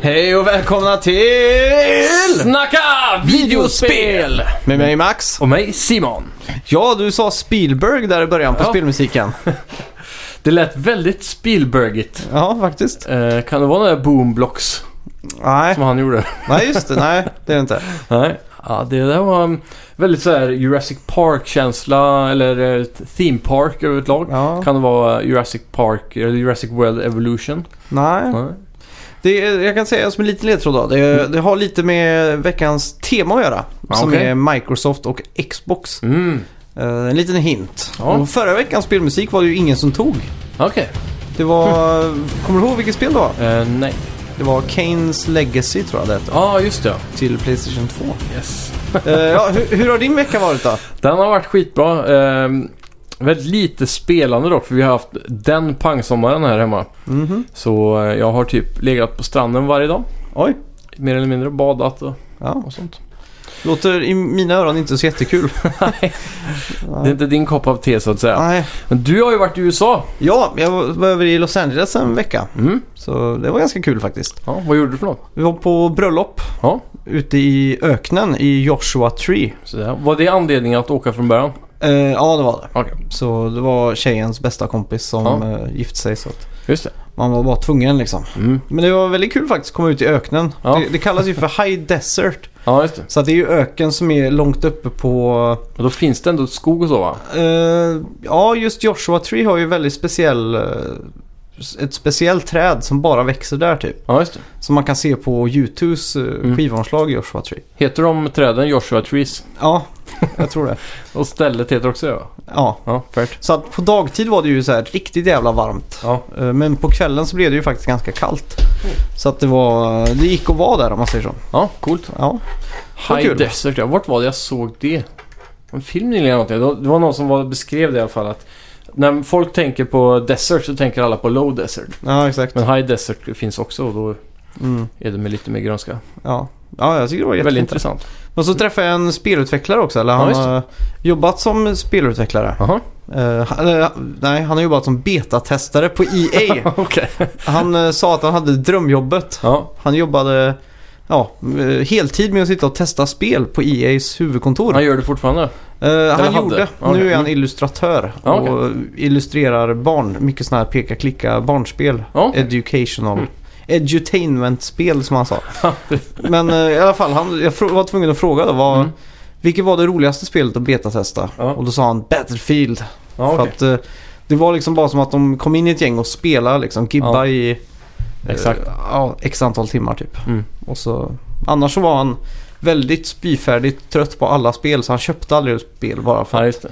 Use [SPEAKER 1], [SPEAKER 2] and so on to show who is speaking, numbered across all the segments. [SPEAKER 1] Hej och välkomna till...
[SPEAKER 2] Snacka videospel!
[SPEAKER 1] Med mig Max.
[SPEAKER 2] Och mig Simon.
[SPEAKER 1] Ja, du sa Spielberg där i början på
[SPEAKER 2] Ja.
[SPEAKER 1] spelmusiken.
[SPEAKER 2] Det lät väldigt Spielbergigt.
[SPEAKER 1] Ja, faktiskt.
[SPEAKER 2] Eh, kan det vara den där boomblocks
[SPEAKER 1] Nej,
[SPEAKER 2] som han gjorde?
[SPEAKER 1] nej just det. Nej, det är det inte.
[SPEAKER 2] Nej. Ja, det där var um, väldigt så här Jurassic Park-känsla eller eh, Theme Park överlag.
[SPEAKER 1] Ja,
[SPEAKER 2] Kan det vara Jurassic Park eller Jurassic World Evolution?
[SPEAKER 1] nej.
[SPEAKER 2] Nej.
[SPEAKER 1] Det är, jag kan säga som en liten ledtråd då. Det, det har lite med veckans tema att göra.
[SPEAKER 2] Mm. Ja,
[SPEAKER 1] som
[SPEAKER 2] okej.
[SPEAKER 1] är Microsoft och Xbox.
[SPEAKER 2] Mm.
[SPEAKER 1] Eh, en liten hint.
[SPEAKER 2] Ja.
[SPEAKER 1] Och förra veckans spelmusik var det ju ingen som tog.
[SPEAKER 2] Okej.
[SPEAKER 1] Det var... Kommer du ihåg vilket spel det var?
[SPEAKER 2] Eh, nej.
[SPEAKER 1] Det var Kane's Legacy tror jag det hette.
[SPEAKER 2] Ja, ah, just det.
[SPEAKER 1] Till Playstation 2.
[SPEAKER 2] Yes.
[SPEAKER 1] Eh, ja, hur, hur har din vecka varit då?
[SPEAKER 2] Den har varit skitbra. Ehm, väldigt lite spelande dock, för vi har haft den pangsommaren här hemma.
[SPEAKER 1] Mhm.
[SPEAKER 2] Så eh, jag har typ legat på stranden varje dag.
[SPEAKER 1] Oj.
[SPEAKER 2] Mer eller mindre badat och,
[SPEAKER 1] Ja,
[SPEAKER 2] och sånt.
[SPEAKER 1] låter i mina öron inte så jättekul.
[SPEAKER 2] Det är inte din kopp av te så att säga.
[SPEAKER 1] Nej.
[SPEAKER 2] Men du har ju varit i USA.
[SPEAKER 1] Ja, jag var över i Los Angeles en vecka.
[SPEAKER 2] Mm.
[SPEAKER 1] Så det var ganska kul faktiskt.
[SPEAKER 2] Ja, vad gjorde du för något?
[SPEAKER 1] Vi var på bröllop
[SPEAKER 2] Ja.
[SPEAKER 1] ute i öknen i Joshua Tree.
[SPEAKER 2] Så där. Var det anledningen att åka från början?
[SPEAKER 1] Eh, ja, det var det.
[SPEAKER 2] Okej,
[SPEAKER 1] Så det var tjejens bästa kompis som
[SPEAKER 2] Ja.
[SPEAKER 1] eh, gifte sig. Så att
[SPEAKER 2] just det.
[SPEAKER 1] man var bara tvungen liksom.
[SPEAKER 2] Mm.
[SPEAKER 1] Men det var väldigt kul faktiskt att komma ut i öknen.
[SPEAKER 2] Ja.
[SPEAKER 1] Det, det kallas ju för High Desert.
[SPEAKER 2] Ja, just det.
[SPEAKER 1] Så att det är ju öken som är långt uppe på
[SPEAKER 2] Och då finns det ändå skog och så va?
[SPEAKER 1] Eh, ja, just Joshua Tree har ju väldigt speciell... eh, ett speciellt träd som bara växer där typ.
[SPEAKER 2] Ja, just det.
[SPEAKER 1] Som man kan se på YouTubes uh,
[SPEAKER 2] Mm.
[SPEAKER 1] skivomslag Joshua Tree.
[SPEAKER 2] Heter de träden Joshua Trees?
[SPEAKER 1] Ja, jag tror det.
[SPEAKER 2] Och stället heter också det va?
[SPEAKER 1] Ja.
[SPEAKER 2] Ja, färt.
[SPEAKER 1] Så att på dagtid var det ju så här riktigt jävla varmt.
[SPEAKER 2] Ja.
[SPEAKER 1] Eh, Men på kvällen så blev det ju faktiskt ganska kallt. Så att det var... Det gick att vara där om man säger så.
[SPEAKER 2] ja, coolt.
[SPEAKER 1] Ja. Vad
[SPEAKER 2] High
[SPEAKER 1] kul.
[SPEAKER 2] Desert, ja. Vart var det jag såg det? En film nyligen eller någonting. Det var någon som var, beskrev det i alla fall att när folk tänker på desert så tänker alla på low desert.
[SPEAKER 1] Ja, exakt.
[SPEAKER 2] Men high desert finns också och då
[SPEAKER 1] Mm.
[SPEAKER 2] är det med lite mer grönska.
[SPEAKER 1] Ja. Ja, jag tycker det var
[SPEAKER 2] Väldigt
[SPEAKER 1] jättefint.
[SPEAKER 2] intressant.
[SPEAKER 1] Men så träffade jag en spelutvecklare också. Eller
[SPEAKER 2] Ja,
[SPEAKER 1] han
[SPEAKER 2] just det.
[SPEAKER 1] har jobbat som spelutvecklare.
[SPEAKER 2] Jaha,
[SPEAKER 1] Eh, han- eh, nej, han har jobbat som betatestare på EA.
[SPEAKER 2] okej.
[SPEAKER 1] Han eh, sa att han hade drömjobbet.
[SPEAKER 2] Ja,
[SPEAKER 1] Han jobbade ja, eh, heltid med att sitta och testa spel på EAs huvudkontor.
[SPEAKER 2] han gör det fortfarande.
[SPEAKER 1] Eh, han
[SPEAKER 2] hade.
[SPEAKER 1] gjorde.
[SPEAKER 2] Okej.
[SPEAKER 1] Nu är han
[SPEAKER 2] Mm.
[SPEAKER 1] illustratör
[SPEAKER 2] Ja,
[SPEAKER 1] och illustrerar barn. Mycket sådana här peka-klicka barnspel.
[SPEAKER 2] Ja,
[SPEAKER 1] Educational. Edutainment-spel som han sa.
[SPEAKER 2] Mm. Ja,
[SPEAKER 1] Men eh, i alla fall, han, jag frå- var tvungen att fråga då. Vad,
[SPEAKER 2] Mm.
[SPEAKER 1] Vilket var det roligaste spelet att betatesta?
[SPEAKER 2] Ja.
[SPEAKER 1] Och då sa han Battlefield.
[SPEAKER 2] ja
[SPEAKER 1] För
[SPEAKER 2] okej.
[SPEAKER 1] att eh, det var liksom bara som att de kom in i ett gäng och spelade liksom. Gibba
[SPEAKER 2] Ja.
[SPEAKER 1] i eh,
[SPEAKER 2] Exakt.
[SPEAKER 1] ja, x antal timmar typ.
[SPEAKER 2] Mm.
[SPEAKER 1] Och så, annars så var han väldigt spyfärdigt trött på alla spel så han köpte aldrig ett spel bara för
[SPEAKER 2] Ja,
[SPEAKER 1] att
[SPEAKER 2] just det.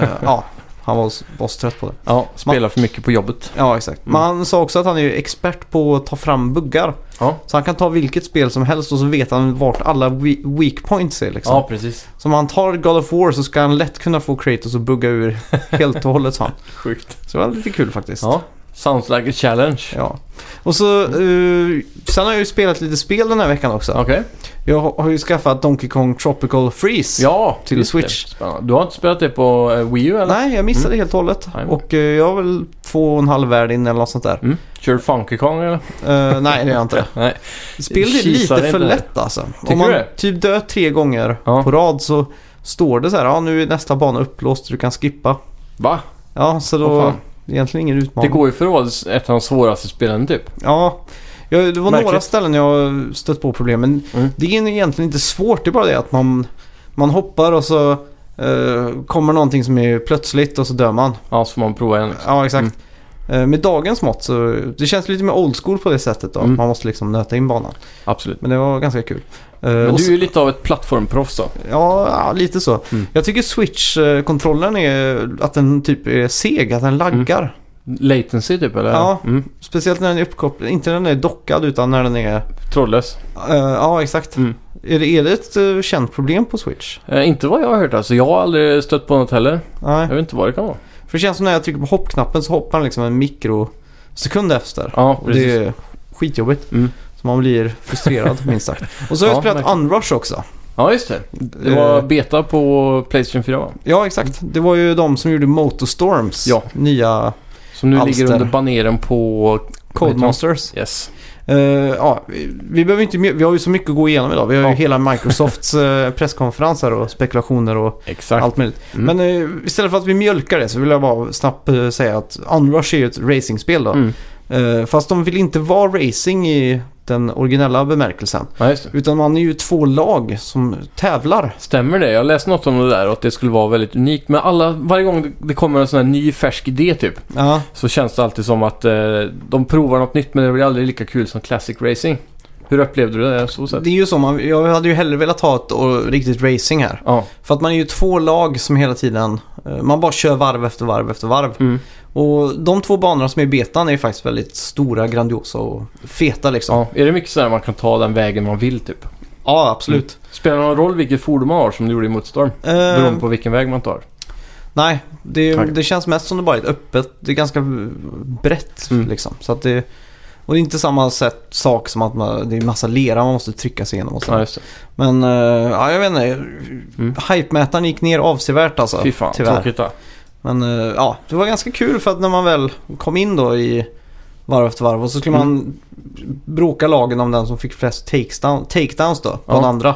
[SPEAKER 1] eh, ja, han var, var så trött på det.
[SPEAKER 2] Ja, spelar för mycket på jobbet.
[SPEAKER 1] Ja exakt.
[SPEAKER 2] Mm.
[SPEAKER 1] Men han sa också att han är ju expert på att ta fram buggar.
[SPEAKER 2] Ja.
[SPEAKER 1] Så han kan ta vilket spel som helst och så vet han vart alla we- weak points är liksom.
[SPEAKER 2] Ja, precis.
[SPEAKER 1] Så om han tar God of War så ska han lätt kunna få Kratos att bugga ur helt och hållet sa han.
[SPEAKER 2] Sjukt.
[SPEAKER 1] Så det var lite kul faktiskt.
[SPEAKER 2] Ja, sounds like a challenge.
[SPEAKER 1] Ja. Och så, eh, sen har jag ju spelat lite spel den här veckan också.
[SPEAKER 2] Okej.
[SPEAKER 1] Jag har har ju skaffat Donkey Kong Tropical Freeze.
[SPEAKER 2] Ja,
[SPEAKER 1] Till
[SPEAKER 2] just det.
[SPEAKER 1] Switch.
[SPEAKER 2] Spännande. Du har inte spelat det på eh, Wii U eller?
[SPEAKER 1] Nej, jag missade helt och hållet.
[SPEAKER 2] Nej, men.
[SPEAKER 1] Och eh, jag är väl två och en halv värld in eller något sånt där.
[SPEAKER 2] Mm. Kör du Funky Kong eller?
[SPEAKER 1] Eh, nej, det är jag inte.
[SPEAKER 2] Nej.
[SPEAKER 1] Spelet är
[SPEAKER 2] Mm. Kisar
[SPEAKER 1] lite för
[SPEAKER 2] inte det.
[SPEAKER 1] lätt alltså.
[SPEAKER 2] Tycker
[SPEAKER 1] Om man
[SPEAKER 2] du det?
[SPEAKER 1] typ dör tre gånger
[SPEAKER 2] Ja.
[SPEAKER 1] på rad så står det så här, ja nu är nästa bana upplåst du kan skippa.
[SPEAKER 2] Va?
[SPEAKER 1] Ja, så då...
[SPEAKER 2] Åh, fan.
[SPEAKER 1] egentligen ingen
[SPEAKER 2] Det
[SPEAKER 1] utmaning.
[SPEAKER 2] går ju för att vara ett av de svåraste spelen typ.
[SPEAKER 1] Ja, jag, det var några
[SPEAKER 2] Märkligt.
[SPEAKER 1] ställen jag stött på problem. Men
[SPEAKER 2] Mm.
[SPEAKER 1] det är egentligen inte svårt. Det är bara det att man, man hoppar och så eh, kommer någonting som är plötsligt och så dör man.
[SPEAKER 2] Ja, så får man prova en.
[SPEAKER 1] Ja, exakt.
[SPEAKER 2] Mm.
[SPEAKER 1] Eh, med dagens mått så det känns lite mer old school på det sättet då.
[SPEAKER 2] Mm.
[SPEAKER 1] Man måste liksom nöta in banan.
[SPEAKER 2] Absolut.
[SPEAKER 1] Men det var ganska kul. Eh,
[SPEAKER 2] Men
[SPEAKER 1] och
[SPEAKER 2] du
[SPEAKER 1] s-
[SPEAKER 2] är ju lite av ett plattformproffs då.
[SPEAKER 1] ja, ja, lite så.
[SPEAKER 2] Mm.
[SPEAKER 1] Jag tycker Switch-kontrollen är att den typ är seg, att den laggar.
[SPEAKER 2] Mm. Latency typ eller?
[SPEAKER 1] Ja.
[SPEAKER 2] Mm.
[SPEAKER 1] Speciellt när den är uppkopplad, inte när den är dockad utan när den är...
[SPEAKER 2] Trådlös.
[SPEAKER 1] Eh, ja, exakt.
[SPEAKER 2] Mm.
[SPEAKER 1] Är det, är det ett eh, känt problem på Switch?
[SPEAKER 2] Eh, inte vad jag har hört alltså. Jag har aldrig stött på något heller.
[SPEAKER 1] Nej.
[SPEAKER 2] Jag vet inte vad det kan vara.
[SPEAKER 1] För det känns som när jag trycker på hoppknappen så hoppar den liksom en mikrosekund efter.
[SPEAKER 2] Ja,
[SPEAKER 1] och
[SPEAKER 2] precis.
[SPEAKER 1] det är skitjobbigt.
[SPEAKER 2] Mm.
[SPEAKER 1] Så man blir frustrerad minst sagt. Och så har
[SPEAKER 2] Ja,
[SPEAKER 1] jag spelat
[SPEAKER 2] verkligen.
[SPEAKER 1] Unrush också.
[SPEAKER 2] Ja, just det. Det var
[SPEAKER 1] Eh,
[SPEAKER 2] beta på Playstation 4 va?
[SPEAKER 1] Ja, exakt. Det var ju de som gjorde Motorstorms
[SPEAKER 2] Ja.
[SPEAKER 1] nya
[SPEAKER 2] Som nu
[SPEAKER 1] Alster.
[SPEAKER 2] ligger under baneren på...
[SPEAKER 1] Codemasters.
[SPEAKER 2] Yes.
[SPEAKER 1] Eh, Eh, ja, vi, vi, behöver inte, mer- vi har ju så mycket att gå igenom idag. Vi har ju
[SPEAKER 2] Ja.
[SPEAKER 1] hela Microsofts eh, presskonferens här och spekulationer och
[SPEAKER 2] Exakt.
[SPEAKER 1] allt möjligt.
[SPEAKER 2] Mm.
[SPEAKER 1] Men eh, istället för att vi mjölkar det så vill jag bara snabbt eh, säga att Unrush är ju ett racingspel då.
[SPEAKER 2] Mm.
[SPEAKER 1] Eh, fast de vill inte vara racing i den originella bemärkelsen.
[SPEAKER 2] Ja, just det.
[SPEAKER 1] Utan man är ju två lag som tävlar.
[SPEAKER 2] Stämmer det? Jag läste något om det där och att det skulle vara väldigt unikt. Men alla, varje gång det- det kommer en sån här ny färsk idé typ
[SPEAKER 1] Ja,
[SPEAKER 2] så känns det alltid som att eh, de provar något nytt men det blir aldrig lika kul som classic racing. Hur upplevde du det? Så sätt?
[SPEAKER 1] det är ju så. Man, jag hade ju hellre velat ha ett och, riktigt racing här.
[SPEAKER 2] Ja.
[SPEAKER 1] För att man är ju två lag som hela tiden... eh, Man bara kör varv efter varv efter varv.
[SPEAKER 2] Mm.
[SPEAKER 1] Och de två banorna som är i betan är ju faktiskt väldigt stora, grandiosa och feta liksom. Ja,
[SPEAKER 2] ja. Är det mycket så här man kan ta den vägen man vill typ?
[SPEAKER 1] absolut.
[SPEAKER 2] Spelar det någon roll vilket fordon man har som du gjorde i Motorstorm?
[SPEAKER 1] Eh,
[SPEAKER 2] Beroende på vilken väg man tar.
[SPEAKER 1] Nej, det,
[SPEAKER 2] Tack.
[SPEAKER 1] det känns mest som det bara är ett öppet. Det är ganska brett
[SPEAKER 2] Mm.
[SPEAKER 1] liksom. Så att det, och det är inte samma sätt, sak som att man, det är massa lera man måste trycka sig igenom och så.
[SPEAKER 2] Ja, just det.
[SPEAKER 1] Men eh, ja, jag vet inte. Hypemätaren gick ner avsevärt alltså.
[SPEAKER 2] Mm. Fy fan,
[SPEAKER 1] tyvärr.
[SPEAKER 2] tråkigt då.
[SPEAKER 1] Men eh, ja, det var ganska kul för att när man väl kom in då i varv efter varv och så skulle
[SPEAKER 2] Mm.
[SPEAKER 1] man bråka lagen om den som fick flest takedown, takedowns då på
[SPEAKER 2] Ja.
[SPEAKER 1] den andra.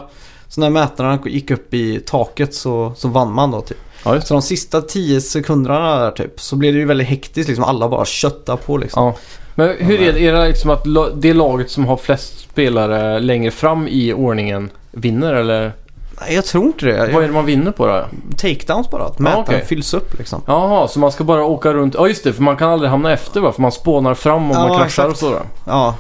[SPEAKER 1] Så när mätarna gick upp i taket så, så vann man då typ.
[SPEAKER 2] Ja, just det.
[SPEAKER 1] Så de sista 10 sekunderna där typ så blev det ju väldigt hektiskt liksom. Alla bara köttar på liksom.
[SPEAKER 2] Ja. Men hur är det? Är det liksom att la- det laget som har flest spelare längre fram i ordningen vinner eller?
[SPEAKER 1] Nej, jag tror inte det.
[SPEAKER 2] Vad är det man vinner på då?
[SPEAKER 1] Takedowns bara. Att mätaren
[SPEAKER 2] okej.
[SPEAKER 1] fylls upp liksom.
[SPEAKER 2] Jaha, så man ska bara åka runt? Ja, just det. För man kan aldrig hamna efter va? För man spånar fram och
[SPEAKER 1] Ja,
[SPEAKER 2] man kraschar
[SPEAKER 1] exakt.
[SPEAKER 2] och sådär.
[SPEAKER 1] Ja.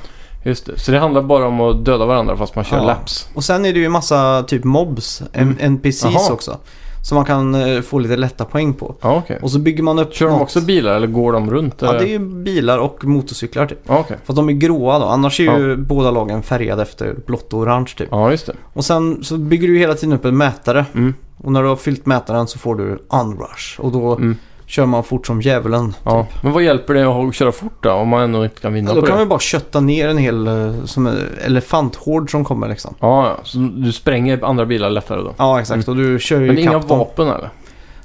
[SPEAKER 2] Just det. Så det handlar bara om att döda varandra fast man kör
[SPEAKER 1] Ja.
[SPEAKER 2] laps.
[SPEAKER 1] Och sen är det ju en massa typ mobs,
[SPEAKER 2] Mm.
[SPEAKER 1] NPCs
[SPEAKER 2] Jaha.
[SPEAKER 1] också. Som man kan eh, få lite lätta poäng på.
[SPEAKER 2] Ja, okej.
[SPEAKER 1] Och så bygger man upp
[SPEAKER 2] Kör de
[SPEAKER 1] något-
[SPEAKER 2] också bilar eller går de runt?
[SPEAKER 1] Ja,
[SPEAKER 2] eller?
[SPEAKER 1] det är ju bilar och motorcyklar typ.
[SPEAKER 2] Ja, okej.
[SPEAKER 1] Fast de är gråa då. Annars är ju båda lagen färgade efter blått och orange typ.
[SPEAKER 2] Ja, just det.
[SPEAKER 1] Och sen så bygger du ju hela tiden upp en mätare.
[SPEAKER 2] Mm.
[SPEAKER 1] Och när du har fyllt mätaren så får du unrush. Och då
[SPEAKER 2] Mm.
[SPEAKER 1] kör man fort som djävulen. Typ.
[SPEAKER 2] Ja. Men vad hjälper det att ha- köra fort då? Om man ändå inte kan vinna
[SPEAKER 1] Ja, då
[SPEAKER 2] på
[SPEAKER 1] kan
[SPEAKER 2] det?
[SPEAKER 1] man ju bara kötta ner en hel eh, som en elefanthord som kommer liksom.
[SPEAKER 2] Ja, ja. Så du spränger andra bilar lättare då?
[SPEAKER 1] Ja, exakt. Och du kör ju
[SPEAKER 2] Mm. Men inga
[SPEAKER 1] ikapp dem.
[SPEAKER 2] vapen eller?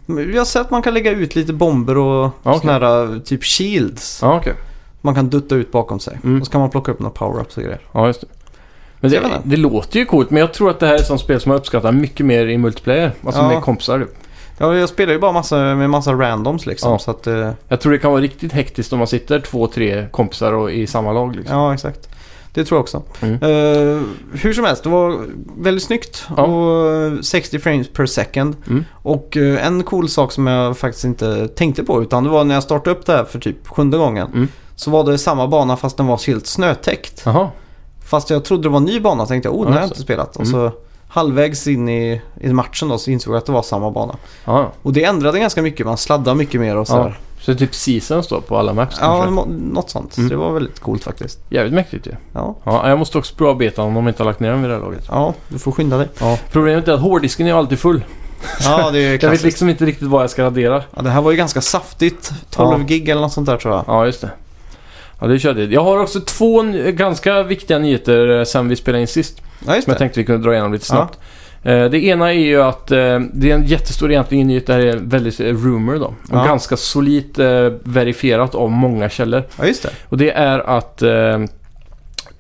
[SPEAKER 1] Men Jag har sett att man kan lägga ut lite bomber och
[SPEAKER 2] Ja, okej.
[SPEAKER 1] såna här eh, typ shields.
[SPEAKER 2] Ja, okej.
[SPEAKER 1] Man kan dutta ut bakom sig.
[SPEAKER 2] Mm.
[SPEAKER 1] Och så kan man plocka upp några power-ups och grejer.
[SPEAKER 2] Ja, just det. Men
[SPEAKER 1] Jag vet
[SPEAKER 2] det,
[SPEAKER 1] inte.
[SPEAKER 2] det låter ju coolt, men jag tror att det här är ett sånt spel som jag uppskattar mycket mer i multiplayer. Alltså
[SPEAKER 1] Ja.
[SPEAKER 2] med kompisar. typ.
[SPEAKER 1] Ja, jag spelar ju bara massa, med massa randoms liksom.
[SPEAKER 2] Ja.
[SPEAKER 1] Så att, eh,
[SPEAKER 2] Jag tror det kan vara riktigt hektiskt om man sitter två, tre kompisar och i samma lag. Liksom.
[SPEAKER 1] ja, exakt. Det tror jag också.
[SPEAKER 2] Mm.
[SPEAKER 1] Eh, hur som helst, det var väldigt snyggt.
[SPEAKER 2] Ja.
[SPEAKER 1] Och eh, 60 frames per second.
[SPEAKER 2] Mm.
[SPEAKER 1] Och eh, en cool sak som jag faktiskt inte tänkte på utan det var när jag startade upp det här för typ sjunde gången.
[SPEAKER 2] Mm.
[SPEAKER 1] Så var det samma bana fast den var helt snötäckt.
[SPEAKER 2] Jaha,
[SPEAKER 1] Fast jag trodde det var en ny bana tänkte jag, oh den har jag
[SPEAKER 2] Alltså.
[SPEAKER 1] inte spelat. Och
[SPEAKER 2] Mm.
[SPEAKER 1] så halvvägs in i, i matchen då så insåg jag att det var samma bana.
[SPEAKER 2] ja. ja.
[SPEAKER 1] Och det ändrade ganska mycket, man sladdade mycket mer och
[SPEAKER 2] ja.
[SPEAKER 1] sådär.
[SPEAKER 2] Så det är typ seasons då på alla maps
[SPEAKER 1] Ja,
[SPEAKER 2] kanske?
[SPEAKER 1] må- något sånt.
[SPEAKER 2] Mm.
[SPEAKER 1] Det var väldigt coolt faktiskt.
[SPEAKER 2] Jävligt mäktigt ju.
[SPEAKER 1] Ja.
[SPEAKER 2] Ja, jag måste också prova betan om de inte har lagt ner den vid det här laget.
[SPEAKER 1] ja, du får skynda dig.
[SPEAKER 2] Problemet är att hårddisken är alltid full.
[SPEAKER 1] Ja, det är
[SPEAKER 2] Jag vet
[SPEAKER 1] klassiskt.
[SPEAKER 2] liksom inte riktigt vad jag ska radera.
[SPEAKER 1] Ja, det här var ju ganska saftigt. 12
[SPEAKER 2] Ja.
[SPEAKER 1] gig eller något sånt där tror jag.
[SPEAKER 2] Ja, just det. Ja, det är kördigt. Jag har också två ny- ganska viktiga nyheter eh, sen vi spelade in sist.
[SPEAKER 1] Ja, just
[SPEAKER 2] Som jag
[SPEAKER 1] det.
[SPEAKER 2] tänkte vi kunde dra igenom lite snabbt. Eh, Det ena är ju att eh, det är en jättestor egentligen nyhet. Det här är en väldigt eh, rumor då. Och
[SPEAKER 1] Ja.
[SPEAKER 2] ganska solitt eh, verifierat av många källor.
[SPEAKER 1] Ja, just det.
[SPEAKER 2] Och det är att eh,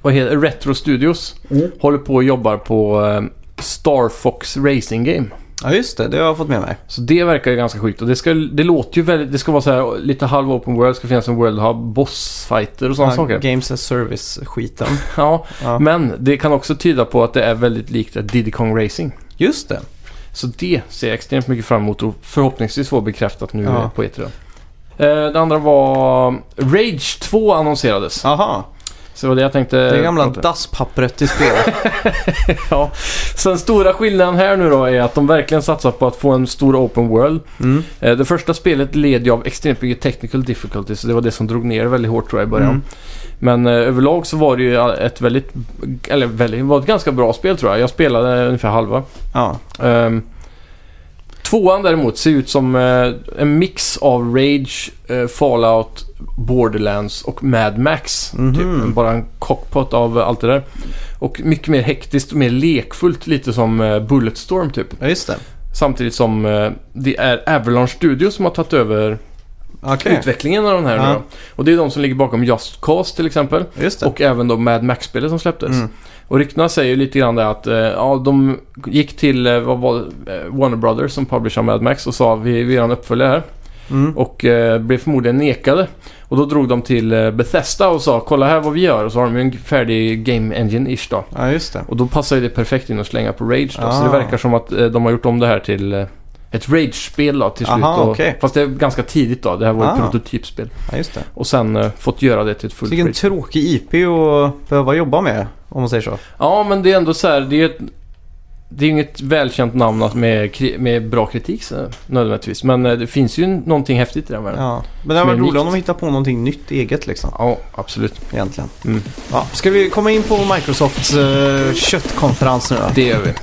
[SPEAKER 2] vad heter, det? Retro Studios
[SPEAKER 1] Mm.
[SPEAKER 2] håller på och jobbar på eh, Star Fox Racing Game.
[SPEAKER 1] Ja, just det. Det har jag fått med mig.
[SPEAKER 2] Så det verkar ju ganska sjukt. Och det, ska, det låter ju väldigt... Det ska vara så här lite halv open world. Det ska finnas en world hub, bossfighter och sådana
[SPEAKER 1] Ja,
[SPEAKER 2] saker.
[SPEAKER 1] Games as Service-skiten.
[SPEAKER 2] Ja.
[SPEAKER 1] Ja.
[SPEAKER 2] Men det kan också tyda på att det är väldigt likt ett Diddy Kong Racing.
[SPEAKER 1] Just det.
[SPEAKER 2] Så det ser jag extremt mycket fram emot och förhoppningsvis få bekräftat nu
[SPEAKER 1] Ja.
[SPEAKER 2] eh, på E3. Eh, Det andra var Rage 2 annonserades.
[SPEAKER 1] Aha.
[SPEAKER 2] Så det var Eh, det jag tänkte...
[SPEAKER 1] Det gamla
[SPEAKER 2] prata-
[SPEAKER 1] dasspappret i spelet.
[SPEAKER 2] ja. Så den stora skillnaden här nu då är att de verkligen satsar på att få en stor open world.
[SPEAKER 1] Mm.
[SPEAKER 2] Eh, Det första spelet led ju av extremt mycket technical difficulties så det var det som drog ner det väldigt hårt tror jag i början.
[SPEAKER 1] Mm.
[SPEAKER 2] Men eh, överlag så var det ju ett väldigt... Eller väldigt... Det var ett ganska bra spel tror jag. Jag spelade ungefär halva.
[SPEAKER 1] Ja.
[SPEAKER 2] Ehm, tvåan däremot ser ut som eh, en mix av Rage, eh, Fallout, Borderlands och Mad Max.
[SPEAKER 1] Mhm.
[SPEAKER 2] Typ. Bara en cockpot av eh, allt det där. Och mycket mer hektiskt och mer lekfullt. Lite som eh, Bulletstorm typ.
[SPEAKER 1] ja, just det.
[SPEAKER 2] Samtidigt som eh, det är Avalanche Studios som har tagit över
[SPEAKER 1] Okej,
[SPEAKER 2] utvecklingen av de här
[SPEAKER 1] Ja.
[SPEAKER 2] nu då. Och det är de som ligger bakom Just Cause till exempel.
[SPEAKER 1] just det.
[SPEAKER 2] Och även då Mad Max-spelet som släpptes.
[SPEAKER 1] Mm.
[SPEAKER 2] Och ryktena säger ju lite grann det att eh, ja, de gick till eh, vad var, det, eh, Warner Brothers som publicerar Mad Max och sa vi vi gör en uppföljare här.
[SPEAKER 1] Mm.
[SPEAKER 2] Och eh, blev förmodligen nekade. Och då drog de till eh, Bethesda och sa kolla här vad vi gör. Och så har de ju en färdig Game Engine-ish då.
[SPEAKER 1] Ja, just det.
[SPEAKER 2] Och då passar ju det perfekt in att slänga på Rage då. Så
[SPEAKER 1] Ah.
[SPEAKER 2] det verkar som att eh, de har gjort om det här till eh, ett Rage-spel då till slut.
[SPEAKER 1] Aha,
[SPEAKER 2] och,
[SPEAKER 1] okej.
[SPEAKER 2] Fast det är ganska tidigt då. Det här var ett
[SPEAKER 1] Ah.
[SPEAKER 2] prototypspel.
[SPEAKER 1] Ja, just det.
[SPEAKER 2] Och sen eh, fått göra det till ett fullt
[SPEAKER 1] Vilken
[SPEAKER 2] Rage.
[SPEAKER 1] tråkig IP att behöva jobba med, om man säger så.
[SPEAKER 2] Ja, men det är ändå så här. Det är ett, det är inget välkänt namn att med, kri- med bra kritik så, nödvändigtvis. Men eh, det finns ju någonting häftigt i den världen. Ja.
[SPEAKER 1] Ja. Men det hade
[SPEAKER 2] Som är
[SPEAKER 1] varit roligt
[SPEAKER 2] unikt.
[SPEAKER 1] om de hittar på någonting nytt eget liksom,
[SPEAKER 2] absolut.
[SPEAKER 1] egentligen.
[SPEAKER 2] Mm.
[SPEAKER 1] Ja. Ska vi komma in på Microsofts eh, köttkonferens nu då?
[SPEAKER 2] Det gör vi.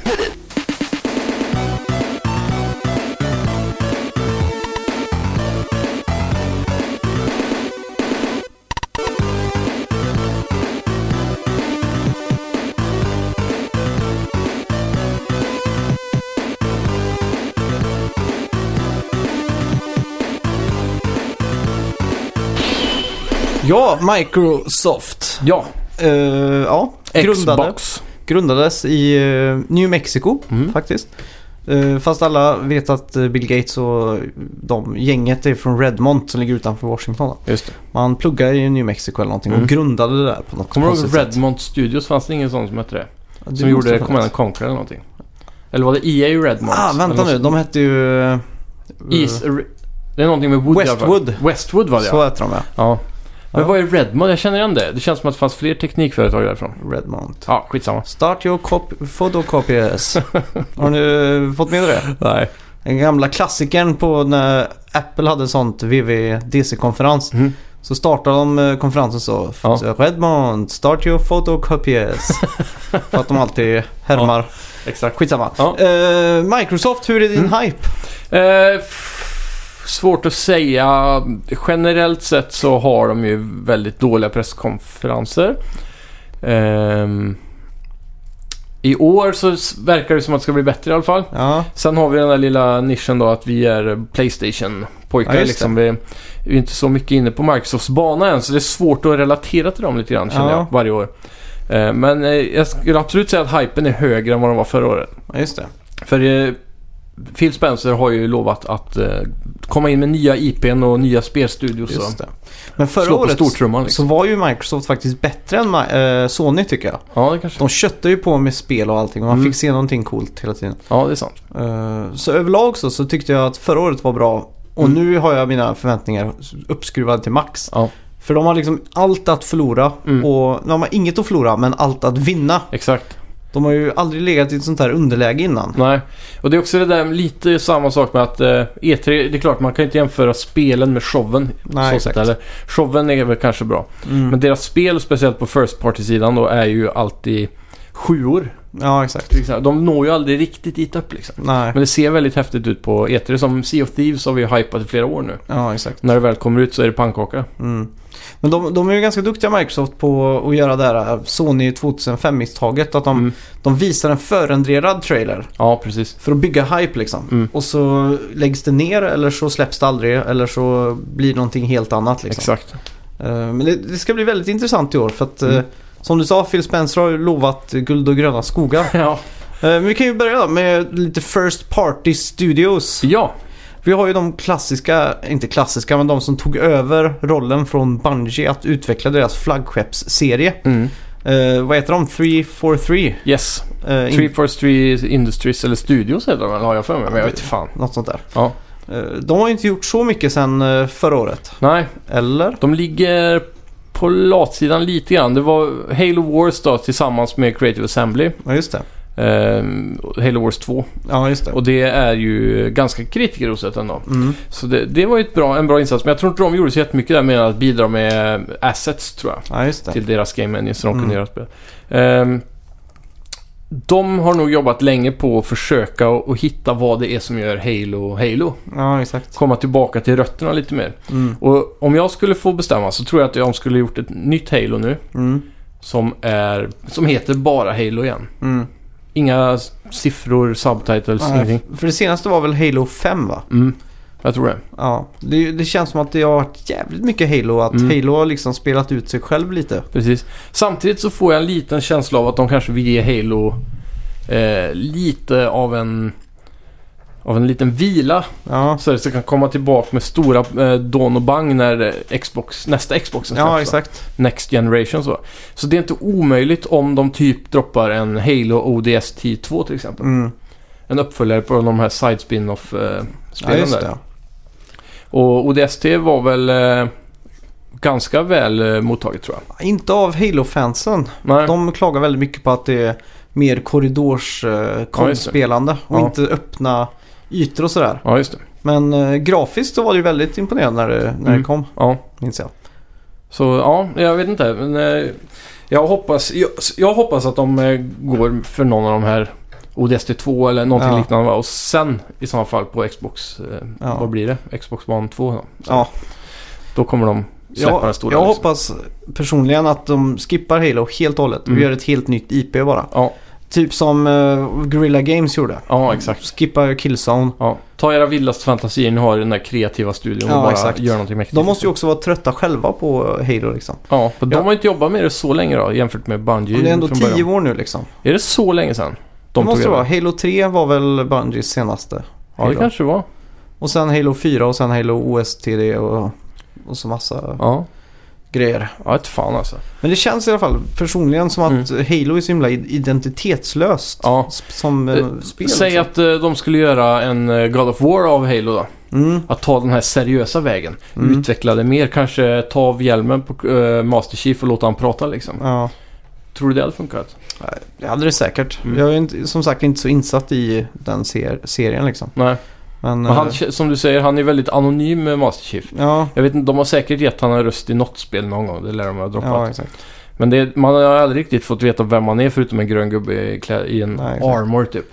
[SPEAKER 1] Ja, Microsoft.
[SPEAKER 2] Ja,
[SPEAKER 1] Eh, ja, grundade,
[SPEAKER 2] Xbox.
[SPEAKER 1] grundades i eh, New Mexico
[SPEAKER 2] Mm.
[SPEAKER 1] faktiskt. Eh, fast alla vet att eh, Bill Gates och de gänget är från Redmond som ligger utanför Washington. Då.
[SPEAKER 2] Just det.
[SPEAKER 1] Man pluggar i New Mexico eller någonting
[SPEAKER 2] Mm.
[SPEAKER 1] och grundade det där på något
[SPEAKER 2] Kommer du
[SPEAKER 1] konstigt
[SPEAKER 2] ihåg Redmond Studios? Fanns det ingen sån som hette det?
[SPEAKER 1] sätt. Ja, det
[SPEAKER 2] som
[SPEAKER 1] måste
[SPEAKER 2] gjorde
[SPEAKER 1] ha
[SPEAKER 2] Command
[SPEAKER 1] funnits.
[SPEAKER 2] and Conquer eller någonting? Eller var det EA Redmond?
[SPEAKER 1] Ah, vänta nu. De hette ju... eh,
[SPEAKER 2] Is, re- det är någonting med Wood i alla fall.
[SPEAKER 1] Westwood.
[SPEAKER 2] Westwood var det
[SPEAKER 1] Så
[SPEAKER 2] ja.
[SPEAKER 1] heter de ja.
[SPEAKER 2] ja. Men
[SPEAKER 1] Ja.
[SPEAKER 2] vad är Redmond? Jag känner igen det. Det känns som att det fanns fler teknikföretag därifrån.
[SPEAKER 1] Redmond.
[SPEAKER 2] Ja, skitsamma.
[SPEAKER 1] Start your cop- photocopiers. Har ni eh, fått med det?
[SPEAKER 2] Nej.
[SPEAKER 1] Den gamla klassikern på när Apple hade sånt VVDC-konferens.
[SPEAKER 2] Mm.
[SPEAKER 1] Så startade de eh, konferensen så.
[SPEAKER 2] Ja.
[SPEAKER 1] Redmond, start your photocopiers. För att de alltid härmar.
[SPEAKER 2] Exakt.
[SPEAKER 1] Skitsamma.
[SPEAKER 2] Ja.
[SPEAKER 1] Eh, Microsoft, hur är din
[SPEAKER 2] Mm.
[SPEAKER 1] hype?
[SPEAKER 2] Eh, f- svårt att säga. Generellt sett så har de ju väldigt dåliga presskonferenser. Ehm, I år så s- verkar det som att det ska bli bättre i alla fall.
[SPEAKER 1] Ja,
[SPEAKER 2] Sen har vi den där lilla nischen då att vi är Playstation-pojkar
[SPEAKER 1] Ja, just det.
[SPEAKER 2] liksom. Vi vi är inte så mycket inne på Microsofts bana än så det är svårt att relatera till dem lite grann känner
[SPEAKER 1] Ja.
[SPEAKER 2] jag varje år. Eh, Men eh, jag skulle absolut säga att hypen är högre än vad den var förra året.
[SPEAKER 1] ja, just det.
[SPEAKER 2] För eh, Phil Spencer har ju lovat att eh, komma in med nya IPn och nya spelstudios.
[SPEAKER 1] Just
[SPEAKER 2] och
[SPEAKER 1] det. Men förra
[SPEAKER 2] slå på
[SPEAKER 1] året
[SPEAKER 2] stortrumman
[SPEAKER 1] så
[SPEAKER 2] liksom.
[SPEAKER 1] var ju Microsoft faktiskt bättre än Ma- eh, Sony tycker jag.
[SPEAKER 2] Ja, det kanske.
[SPEAKER 1] De köttade ju på med spel och allting och man
[SPEAKER 2] Mm.
[SPEAKER 1] fick se någonting coolt hela tiden.
[SPEAKER 2] Ja, det är sant.
[SPEAKER 1] Eh, Så överlag så, så tyckte jag att förra året var bra. Och
[SPEAKER 2] Mm.
[SPEAKER 1] nu har jag mina förväntningar uppskruvade till max.
[SPEAKER 2] Ja.
[SPEAKER 1] För de har liksom allt att förlora.
[SPEAKER 2] Mm.
[SPEAKER 1] Och de har inget att förlora men allt att vinna.
[SPEAKER 2] Exakt.
[SPEAKER 1] De har ju aldrig legat i ett sånt här underläge innan.
[SPEAKER 2] Nej. Och det är också det där lite samma sak med att eh, E3, det är klart man kan inte jämföra spelen med showen.
[SPEAKER 1] Nej,
[SPEAKER 2] så sätt,
[SPEAKER 1] exakt.
[SPEAKER 2] eller, showen är väl kanske bra.
[SPEAKER 1] Mm.
[SPEAKER 2] Men deras spel, speciellt på First Party-sidan då, är ju alltid sjuor.
[SPEAKER 1] Ja, exakt.
[SPEAKER 2] till exempel. De når ju aldrig riktigt dit upp liksom.
[SPEAKER 1] Nej.
[SPEAKER 2] Men det ser väldigt häftigt ut på E3. Som Sea of Thieves har vi ju hypat i flera år nu.
[SPEAKER 1] Ja, exakt.
[SPEAKER 2] När det väl kommer ut så är det pannkaka.
[SPEAKER 1] Mm. Men de, de är ju ganska duktiga Microsoft på att göra det här Sony 2005-misstaget. Att de,
[SPEAKER 2] Mm.
[SPEAKER 1] de visar en förändrad trailer
[SPEAKER 2] Ja, precis.
[SPEAKER 1] för att bygga hype liksom.
[SPEAKER 2] Mm.
[SPEAKER 1] Och så läggs det ner eller så släpps det aldrig eller så blir det någonting helt annat liksom.
[SPEAKER 2] Exakt.
[SPEAKER 1] Eh, Men det, det ska bli väldigt intressant i år för att eh,
[SPEAKER 2] Mm.
[SPEAKER 1] som du sa, Phil Spencer har ju lovat guld och gröna skogar. Eh,
[SPEAKER 2] Ja.
[SPEAKER 1] Men vi kan ju börja med lite First Party Studios.
[SPEAKER 2] ja,
[SPEAKER 1] Vi har ju de klassiska, inte klassiska, men de som tog över rollen från Bungie att utveckla deras flaggskeppsserie. Eh, vad heter de? 343?
[SPEAKER 2] yes.
[SPEAKER 1] Eh, in-
[SPEAKER 2] 343 Industries eller Studios heter de väl, har jag för mig. Men jag vet inte fan.
[SPEAKER 1] Något sånt där.
[SPEAKER 2] Ja.
[SPEAKER 1] Eh, de har ju inte gjort så mycket sedan eh, förra året.
[SPEAKER 2] Nej,
[SPEAKER 1] Eller?
[SPEAKER 2] de ligger på latsidan lite grann. Det var Halo Wars då tillsammans med Creative Assembly.
[SPEAKER 1] Ja, just det.
[SPEAKER 2] Ehm, Halo Wars 2.
[SPEAKER 1] Ja, just det.
[SPEAKER 2] Och det är ju ganska kritikerrosat ändå.
[SPEAKER 1] Mm.
[SPEAKER 2] Så det, det var ju ett bra, en bra insats. Men jag tror inte de gjorde så jättemycket där med att bidra med assets tror jag.
[SPEAKER 1] Ja, just det.
[SPEAKER 2] Till deras game engine så de kunde
[SPEAKER 1] Mm.
[SPEAKER 2] göra ett spel. Ehm, de har nog jobbat länge på att försöka och, och hitta vad det är som gör Halo Halo.
[SPEAKER 1] Ja, exakt.
[SPEAKER 2] Komma tillbaka till rötterna lite mer.
[SPEAKER 1] Mm.
[SPEAKER 2] Och om jag skulle få bestämma så tror jag att de skulle gjort ett nytt Halo nu.
[SPEAKER 1] Mm.
[SPEAKER 2] Som, är, som heter bara Halo igen.
[SPEAKER 1] Mm.
[SPEAKER 2] Inga s- siffror, subtitles,
[SPEAKER 1] Nej,
[SPEAKER 2] ingenting.
[SPEAKER 1] för det senaste var väl Halo 5 va?
[SPEAKER 2] Mm. Jag tror det.
[SPEAKER 1] Ja, det, det känns som att det har varit jävligt mycket Halo. Att
[SPEAKER 2] Mm.
[SPEAKER 1] Halo har liksom spelat ut sig själv lite.
[SPEAKER 2] Precis. Samtidigt så får jag en liten känsla av att de kanske vill ge Halo eh, lite av en, av en liten vila.
[SPEAKER 1] Ja,
[SPEAKER 2] Så att det kan komma tillbaka med stora eh, dån och bang när eh, Xbox, nästa Xbox släpps. va?
[SPEAKER 1] ja exakt.
[SPEAKER 2] Next Generation så. Så det är inte omöjligt om de typ droppar en Halo ODST 2 till exempel.
[SPEAKER 1] Mm.
[SPEAKER 2] En uppföljare på de här side spin-off eh,
[SPEAKER 1] Ja,
[SPEAKER 2] spelen
[SPEAKER 1] just
[SPEAKER 2] där.
[SPEAKER 1] det.
[SPEAKER 2] Och ODST var väl eh, ganska väl eh, mottaget tror jag.
[SPEAKER 1] Inte av Halo-fansen.
[SPEAKER 2] Nej,
[SPEAKER 1] De klagar väldigt mycket på att det är mer
[SPEAKER 2] Ja, just det.
[SPEAKER 1] korridorsspelande och
[SPEAKER 2] Ja.
[SPEAKER 1] inte öppna ytor och sådär.
[SPEAKER 2] ja just det.
[SPEAKER 1] Men eh, grafiskt så var det ju väldigt imponerande när det, när
[SPEAKER 2] Mm.
[SPEAKER 1] det kom,
[SPEAKER 2] Ja.
[SPEAKER 1] minns jag.
[SPEAKER 2] Så ja, jag vet inte. Men, eh, jag, hoppas, jag, jag hoppas att de eh, går för någon av de här ODST 2 eller någonting
[SPEAKER 1] Ja.
[SPEAKER 2] liknande. va? Och sen i så fall på Xbox, eh,
[SPEAKER 1] Ja.
[SPEAKER 2] vad blir det? Xbox One 2 då.
[SPEAKER 1] Ja,
[SPEAKER 2] Då kommer de släppa den
[SPEAKER 1] jag,
[SPEAKER 2] stora.
[SPEAKER 1] jag
[SPEAKER 2] liksom.
[SPEAKER 1] hoppas personligen att de skippar Halo helt och hållet och
[SPEAKER 2] Mm.
[SPEAKER 1] gör ett helt nytt IP bara.
[SPEAKER 2] Ja.
[SPEAKER 1] Typ som eh, Guerrilla Games gjorde.
[SPEAKER 2] Ja, exakt.
[SPEAKER 1] Skippa Killzone.
[SPEAKER 2] Ja. Ta era vildaste fantasier ni har i den där kreativa studion och
[SPEAKER 1] Ja,
[SPEAKER 2] bara
[SPEAKER 1] exakt.
[SPEAKER 2] gör någonting mäktigt.
[SPEAKER 1] De måste ju också vara trötta själva på Halo liksom.
[SPEAKER 2] Ja, för
[SPEAKER 1] Ja.
[SPEAKER 2] de har inte jobbat med det så länge då jämfört med Bungie
[SPEAKER 1] Men det är ändå
[SPEAKER 2] från
[SPEAKER 1] tio
[SPEAKER 2] början.
[SPEAKER 1] år nu liksom.
[SPEAKER 2] Är det så länge sedan?
[SPEAKER 1] De det
[SPEAKER 2] tog
[SPEAKER 1] måste det
[SPEAKER 2] över?
[SPEAKER 1] vara. Halo 3 var väl Bungies senaste.
[SPEAKER 2] Ja, det
[SPEAKER 1] Halo.
[SPEAKER 2] kanske det var.
[SPEAKER 1] Och sen Halo 4 och sen Halo OSTD och, och så massa
[SPEAKER 2] Ja,
[SPEAKER 1] grejer.
[SPEAKER 2] ja ett fan alltså.
[SPEAKER 1] Men det känns i alla fall personligen som att Halo är så himla i- identitetslöst.
[SPEAKER 2] Mm. Ja.
[SPEAKER 1] s- Som eh,
[SPEAKER 2] Eh,
[SPEAKER 1] spel.
[SPEAKER 2] Säg
[SPEAKER 1] liksom.
[SPEAKER 2] att eh, de skulle göra en eh, God of War av Halo då.
[SPEAKER 1] Mm.
[SPEAKER 2] Att ta den här seriösa vägen.
[SPEAKER 1] Mm.
[SPEAKER 2] Utveckla det mer. Kanske ta av hjälmen på eh, Master Chief och låta han prata liksom.
[SPEAKER 1] Ja,
[SPEAKER 2] Tror du det hade funkat?
[SPEAKER 1] det hade det säkert.
[SPEAKER 2] Mm.
[SPEAKER 1] Jag är inte, som sagt inte så insatt i den ser- serien liksom.
[SPEAKER 2] Nej.
[SPEAKER 1] Men,
[SPEAKER 2] Men han,
[SPEAKER 1] eh,
[SPEAKER 2] som du säger, han är väldigt anonym med Master Chief.
[SPEAKER 1] ja,
[SPEAKER 2] Jag vet inte, de har säkert gett han en röst i något spel någon gång. Det lär de ha droppat.
[SPEAKER 1] ja, exakt.
[SPEAKER 2] Men det, man har aldrig riktigt fått veta vem man är förutom en grön gubbe i, klä, i en
[SPEAKER 1] Nej, exakt.
[SPEAKER 2] armor typ.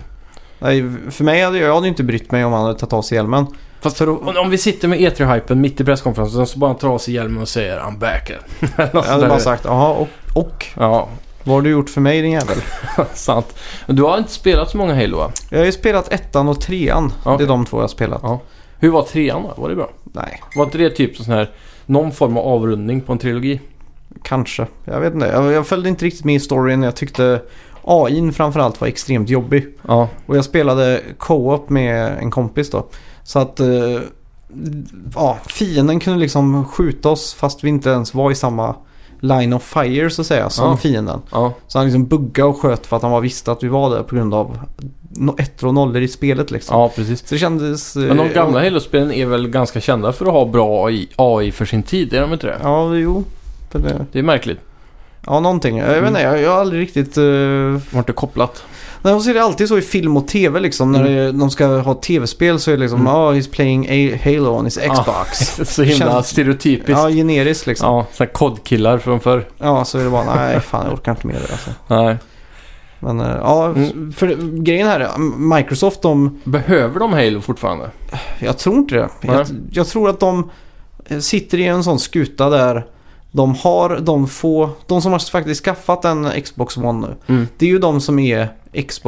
[SPEAKER 1] Nej, för mig hade jag, jag hade inte brytt mig om han hade tagit av sig hjälmen.
[SPEAKER 2] Fast för om, om vi sitter med E3-hypen mitt i presskonferensen så bara han tar av sig hjälmen och säger I'm back.
[SPEAKER 1] Jag
[SPEAKER 2] Eller något sånt
[SPEAKER 1] hade
[SPEAKER 2] där.
[SPEAKER 1] bara sagt, jaha, och, och
[SPEAKER 2] Ja,
[SPEAKER 1] vad har du gjort för mig din jävel?
[SPEAKER 2] sant. Men du har inte spelat så många Halo va?
[SPEAKER 1] Jag har ju spelat ettan och trean.
[SPEAKER 2] Ja.
[SPEAKER 1] Det är de två jag har spelat.
[SPEAKER 2] Ja. Hur var trean då? Var det bra?
[SPEAKER 1] Nej,
[SPEAKER 2] Var inte det typ sån här, någon form av avrundning på en trilogi?
[SPEAKER 1] kanske. Jag vet inte. Jag, jag följde inte riktigt med i storyn. Jag tyckte AIn framförallt var extremt jobbig.
[SPEAKER 2] Ja,
[SPEAKER 1] Och jag spelade co-op med en kompis då. Så att eh, ja, fienden kunde liksom skjuta oss fast vi inte ens var i samma line of fire så att säga som
[SPEAKER 2] Ja.
[SPEAKER 1] fienden.
[SPEAKER 2] ja,
[SPEAKER 1] Så han liksom buggade och sköt för att han var visste att vi var där på grund av no- ettor och nollor i spelet liksom.
[SPEAKER 2] ja precis.
[SPEAKER 1] Så det kändes... eh,
[SPEAKER 2] Men de gamla Halo-spelen är väl ganska kända för att ha bra AI, AI för sin tid, är de inte det?
[SPEAKER 1] Ja, jo. För det-
[SPEAKER 2] Det är märkligt.
[SPEAKER 1] Ja, någonting. Jag vet
[SPEAKER 2] Mm.
[SPEAKER 1] inte, jag, jag har aldrig riktigt... Uh...
[SPEAKER 2] De har inte kopplat.
[SPEAKER 1] Nej, och så är det alltid så i film och tv liksom. När
[SPEAKER 2] Mm.
[SPEAKER 1] det, de ska ha tv-spel så är det liksom,
[SPEAKER 2] Mm. Ah.
[SPEAKER 1] oh, he's playing A- Halo on his Xbox.
[SPEAKER 2] Så himla
[SPEAKER 1] Känns-
[SPEAKER 2] stereotypiskt.
[SPEAKER 1] Ja, generiskt liksom. Ja.
[SPEAKER 2] Ja, sådana kodkillar från förr.
[SPEAKER 1] så är det bara, nej fan jag orkar inte med det alltså.
[SPEAKER 2] Nej.
[SPEAKER 1] Men eh, ja,
[SPEAKER 2] Mm.
[SPEAKER 1] för grejen här, är, Microsoft de,
[SPEAKER 2] Behöver de Halo fortfarande?
[SPEAKER 1] jag tror inte det. Jag, jag tror att de eh, sitter i en sån skuta där de har, de få, de som har faktiskt skaffat en Xbox One nu.
[SPEAKER 2] Mm.
[SPEAKER 1] Det är ju de som är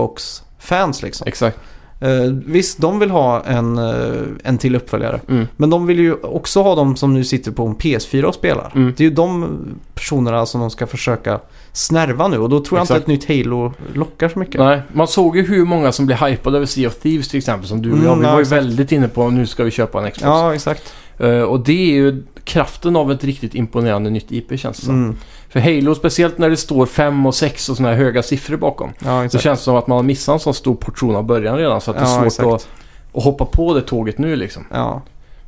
[SPEAKER 1] Xbox-fans liksom.
[SPEAKER 2] Exakt.
[SPEAKER 1] Eh, visst, de vill ha en, eh, en till uppföljare.
[SPEAKER 2] Mm.
[SPEAKER 1] Men de vill ju också ha de som nu sitter på en PS4 och spelar.
[SPEAKER 2] Mm.
[SPEAKER 1] Det är ju de personerna som de ska försöka snärva nu och då tror jag
[SPEAKER 2] Exakt.
[SPEAKER 1] inte ett nytt Halo lockar så mycket.
[SPEAKER 2] Nej, man såg ju hur många som blev hypade över Sea of Thieves till exempel som du och
[SPEAKER 1] Mm,
[SPEAKER 2] jag. Vi
[SPEAKER 1] ja,
[SPEAKER 2] var ju
[SPEAKER 1] exakt.
[SPEAKER 2] väldigt inne på nu ska vi köpa en Xbox.
[SPEAKER 1] Ja, exakt.
[SPEAKER 2] Eh, och det är ju kraften av ett riktigt imponerande nytt IP känns det som.
[SPEAKER 1] Mm.
[SPEAKER 2] För Halo, speciellt när det står 5 och 6 och sådana här höga siffror bakom.
[SPEAKER 1] Ja,
[SPEAKER 2] Så
[SPEAKER 1] exakt.
[SPEAKER 2] känns det som att man har missat en sån stor portion av början redan så att det
[SPEAKER 1] Ja,
[SPEAKER 2] är svårt
[SPEAKER 1] exakt.
[SPEAKER 2] att, att hoppa på det tåget nu liksom.
[SPEAKER 1] Ja.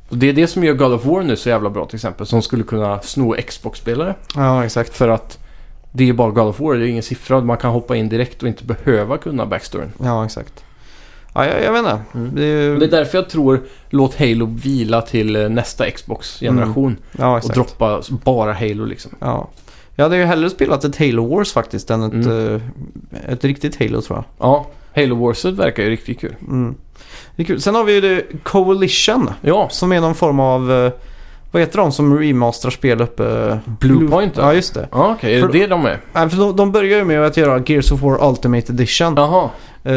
[SPEAKER 2] Och det är det som gör God of War nu så jävla bra till exempel. Som skulle kunna sno Xbox-spelare.
[SPEAKER 1] ja, exakt.
[SPEAKER 2] För att det är bara God of War, det är ingen siffra. Man kan hoppa in direkt och inte behöva kunna backstoryn.
[SPEAKER 1] Ja, exakt. Ja, jag, jag vet inte.
[SPEAKER 2] Mm.
[SPEAKER 1] Det är,
[SPEAKER 2] Och det är därför jag tror låt Halo vila till eh, nästa Xbox-generation.
[SPEAKER 1] ja,
[SPEAKER 2] Och
[SPEAKER 1] exakt.
[SPEAKER 2] droppa bara Halo liksom.
[SPEAKER 1] Ja. Jag hade ju hellre spelat ett Halo Wars faktiskt än ett,
[SPEAKER 2] Mm.
[SPEAKER 1] eh, ett riktigt Halo tror jag.
[SPEAKER 2] Ja, Halo Warset verkar ju riktigt kul.
[SPEAKER 1] Mm. Det är kul. Sen har vi ju det Coalition.
[SPEAKER 2] Ja,
[SPEAKER 1] Som är någon form av... eh, Vad Vad heter de som remasterar spel uppe?
[SPEAKER 2] Bluepoint,
[SPEAKER 1] Ja, just det.
[SPEAKER 2] Ja, okej.
[SPEAKER 1] För-
[SPEAKER 2] Är det det de är?
[SPEAKER 1] Nej, för de, de börjar ju med att göra Gears of War Ultimate Edition.
[SPEAKER 2] Jaha.
[SPEAKER 1] Eh,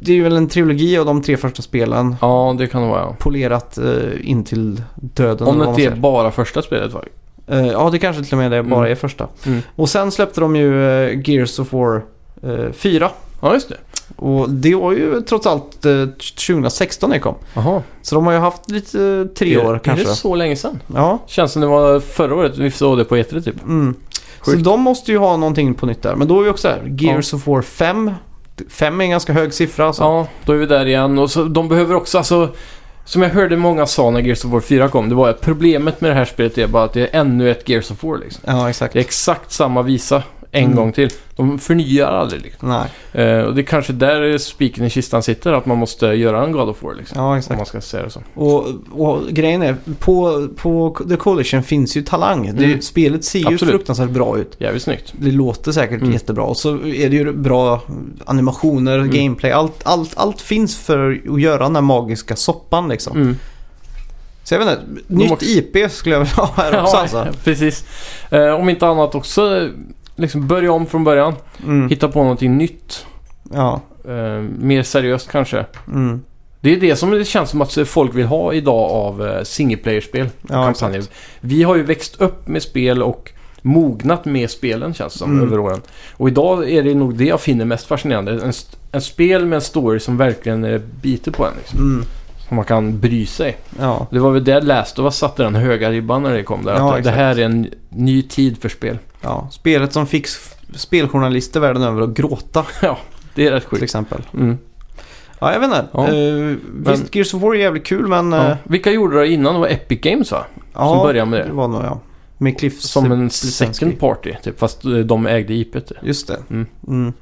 [SPEAKER 1] det är ju väl en trilogi av de tre första spelen.
[SPEAKER 2] Ja, det kan det vara. ja.
[SPEAKER 1] Polerat eh, in till döden.
[SPEAKER 2] Om
[SPEAKER 1] eller vad
[SPEAKER 2] det
[SPEAKER 1] man
[SPEAKER 2] inte är
[SPEAKER 1] säger.
[SPEAKER 2] bara första spelet va?
[SPEAKER 1] Eh, ja, det kanske till och med det bara
[SPEAKER 2] Mm.
[SPEAKER 1] är första.
[SPEAKER 2] Mm.
[SPEAKER 1] Och sen släppte de ju eh, Gears of War eh, 4.
[SPEAKER 2] Ja, just det.
[SPEAKER 1] Och det var ju trots allt eh, 2016 det kom.
[SPEAKER 2] Jaha.
[SPEAKER 1] Så de har ju haft lite eh, tre år kanske.
[SPEAKER 2] Är det så länge sedan?
[SPEAKER 1] Ja.
[SPEAKER 2] Känns som det var förra året vi såg det på E3 typ.
[SPEAKER 1] Mm. Så
[SPEAKER 2] Sjukt.
[SPEAKER 1] de måste ju ha någonting på nytt där. Men då är vi också här. Gears of War 5. 5 är en ganska hög siffra. alltså. Så.
[SPEAKER 2] Ja, då är vi där igen. Och så, de behöver också, alltså... Som jag hörde många sa när Gears of War 4 kom, det var att problemet med det här spelet är bara att det är ännu ett Gears of War liksom.
[SPEAKER 1] ja exakt.
[SPEAKER 2] Det är exakt samma visa en
[SPEAKER 1] Mm.
[SPEAKER 2] gång till. De förnyar aldrig liksom.
[SPEAKER 1] Nej.
[SPEAKER 2] Eh, och det är kanske där spiken i kistan sitter, att man måste göra en God of War liksom.
[SPEAKER 1] Ja,
[SPEAKER 2] Om
[SPEAKER 1] exakt.
[SPEAKER 2] man ska säga det så.
[SPEAKER 1] Och, och grejen är, på, på The Coalition finns ju talang. Det,
[SPEAKER 2] Mm.
[SPEAKER 1] spelet ser ju
[SPEAKER 2] Absolut.
[SPEAKER 1] fruktansvärt bra ut.
[SPEAKER 2] Jävligt snyggt.
[SPEAKER 1] Det låter säkert
[SPEAKER 2] Mm.
[SPEAKER 1] jättebra. Och så är det ju bra animationer,
[SPEAKER 2] Mm.
[SPEAKER 1] gameplay. Allt, allt, allt finns för att göra den här magiska soppan liksom.
[SPEAKER 2] Mm.
[SPEAKER 1] Så jag vet inte, nytt
[SPEAKER 2] också-
[SPEAKER 1] IP skulle jag vilja ha här också alltså.
[SPEAKER 2] precis. Eh, om inte annat också eh, liksom börja om från början.
[SPEAKER 1] Mm.
[SPEAKER 2] Hitta på någonting nytt.
[SPEAKER 1] Ja.
[SPEAKER 2] Eh, mer seriöst kanske.
[SPEAKER 1] Mm.
[SPEAKER 2] Det är det som det känns som att folk vill ha idag av eh, single player-spel.
[SPEAKER 1] Ja,
[SPEAKER 2] kampanjer. Vi har ju växt upp med spel och mognat med spelen känns det som
[SPEAKER 1] Mm.
[SPEAKER 2] över åren. Och idag är det nog det jag finner mest fascinerande. En, st- en spel med en story som verkligen eh, biter på en. Liksom.
[SPEAKER 1] Mm.
[SPEAKER 2] Som man kan bry sig.
[SPEAKER 1] Ja.
[SPEAKER 2] Det var väl där Last of Us satte den höga ribban när det kom där.
[SPEAKER 1] Ja,
[SPEAKER 2] att det
[SPEAKER 1] exakt.
[SPEAKER 2] här är en ny tid för spel.
[SPEAKER 1] Ja, spelet som fick s- speljournalister världen över att gråta
[SPEAKER 2] Det är rätt
[SPEAKER 1] till
[SPEAKER 2] sjukt.
[SPEAKER 1] exempel.
[SPEAKER 2] Mm.
[SPEAKER 1] Ja, jag vet inte.
[SPEAKER 2] Ja.
[SPEAKER 1] Eh, visst, Gears of War är jävligt kul men...
[SPEAKER 2] Ja.
[SPEAKER 1] eh,
[SPEAKER 2] Vilka gjorde det innan? Det var Epic Games va?
[SPEAKER 1] ja,
[SPEAKER 2] börjar med det.
[SPEAKER 1] var nog ja. Med Cliff
[SPEAKER 2] Som en
[SPEAKER 1] Bleszinski.
[SPEAKER 2] second party typ. Fast eh, de ägde IPet. typ.
[SPEAKER 1] Just det.
[SPEAKER 2] Mm.
[SPEAKER 1] Mm.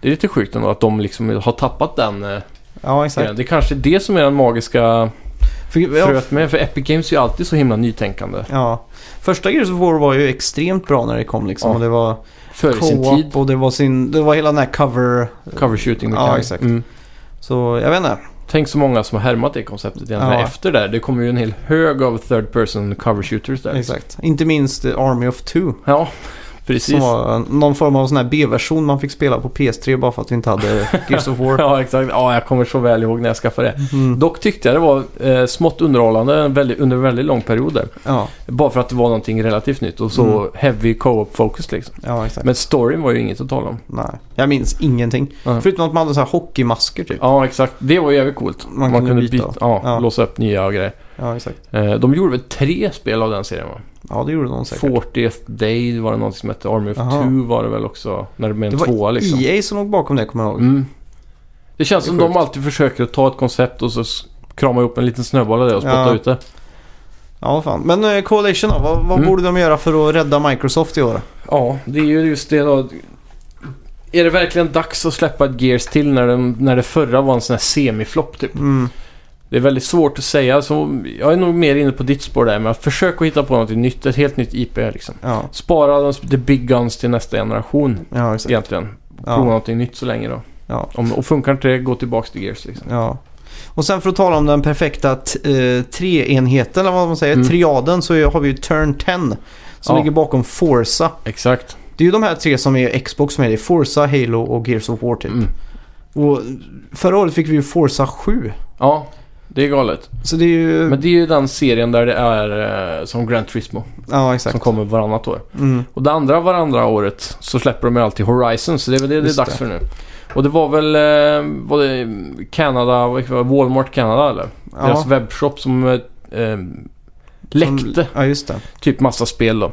[SPEAKER 2] Det är lite sjukt ändå att de liksom har tappat den eh,
[SPEAKER 1] Ja, exakt.
[SPEAKER 2] grejen. Det är kanske är det som är den magiska
[SPEAKER 1] För, ja,
[SPEAKER 2] fröet med. För Epic Games är ju alltid så himla nytänkande.
[SPEAKER 1] ja. Första Gears of War var ju extremt bra när det kom liksom.
[SPEAKER 2] Ja.
[SPEAKER 1] Och det var
[SPEAKER 2] Före sin tid.
[SPEAKER 1] co-op och det var, sin, det var hela den här cover.
[SPEAKER 2] Cover shooting.
[SPEAKER 1] Ja,
[SPEAKER 2] mechanic.
[SPEAKER 1] exakt.
[SPEAKER 2] Mm.
[SPEAKER 1] Så jag vet inte.
[SPEAKER 2] Tänk så många som har härmat det konceptet egentligen
[SPEAKER 1] Ja.
[SPEAKER 2] efter där. Det kommer ju en hel hög av third person cover shooters där.
[SPEAKER 1] Exakt. Inte minst eh, Army of Two.
[SPEAKER 2] Ja, precis.
[SPEAKER 1] Som var någon form av sån här B-version man fick spela på PS3 bara för att vi inte hade Gears of War.
[SPEAKER 2] Ja, exakt. Ja, jag kommer så väl ihåg när jag skaffade det.
[SPEAKER 1] Mm.
[SPEAKER 2] Dock tyckte jag det var eh, smått underhållande en väldigt, under en väldigt lång period där.
[SPEAKER 1] Ja,
[SPEAKER 2] Bara för att det var någonting relativt nytt och så
[SPEAKER 1] Mm.
[SPEAKER 2] heavy co-op focus liksom.
[SPEAKER 1] ja exakt.
[SPEAKER 2] Men storyn var ju inget att tala om.
[SPEAKER 1] Nej, jag minns ingenting.
[SPEAKER 2] Nej.
[SPEAKER 1] Förutom att man hade så här hockeymasker typ.
[SPEAKER 2] Ja, exakt. Det var ju jävligt coolt.
[SPEAKER 1] Man kunde byta.
[SPEAKER 2] ja,
[SPEAKER 1] Ja.
[SPEAKER 2] låsa upp nya grejer.
[SPEAKER 1] Ja, exakt.
[SPEAKER 2] Eh, de gjorde väl tre spel av den serien va?
[SPEAKER 1] Ja, det gjorde de säkert.
[SPEAKER 2] 40th Day var det någonting som hette. Army of
[SPEAKER 1] Jaha.
[SPEAKER 2] Two var det väl också. När det blev
[SPEAKER 1] Det
[SPEAKER 2] en
[SPEAKER 1] var
[SPEAKER 2] tvåa liksom.
[SPEAKER 1] EA som låg bakom det, kommer jag ihåg.
[SPEAKER 2] Mm. Det känns
[SPEAKER 1] Det är
[SPEAKER 2] som
[SPEAKER 1] sjukt.
[SPEAKER 2] de alltid försöker att ta ett koncept och så s- krama ihop en liten snöboll av det och spotta
[SPEAKER 1] Ja.
[SPEAKER 2] ut det.
[SPEAKER 1] Ja, fan. Men eh, Coalition då? Vad, vad
[SPEAKER 2] Mm.
[SPEAKER 1] borde de göra för att rädda Microsoft i år?
[SPEAKER 2] Ja, det är ju just det då. Är det verkligen dags att släppa ett Gears till när, den, när det förra var en sån här semiflopp typ?
[SPEAKER 1] Mm.
[SPEAKER 2] Det är väldigt svårt att säga. Så jag är nog mer inne på ditt spår där. Men försök att hitta på något nytt. Ett helt nytt IP liksom.
[SPEAKER 1] Ja,
[SPEAKER 2] Spara de- the big guns till nästa generation
[SPEAKER 1] ja exakt.
[SPEAKER 2] egentligen. Prova
[SPEAKER 1] Ja.
[SPEAKER 2] någonting nytt så länge då.
[SPEAKER 1] Ja.
[SPEAKER 2] Om, och funkar inte det, gå tillbaka till Gears liksom.
[SPEAKER 1] ja. Och sen för att tala om den perfekta t- eh, treenheten, eller vad man säger,
[SPEAKER 2] Mm.
[SPEAKER 1] triaden, så är- har vi ju Turn 10. Som
[SPEAKER 2] Ja.
[SPEAKER 1] ligger bakom Forza.
[SPEAKER 2] Exakt.
[SPEAKER 1] Det är ju de här tre som är Xbox som är det. Forza, Halo och Gears of War typ.
[SPEAKER 2] Mm.
[SPEAKER 1] Och förra året fick vi ju Forza 7.
[SPEAKER 2] Ja, det är galet.
[SPEAKER 1] Så det är ju...
[SPEAKER 2] Men det är ju den serien där det är eh, som Gran Turismo.
[SPEAKER 1] Ja, exakt.
[SPEAKER 2] Som kommer varannat år.
[SPEAKER 1] Mm.
[SPEAKER 2] Och det andra varandra året så släpper de ju alltid Horizon. Så det är väl det det
[SPEAKER 1] Just
[SPEAKER 2] är dags
[SPEAKER 1] det.
[SPEAKER 2] för nu. Och det var väl eh, var det Canada, vad heter det, Walmart Canada eller?
[SPEAKER 1] Ja,
[SPEAKER 2] Deras webbshop som eh, eh, läckte
[SPEAKER 1] Ja, just det.
[SPEAKER 2] typ massa spel då.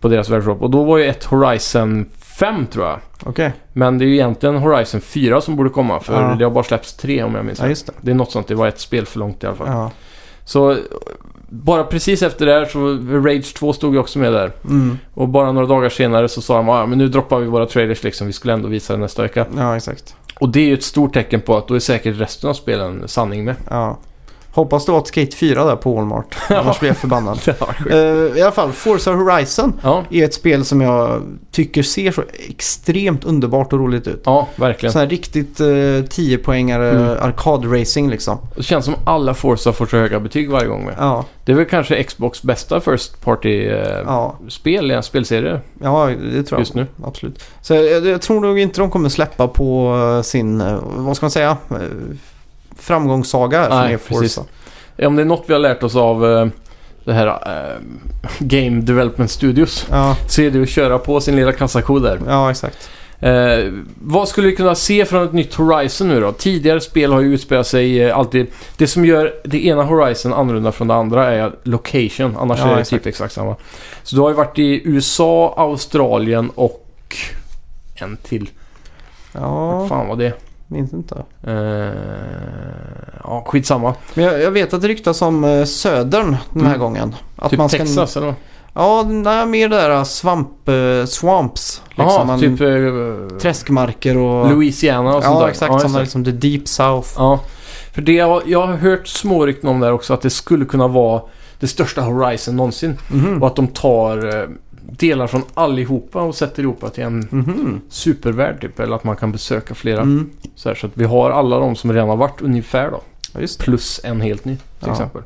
[SPEAKER 2] På deras webbshop. Och då var ju ett Horizon 5 tror jag.
[SPEAKER 1] Okej.
[SPEAKER 2] Men det är ju egentligen Horizon 4 som borde komma. För
[SPEAKER 1] Ja.
[SPEAKER 2] det har bara släppts tre om jag minns
[SPEAKER 1] Ja,
[SPEAKER 2] rätt.
[SPEAKER 1] just det.
[SPEAKER 2] Det är något sånt. Det var ett spel för långt i alla fall.
[SPEAKER 1] Ja.
[SPEAKER 2] Så eh, bara precis efter det här så Rage 2 stod ju också med där.
[SPEAKER 1] Mm.
[SPEAKER 2] Och bara några dagar senare så sa de ah, men nu droppar vi våra trailers liksom. Vi skulle ändå visa det nästa vecka.
[SPEAKER 1] ja, exakt.
[SPEAKER 2] Och det är ju ett stort tecken på att då är säkert resten av spelen sanning med.
[SPEAKER 1] Ja. Hoppas du har ett Skate 4 där på Walmart. Annars blir jag förbannad.
[SPEAKER 2] Det var sjukt.
[SPEAKER 1] Eh, I alla fall, Forza Horizon
[SPEAKER 2] Ja,
[SPEAKER 1] är ett spel som jag tycker ser så extremt underbart och roligt ut.
[SPEAKER 2] ja, verkligen.
[SPEAKER 1] Sån här riktigt eh, 10-poängare
[SPEAKER 2] Mm.
[SPEAKER 1] arkadracing liksom.
[SPEAKER 2] Det känns som alla Forza får så höga betyg varje gång med.
[SPEAKER 1] Ja,
[SPEAKER 2] Det är väl kanske Xbox bästa First Party-spel
[SPEAKER 1] ja,
[SPEAKER 2] i en spelserie
[SPEAKER 1] ja, det tror jag.
[SPEAKER 2] just nu.
[SPEAKER 1] Absolut. Så jag, jag tror nog inte de kommer släppa på eh, sin, eh, vad ska man säga, eh, framgångssaga som
[SPEAKER 2] Nej,
[SPEAKER 1] är
[SPEAKER 2] precis.
[SPEAKER 1] Forza.
[SPEAKER 2] Om det är något vi har lärt oss av eh, det här eh, Game Development Studios
[SPEAKER 1] Ja,
[SPEAKER 2] så är det att köra på sin lilla kassako där.
[SPEAKER 1] ja, exakt.
[SPEAKER 2] Eh, vad skulle vi kunna se från ett nytt Horizon nu då? Tidigare spel har ju utspelat sig eh, alltid... Det som gör det ena Horizon annorlunda från det andra är location. Annars
[SPEAKER 1] Ja,
[SPEAKER 2] är det
[SPEAKER 1] exakt.
[SPEAKER 2] typ exakt samma. Så du har ju varit i USA, Australien och... En till. Vad
[SPEAKER 1] Ja,
[SPEAKER 2] fan var det?
[SPEAKER 1] minns inte.
[SPEAKER 2] Eh, ja, skitsamma.
[SPEAKER 1] Men jag, jag vet att det ryktas om eh, södern den här
[SPEAKER 2] Mm.
[SPEAKER 1] gången. Att
[SPEAKER 2] typ Texas eller?
[SPEAKER 1] Ja, nej, mer det där svamp, eh, swamps. Liksom
[SPEAKER 2] Jaha,
[SPEAKER 1] man,
[SPEAKER 2] typ... eh,
[SPEAKER 1] Träskmarker och...
[SPEAKER 2] Louisiana och sånt där.
[SPEAKER 1] ja, exakt.
[SPEAKER 2] just
[SPEAKER 1] sådana
[SPEAKER 2] det.
[SPEAKER 1] liksom the deep south.
[SPEAKER 2] Ja, för det jag, jag har hört små rykten om där också att det skulle kunna vara det största Horizon någonsin.
[SPEAKER 1] Mhm.
[SPEAKER 2] Och att de tar eh, delar från allihopa och sätter ihop till en
[SPEAKER 1] Mhm.
[SPEAKER 2] supervärld typ. Eller att man kan besöka flera.
[SPEAKER 1] Mm.
[SPEAKER 2] Så, här, så att vi har alla de som redan har varit ungefär då.
[SPEAKER 1] Ja, just det.
[SPEAKER 2] Plus en helt ny till
[SPEAKER 1] Ja.
[SPEAKER 2] exempel.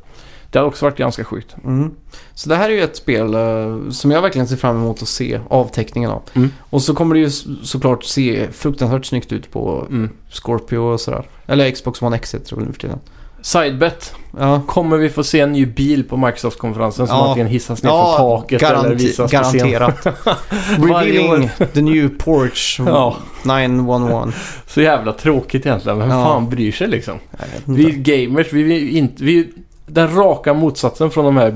[SPEAKER 2] Det hade också varit ganska sjukt.
[SPEAKER 1] Mm. Så det här är ju ett spel eh, som jag verkligen ser fram emot att se avteckningen av.
[SPEAKER 2] Mm.
[SPEAKER 1] Och så kommer det ju s- såklart se fruktansvärt snyggt ut på
[SPEAKER 2] Mm.
[SPEAKER 1] Scorpio och sådär. Eller Xbox One X heter det väl nu för tiden.
[SPEAKER 2] Sidebet.
[SPEAKER 1] Ja,
[SPEAKER 2] Kommer vi få se en ny bil på Microsoft-konferensen som
[SPEAKER 1] Ja.
[SPEAKER 2] antingen hissas ner från taket eller visas på scen?
[SPEAKER 1] garanterat.
[SPEAKER 2] Varje
[SPEAKER 1] Revealing the new Porsche
[SPEAKER 2] Ja,
[SPEAKER 1] 911.
[SPEAKER 2] så jävla tråkigt egentligen. Vem
[SPEAKER 1] Ja.
[SPEAKER 2] fan bryr sig liksom?
[SPEAKER 1] Jag vet
[SPEAKER 2] Vi
[SPEAKER 1] inte.
[SPEAKER 2] gamers, vi, vi, inte, vi den raka motsatsen från de här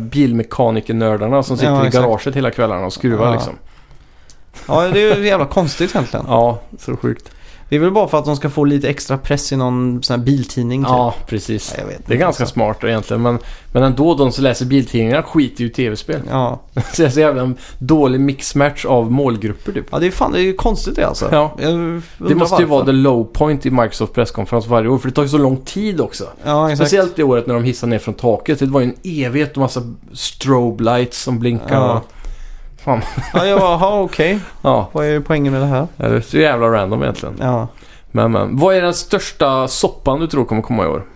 [SPEAKER 2] bilmekanikernördarna som sitter
[SPEAKER 1] Ja,
[SPEAKER 2] i
[SPEAKER 1] exakt.
[SPEAKER 2] garaget hela kvällarna och skruvar
[SPEAKER 1] Ja.
[SPEAKER 2] liksom.
[SPEAKER 1] Ja, det är ju jävla konstigt egentligen.
[SPEAKER 2] Ja, så sjukt.
[SPEAKER 1] Det är väl bara för att de ska få lite extra press i någon sån här biltidning. typ.
[SPEAKER 2] Ja, precis.
[SPEAKER 1] Nej, jag vet
[SPEAKER 2] Det är
[SPEAKER 1] inte,
[SPEAKER 2] ganska
[SPEAKER 1] alltså.
[SPEAKER 2] smart egentligen, men, men ändå de som läser biltidningar skiter ju i tv-spel.
[SPEAKER 1] Ja.
[SPEAKER 2] Så det är så jävla en dålig mixmatch av målgrupper typ.
[SPEAKER 1] ja, det är fan det är ju konstigt det alltså.
[SPEAKER 2] Ja.
[SPEAKER 1] Jag
[SPEAKER 2] Det
[SPEAKER 1] undrar
[SPEAKER 2] måste ju vara
[SPEAKER 1] varför.
[SPEAKER 2] the low point i Microsoft presskonferens varje år, för det tar ju så lång tid också.
[SPEAKER 1] Ja, exakt.
[SPEAKER 2] Speciellt det året när de hissade ner från taket. Det var ju en evighet och massa strobe lights som blinkar.
[SPEAKER 1] Ja.
[SPEAKER 2] Och,
[SPEAKER 1] Ja, jag bara, aha, okej.
[SPEAKER 2] ja,
[SPEAKER 1] Vad är poängen med det här?
[SPEAKER 2] det är så jävla random egentligen.
[SPEAKER 1] Ja.
[SPEAKER 2] Men, men. Vad är den största soppan du tror kommer komma i år?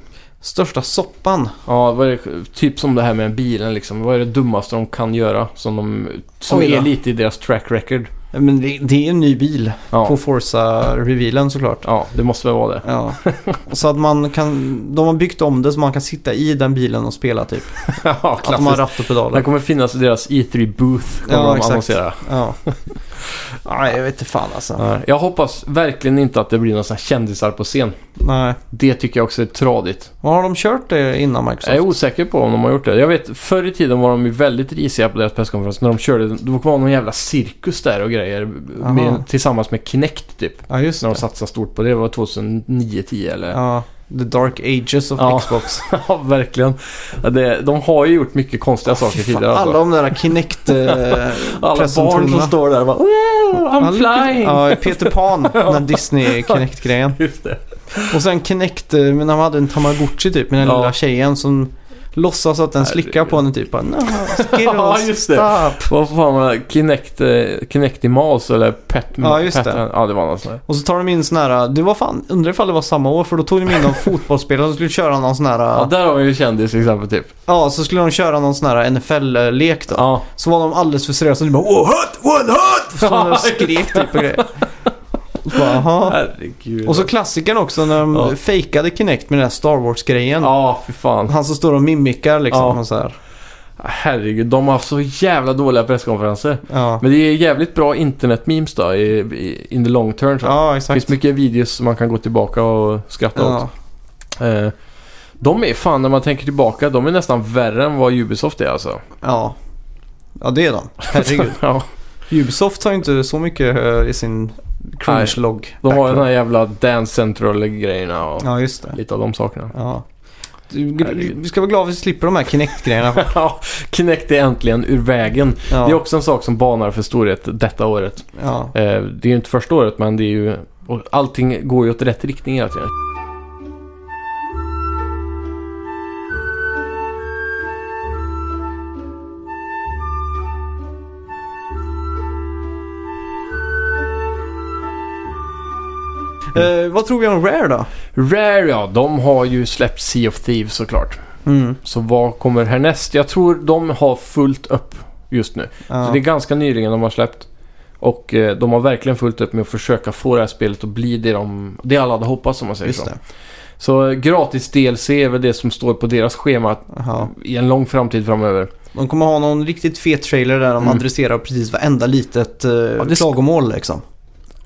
[SPEAKER 1] Största soppan.
[SPEAKER 2] Ja, vad är det, typ som det här med bilen liksom. Vad är det dummaste de kan göra som, de, som
[SPEAKER 1] Oj då.
[SPEAKER 2] är lite i deras track record?
[SPEAKER 1] Men det, det är en ny bil på
[SPEAKER 2] Ja,
[SPEAKER 1] Forza-revealen såklart.
[SPEAKER 2] ja det måste väl vara det.
[SPEAKER 1] Ja. Så att man kan, de har byggt om det så man kan sitta i den bilen och spela typ.
[SPEAKER 2] ja,
[SPEAKER 1] Att de har
[SPEAKER 2] klassiskt.
[SPEAKER 1] ratt och
[SPEAKER 2] Den
[SPEAKER 1] pedaler.
[SPEAKER 2] kommer finnas i deras E3-booth, kommer
[SPEAKER 1] Ja,
[SPEAKER 2] de
[SPEAKER 1] exakt.
[SPEAKER 2] annonsera.
[SPEAKER 1] Ja. Nej, jag vet inte fan alltså.
[SPEAKER 2] Ja. Jag hoppas verkligen inte att det blir några såna här kändisar på scen.
[SPEAKER 1] Nej.
[SPEAKER 2] Det tycker jag också är tradigt.
[SPEAKER 1] Vad har de kört det innan
[SPEAKER 2] Jag är
[SPEAKER 1] Microsoft?
[SPEAKER 2] osäker på om de har gjort det. Jag vet, förr i tiden var de ju väldigt risiga på deras presskonferens. När de körde, det var någon jävla cirkus där och grejer.
[SPEAKER 1] Aha.
[SPEAKER 2] Med, tillsammans med Kinect typ.
[SPEAKER 1] Ja, just
[SPEAKER 2] när de
[SPEAKER 1] det.
[SPEAKER 2] satsade stort på det. Det var 2009-10 eller? Ja,
[SPEAKER 1] Ja, The Dark Ages of
[SPEAKER 2] Ja.
[SPEAKER 1] Xbox.
[SPEAKER 2] verkligen. Ja, Det, de har ju gjort mycket konstiga saker
[SPEAKER 1] Fy fan,
[SPEAKER 2] tidigare. Alltså.
[SPEAKER 1] Alla
[SPEAKER 2] Alla,
[SPEAKER 1] de där Kinect... eh,
[SPEAKER 2] barn som
[SPEAKER 1] presentationerna.
[SPEAKER 2] står där och bara wow, I'm
[SPEAKER 1] ja, lyckas-
[SPEAKER 2] flying!
[SPEAKER 1] Ja, Peter Pan, den där Disney-Kinect-grejen.
[SPEAKER 2] Just det.
[SPEAKER 1] Och sen Kinect, eh, men han hade en Tamagotchi typ med den
[SPEAKER 2] Ja.
[SPEAKER 1] lilla tjejen som låtsas att den slickar på henne typ. Bara, no,
[SPEAKER 2] Ja, just det.
[SPEAKER 1] Stop.
[SPEAKER 2] Vad fan var det? Kinect, eh, Kinect i Mouse eller Pet
[SPEAKER 1] Ja, just
[SPEAKER 2] Pet,
[SPEAKER 1] det.
[SPEAKER 2] Ja, det var något sånt där.
[SPEAKER 1] Och så tar de in sån här, det var fan, undrar ifall det var samma år för då tog de in någon fotbollsspelare som skulle köra någon sån här,
[SPEAKER 2] Ja,
[SPEAKER 1] ja,
[SPEAKER 2] där har vi ju kändis exempel typ.
[SPEAKER 1] så skulle de köra någon sån här NFL-lek då.
[SPEAKER 2] Ja,
[SPEAKER 1] Så var de alldeles för seriösa och de bara oh, hot, one hot! Så de skrek typ och grejer. Och så bara, "Jaha."
[SPEAKER 2] herregud.
[SPEAKER 1] Och så klassikern också när de
[SPEAKER 2] Ja.
[SPEAKER 1] fejkade Kinect med den här Star Wars-grejen.
[SPEAKER 2] Ja, fy fan.
[SPEAKER 1] Han som står och mimikar liksom
[SPEAKER 2] Ja.
[SPEAKER 1] och så här.
[SPEAKER 2] Herregud, de har haft så jävla dåliga presskonferenser.
[SPEAKER 1] Ja,
[SPEAKER 2] Men det är jävligt bra internet-memes då i, i, in the long term. Så.
[SPEAKER 1] ja
[SPEAKER 2] Det
[SPEAKER 1] exakt.
[SPEAKER 2] finns mycket videos som man kan gå tillbaka och skratta
[SPEAKER 1] Ja.
[SPEAKER 2] åt. Eh, de är fan, när man tänker tillbaka, de är nästan värre än vad Ubisoft är alltså.
[SPEAKER 1] Ja. Ja, det är de. Herregud.
[SPEAKER 2] ja,
[SPEAKER 1] Ubisoft har ju inte så mycket eh, i sin cringe-log.
[SPEAKER 2] de har ju den
[SPEAKER 1] backlog.
[SPEAKER 2] här jävla Dance Central-grejerna och
[SPEAKER 1] Ja, just det.
[SPEAKER 2] lite av de sakerna.
[SPEAKER 1] Ja. Du-
[SPEAKER 2] Herregud.
[SPEAKER 1] Vi ska vara glada att vi slipper de här Kinect-grejerna.
[SPEAKER 2] ja, Kinect är äntligen ur vägen.
[SPEAKER 1] Ja.
[SPEAKER 2] Det är också en sak som banar för storhet detta året.
[SPEAKER 1] ja.
[SPEAKER 2] Eh, det är ju inte första året, men det är ju... och Allting går ju åt rätt riktning hela tiden. Mm.
[SPEAKER 1] Eh, vad tror vi om Rare då?
[SPEAKER 2] Rare ja, de har ju släppt Sea of Thieves såklart.
[SPEAKER 1] Mm.
[SPEAKER 2] Så vad kommer härnäst? Jag tror de har fullt upp just nu.
[SPEAKER 1] Ja.
[SPEAKER 2] Så det är ganska nyligen de har släppt. Och eh, de har verkligen fullt upp med att försöka få det här spelet att bli det, de, det alla hade hoppats om man säger
[SPEAKER 1] Just
[SPEAKER 2] så.
[SPEAKER 1] det.
[SPEAKER 2] Så eh, gratis DLC är väl det som står på deras schema
[SPEAKER 1] Jaha.
[SPEAKER 2] i en lång framtid framöver.
[SPEAKER 1] De kommer ha någon riktigt fet trailer där de
[SPEAKER 2] Mm.
[SPEAKER 1] adresserar precis varenda litet eh,
[SPEAKER 2] det sk-
[SPEAKER 1] klagomål liksom.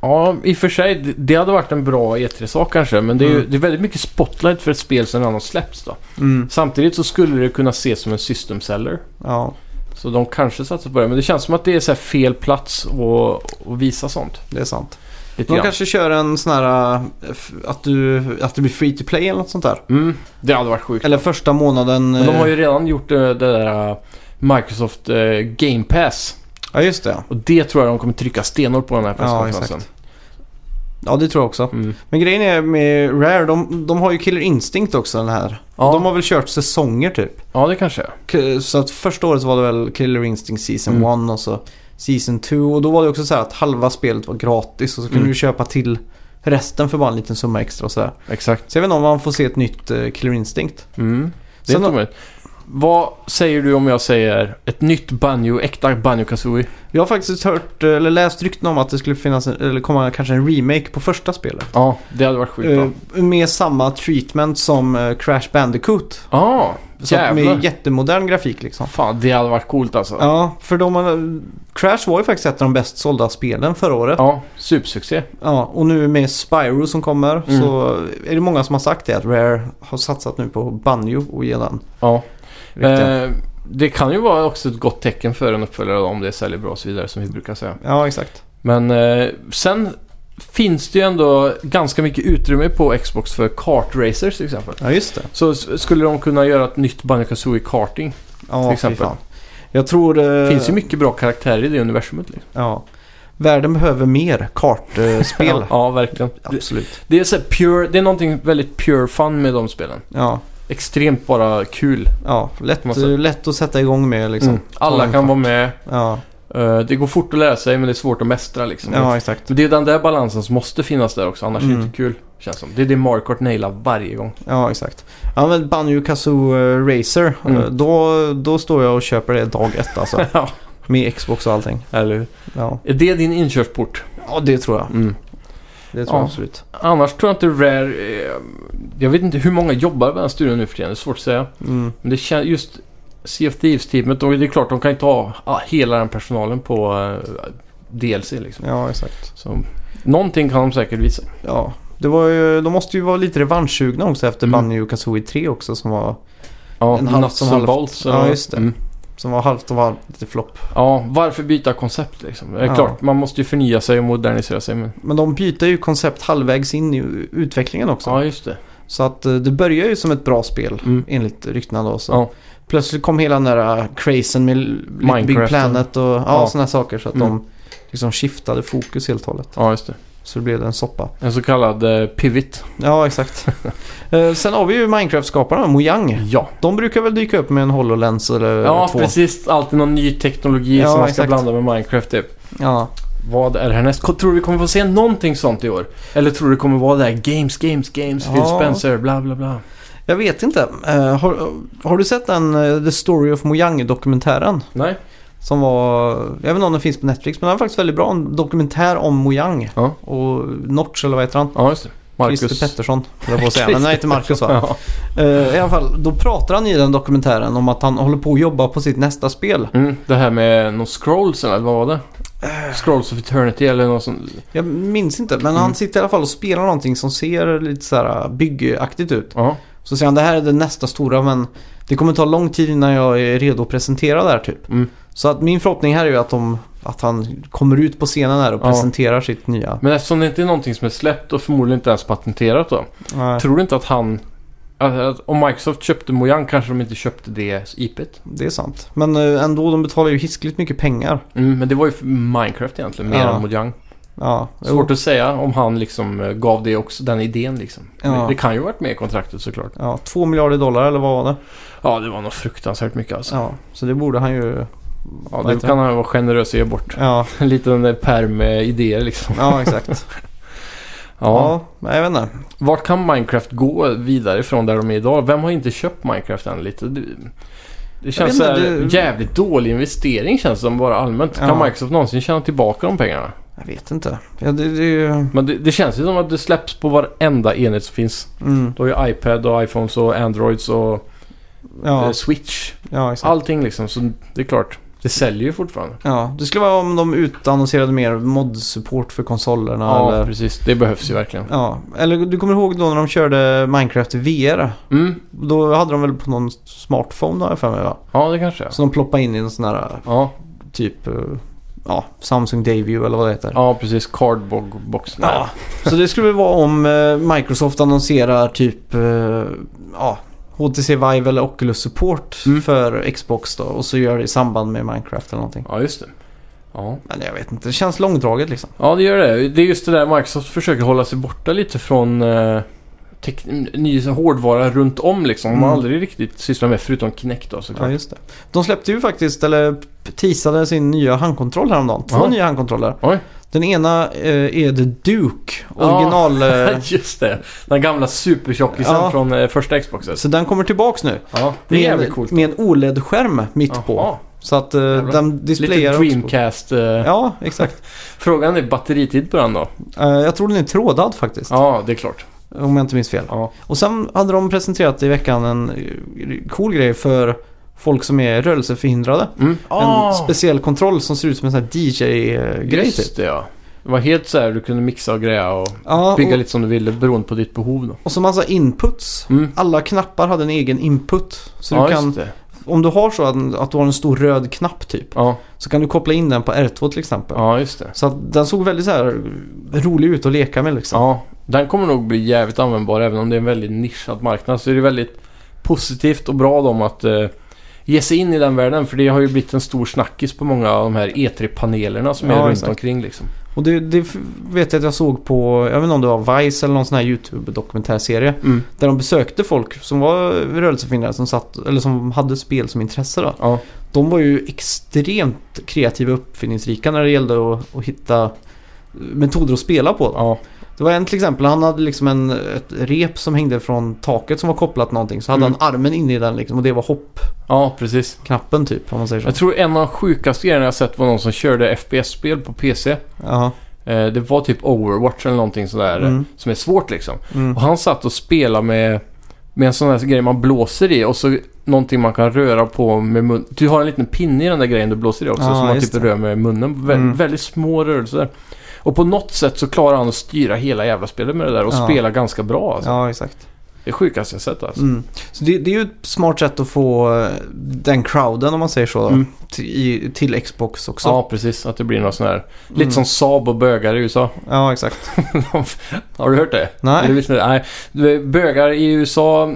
[SPEAKER 2] Ja, i och för sig. det- Det hade varit en bra E3-sak kanske. Men det är, ju,
[SPEAKER 1] Mm.
[SPEAKER 2] det är väldigt mycket spotlight för ett spel som redan har släppts då.
[SPEAKER 1] Mm.
[SPEAKER 2] Samtidigt så skulle det kunna ses som en system seller.
[SPEAKER 1] Ja,
[SPEAKER 2] Så de kanske satsar på det. Men det känns som att det är så här fel plats att, att visa sånt.
[SPEAKER 1] det är sant.
[SPEAKER 2] Lite
[SPEAKER 1] De
[SPEAKER 2] grann.
[SPEAKER 1] kanske kör en sån här eh, f- att, du, att det blir free to play eller något sånt där.
[SPEAKER 2] Mm, det hade varit sjukt.
[SPEAKER 1] Eller första månaden.
[SPEAKER 2] Men de har
[SPEAKER 1] eh,
[SPEAKER 2] ju redan gjort eh, det där eh, Microsoft eh, Game Pass.
[SPEAKER 1] Ja, just det.
[SPEAKER 2] Och det tror jag de kommer trycka stenhårt på den här presskonferensen.
[SPEAKER 1] exakt. Ja, det tror jag också.
[SPEAKER 2] Mm.
[SPEAKER 1] Men grejen är med Rare, de, de har ju Killer Instinct också den här.
[SPEAKER 2] Ja.
[SPEAKER 1] De har väl kört säsonger typ.
[SPEAKER 2] Ja, det kanske är.
[SPEAKER 1] K- Så att första året var det väl Killer Instinct Season 1
[SPEAKER 2] Mm.
[SPEAKER 1] och så Season 2. Och då var det också så här att halva spelet var gratis och så kunde
[SPEAKER 2] Mm.
[SPEAKER 1] du köpa till resten för bara en liten summa extra och sådär.
[SPEAKER 2] Exakt.
[SPEAKER 1] Så jag vet inte om man får se ett nytt eh, Killer Instinct.
[SPEAKER 2] Mm. Det är
[SPEAKER 1] Sen
[SPEAKER 2] inte
[SPEAKER 1] då-
[SPEAKER 2] omöjligt. Vad säger du om jag säger ett nytt banjo, äkta banjo kazooie
[SPEAKER 1] Jag har faktiskt hört, eh, eller läst rykten om att det skulle finnas, en, eller komma kanske en remake på första spelet.
[SPEAKER 2] Ja, det hade varit skitbra. Ja,
[SPEAKER 1] Eh, Med samma treatment som eh, Crash Bandicoot. Så att
[SPEAKER 2] jävlar.
[SPEAKER 1] med jättemodern grafik liksom.
[SPEAKER 2] Fan, det hade varit coolt alltså. Ja,
[SPEAKER 1] Ja, för de, har- Crash var ju faktiskt ett av de bäst sålda spelen förra året. Ja.
[SPEAKER 2] supersuccé.
[SPEAKER 1] och nu med Spyro som kommer
[SPEAKER 2] Mm.
[SPEAKER 1] så är det många som har sagt det att Rare har satsat nu på Banjo och ger den.
[SPEAKER 2] Ja.
[SPEAKER 1] riktiga-
[SPEAKER 2] Eh, det kan ju vara också ett gott tecken för en uppföljare om det säljer bra och så vidare som vi brukar säga.
[SPEAKER 1] Ja, exakt.
[SPEAKER 2] Men eh, sen finns det ju ändå ganska mycket utrymme på Xbox för kartracers till exempel.
[SPEAKER 1] Ja, just det.
[SPEAKER 2] Så s- skulle de kunna göra ett nytt banjo kazooie karting.
[SPEAKER 1] Ja,
[SPEAKER 2] Till
[SPEAKER 1] fy
[SPEAKER 2] exempel.
[SPEAKER 1] fan. Jag tror...
[SPEAKER 2] Det
[SPEAKER 1] Eh,
[SPEAKER 2] finns ju mycket bra karaktärer i det universumet. Liksom.
[SPEAKER 1] Ja. Världen behöver mer kartspel.
[SPEAKER 2] Ja, ja, verkligen. Det-
[SPEAKER 1] Absolut.
[SPEAKER 2] Det är, så här pure, det är någonting väldigt pure fun med de spelen.
[SPEAKER 1] Ja,
[SPEAKER 2] Extremt bara kul.
[SPEAKER 1] ja. Lätt,
[SPEAKER 2] Måste-
[SPEAKER 1] eh, lätt att sätta igång med liksom.
[SPEAKER 2] Mm. Alla kan vara med.
[SPEAKER 1] Ja,
[SPEAKER 2] Eh, det går fort att lära sig men det är svårt att mästra liksom.
[SPEAKER 1] ja exakt.
[SPEAKER 2] Men det är den där balansen som måste finnas där också, annars är det
[SPEAKER 1] Mm.
[SPEAKER 2] inte kul. Känns som. Det är det Mario Kart nailar varje gång.
[SPEAKER 1] Ja, exakt. Ja, men Banjo Kazoo Racer.
[SPEAKER 2] Mm.
[SPEAKER 1] eh, Då, då står jag och köper det dag ett alltså.
[SPEAKER 2] Ja.
[SPEAKER 1] Med Xbox och allting.
[SPEAKER 2] Eller hur?
[SPEAKER 1] Ja,
[SPEAKER 2] Är det din inkörsport?
[SPEAKER 1] ja det tror jag.
[SPEAKER 2] Mm.
[SPEAKER 1] Det tror
[SPEAKER 2] Ja.
[SPEAKER 1] jag absolut.
[SPEAKER 2] Annars tror jag inte Rare... Eh, jag vet inte hur många jobbar med den här studion nu för tiden, det är svårt att säga.
[SPEAKER 1] Mm.
[SPEAKER 2] Men det känns just... Sea of Thieves-teamet, de- det är klart de kan inte ha ah, hela den personalen på eh, DLC liksom.
[SPEAKER 1] Ja, exakt.
[SPEAKER 2] Så, någonting kan de säkert visa.
[SPEAKER 1] Ja, det var ju, de måste ju vara lite revanschsugna också efter
[SPEAKER 2] Mm.
[SPEAKER 1] Banjo Kazooie 3 också som var,
[SPEAKER 2] Ja,
[SPEAKER 1] En halv
[SPEAKER 2] Nuts
[SPEAKER 1] som
[SPEAKER 2] and
[SPEAKER 1] halvt.
[SPEAKER 2] Bolts.
[SPEAKER 1] Ja,
[SPEAKER 2] eller-
[SPEAKER 1] just det.
[SPEAKER 2] Mm.
[SPEAKER 1] som var halvt och halvt lite flopp.
[SPEAKER 2] Ja, varför byta koncept liksom? Det är
[SPEAKER 1] Ja.
[SPEAKER 2] klart, man måste ju förnya sig och modernisera sig. Men...
[SPEAKER 1] Men de byter ju koncept halvvägs in i utvecklingen också.
[SPEAKER 2] Ja, just det.
[SPEAKER 1] Så att eh, det börjar ju som ett bra spel
[SPEAKER 2] Mm.
[SPEAKER 1] enligt ryktena då. Så.
[SPEAKER 2] Ja.
[SPEAKER 1] Plötsligt kom hela den där eh, crazen med Little Big
[SPEAKER 2] Minecraft.
[SPEAKER 1] Planet och ja,
[SPEAKER 2] Ja.
[SPEAKER 1] sådana saker. Så att
[SPEAKER 2] Mm.
[SPEAKER 1] de liksom skiftade fokus helt och hållet.
[SPEAKER 2] Ja, just det.
[SPEAKER 1] Så det blev en soppa.
[SPEAKER 2] En så kallad eh, pivot.
[SPEAKER 1] Ja, exakt. Eh, Sen har vi ju Minecraft-skaparna, Mojang.
[SPEAKER 2] Ja,
[SPEAKER 1] De brukar väl dyka upp med en HoloLens eller
[SPEAKER 2] ja
[SPEAKER 1] två.
[SPEAKER 2] precis. Alltid någon ny teknologi
[SPEAKER 1] Ja,
[SPEAKER 2] som man ska
[SPEAKER 1] exakt.
[SPEAKER 2] blanda med Minecraft typ.
[SPEAKER 1] Ja.
[SPEAKER 2] Vad är härnäst? Ko- Tror du vi kommer få se någonting sånt i år? Eller tror du det kommer vara det här Games, Games, Games, Phil
[SPEAKER 1] Ja.
[SPEAKER 2] Spencer, bla bla bla?
[SPEAKER 1] Jag vet inte. Eh, Har, har du sett den eh, The Story of Mojang-dokumentären?
[SPEAKER 2] Nej?
[SPEAKER 1] Som var, jag vet inte om den finns på Netflix, men den var faktiskt väldigt bra. En dokumentär om Mojang.
[SPEAKER 2] Ja.
[SPEAKER 1] Och Notch, eller vad heter han?
[SPEAKER 2] Ja, just det. Marcus.
[SPEAKER 1] Christer Pettersson, höll jag på att säga. Men nej, inte Marcus va?
[SPEAKER 2] Ja.
[SPEAKER 1] Eh, I alla fall, då pratar han i den dokumentären om att han håller på att jobba på sitt nästa spel.
[SPEAKER 2] Mm, det här med någon scrolls eller vad var det? Scrolls of Eternity eller något sånt.
[SPEAKER 1] Jag minns inte, men
[SPEAKER 2] Mm.
[SPEAKER 1] han sitter i alla fall och spelar någonting som ser lite så här byggaktigt ut.
[SPEAKER 2] Ja.
[SPEAKER 1] Så säger han det här är det nästa stora men det kommer ta lång tid innan jag är redo att presentera det här typ.
[SPEAKER 2] Mm.
[SPEAKER 1] Så att min förhoppning här är ju att, de, att han kommer ut på scenen här och
[SPEAKER 2] Ja.
[SPEAKER 1] presenterar sitt nya.
[SPEAKER 2] Men eftersom det inte är någonting som är släppt och förmodligen inte ens patenterat då.
[SPEAKER 1] Nej,
[SPEAKER 2] Tror du inte att han... Att, att om Microsoft köpte Mojang kanske de inte köpte det IPet.
[SPEAKER 1] det är sant. Men eh, ändå, de betalar ju hiskligt mycket pengar.
[SPEAKER 2] Mm, men det var ju för Minecraft egentligen, mer
[SPEAKER 1] Ja.
[SPEAKER 2] än Mojang.
[SPEAKER 1] Ja, jo.
[SPEAKER 2] Svårt att säga om han liksom eh, gav det också, den idén liksom.
[SPEAKER 1] Ja.
[SPEAKER 2] Det, det kan ju varit med i kontraktet såklart.
[SPEAKER 1] ja, två miljarder dollar eller vad var
[SPEAKER 2] Alltså.
[SPEAKER 1] det?
[SPEAKER 2] Ja, det var nog fruktansvärt mycket alltså.
[SPEAKER 1] Ja, så det borde han ju...
[SPEAKER 2] Ja,
[SPEAKER 1] Vad
[SPEAKER 2] det
[SPEAKER 1] heter
[SPEAKER 2] kan han vara generös och ge bort.
[SPEAKER 1] Ja,
[SPEAKER 2] En liten eh, pärm med idéer liksom.
[SPEAKER 1] ja exakt.
[SPEAKER 2] Ja.
[SPEAKER 1] ja, jag vet inte.
[SPEAKER 2] Vart kan Minecraft gå vidare från där de är idag? Vem har inte köpt Minecraft än lite? Det, det känns så
[SPEAKER 1] inte,
[SPEAKER 2] här,
[SPEAKER 1] det-
[SPEAKER 2] jävligt dålig investering känns det som bara allmänt.
[SPEAKER 1] Ja.
[SPEAKER 2] Kan Microsoft någonsin tjäna tillbaka de pengarna?
[SPEAKER 1] Jag vet inte. Ja, det, det är ju...
[SPEAKER 2] Men det, det känns ju som att det släpps på varenda enhet som finns.
[SPEAKER 1] Mm,
[SPEAKER 2] Du har ju iPad och iPhones och Androids och eh,
[SPEAKER 1] ja,
[SPEAKER 2] Switch.
[SPEAKER 1] ja, exakt.
[SPEAKER 2] Allting liksom. Så det är klart. Det säljer ju fortfarande.
[SPEAKER 1] Ja, det skulle vara om de utannonserade mer mod-support för konsolerna.
[SPEAKER 2] Ja,
[SPEAKER 1] eller,
[SPEAKER 2] precis. Det behövs ju verkligen.
[SPEAKER 1] ja. eller du kommer ihåg då när de körde Minecraft i VR?
[SPEAKER 2] Mm.
[SPEAKER 1] Då hade de väl på någon smartphone då har jag för mig va?
[SPEAKER 2] Ja, det kanske är.
[SPEAKER 1] Så de ploppade in i en sån här
[SPEAKER 2] Ja,
[SPEAKER 1] typ eh, ja, Samsung Dayview eller vad det heter.
[SPEAKER 2] ja precis. Cardboard-boxen.
[SPEAKER 1] Ja, så det skulle väl vara om eh, Microsoft annonserar typ eh, ja, HTC Vive eller Oculus Support
[SPEAKER 2] Mm.
[SPEAKER 1] för Xbox då och så gör det i samband med Minecraft eller någonting.
[SPEAKER 2] ja, just det. Ja.
[SPEAKER 1] Men jag vet inte, det känns långdraget liksom.
[SPEAKER 2] ja, det gör det. Det är just det där Microsoft försöker hålla sig borta lite från eh, tek- ny så här hårdvara runt om liksom. De har
[SPEAKER 1] Mm.
[SPEAKER 2] aldrig riktigt sysslat med förutom Kinect då
[SPEAKER 1] Ja,
[SPEAKER 2] såklart.
[SPEAKER 1] just det. De släppte ju faktiskt, eller teasade sin nya handkontroll häromdagen. Två
[SPEAKER 2] Ja.
[SPEAKER 1] nya handkontroller.
[SPEAKER 2] Oj.
[SPEAKER 1] Den ena eh, är The Duke,
[SPEAKER 2] Ja.
[SPEAKER 1] original. Eh,
[SPEAKER 2] just det. Den gamla supertjockisen
[SPEAKER 1] Ja.
[SPEAKER 2] från eh, första Xboxet.
[SPEAKER 1] så den kommer tillbaks nu.
[SPEAKER 2] Ja, det är jävligt
[SPEAKER 1] med,
[SPEAKER 2] coolt.
[SPEAKER 1] med en OLED-skärm mitt på.
[SPEAKER 2] Jaha.
[SPEAKER 1] Så att eh,
[SPEAKER 2] Jävlar.
[SPEAKER 1] den
[SPEAKER 2] Lite
[SPEAKER 1] displayar också på-
[SPEAKER 2] Dreamcast. Eh,
[SPEAKER 1] Ja, exakt.
[SPEAKER 2] Frågan är batteritid på den då?
[SPEAKER 1] Eh, jag tror den är trådad faktiskt.
[SPEAKER 2] Ja, det är klart.
[SPEAKER 1] Om jag inte minns fel.
[SPEAKER 2] Ja.
[SPEAKER 1] Och sen hade de presenterat i veckan en eh, cool grej för folk som är rörelseförhindrade.
[SPEAKER 2] Mm.
[SPEAKER 1] En speciell kontroll som ser ut som en sån här DJ-grej typ.
[SPEAKER 2] Just det ja. Det var helt så här du kunde mixa och greja och
[SPEAKER 1] Ja,
[SPEAKER 2] bygga
[SPEAKER 1] och,
[SPEAKER 2] lite som du ville beroende på ditt behov då.
[SPEAKER 1] och så massa inputs.
[SPEAKER 2] Mm.
[SPEAKER 1] Alla knappar hade en egen input. Så
[SPEAKER 2] ja,
[SPEAKER 1] du
[SPEAKER 2] just
[SPEAKER 1] kan,
[SPEAKER 2] det.
[SPEAKER 1] om du har så att, att du har en stor röd knapp typ.
[SPEAKER 2] Ja,
[SPEAKER 1] Så kan du koppla in den på R2 till exempel.
[SPEAKER 2] ja, just det.
[SPEAKER 1] Så att den såg väldigt så här rolig ut att leka med liksom.
[SPEAKER 2] Ja, den kommer nog bli jävligt användbar även om det är en väldigt nischad marknad. Så är det väldigt positivt och bra om att eh, ge sig in i den världen. För det har ju blivit en stor snackis på många av de här E3-panelerna som
[SPEAKER 1] Ja,
[SPEAKER 2] är runt
[SPEAKER 1] exakt.
[SPEAKER 2] omkring liksom.
[SPEAKER 1] Och det, det f- vet jag att jag såg på, jag vet inte om det var Vice eller någon sån här YouTube-dokumentärserie.
[SPEAKER 2] Mm.
[SPEAKER 1] Där de besökte folk som var rörelsehindrade som, satt, eller som hade spel som intresse. Då.
[SPEAKER 2] Ja,
[SPEAKER 1] De var ju extremt kreativa och uppfinningsrika när det gällde att, att hitta metoder att spela på. Då.
[SPEAKER 2] ja,
[SPEAKER 1] Det var en till exempel, han hade liksom en, ett rep som hängde från taket som var kopplat till någonting. Så hade
[SPEAKER 2] Mm.
[SPEAKER 1] han armen inne i den liksom och det var
[SPEAKER 2] ja, precis.
[SPEAKER 1] hoppknappen typ om man säger så.
[SPEAKER 2] Jag tror en av de sjukaste grejerna jag sett var någon som körde FPS-spel på PC. Eh,
[SPEAKER 1] Ja.
[SPEAKER 2] det var typ Overwatch eller någonting sådär. eh,
[SPEAKER 1] Mm.
[SPEAKER 2] Som är svårt liksom.
[SPEAKER 1] Mm.
[SPEAKER 2] Och han satt och spelade med, med en sån här grej man blåser i och så någonting man kan röra på med munnen. Du har en liten pinne i den där grejen du blåser i också
[SPEAKER 1] Ja,
[SPEAKER 2] som man
[SPEAKER 1] just
[SPEAKER 2] typ rör med munnen. Vä-
[SPEAKER 1] Mm.
[SPEAKER 2] Väldigt små rörelser. Och på något sätt så klarar han att styra hela jävla spelet med det där och
[SPEAKER 1] Ja.
[SPEAKER 2] spela ganska bra. Alltså.
[SPEAKER 1] Ja, exakt.
[SPEAKER 2] Det är sjukaste jag sett alltså.
[SPEAKER 1] Mm. Så det, det är ju ett smart sätt att få eh, den crowden om man säger så. Då,
[SPEAKER 2] Mm.
[SPEAKER 1] till, i, till Xbox också.
[SPEAKER 2] Ja, precis. Att det blir någon sån här...
[SPEAKER 1] Mm.
[SPEAKER 2] Lite som Saab och bögar i USA.
[SPEAKER 1] Ja, exakt.
[SPEAKER 2] Har du hört det? Eller
[SPEAKER 1] Nej.
[SPEAKER 2] visste du det? Nej. Du vet, Bögar i USA,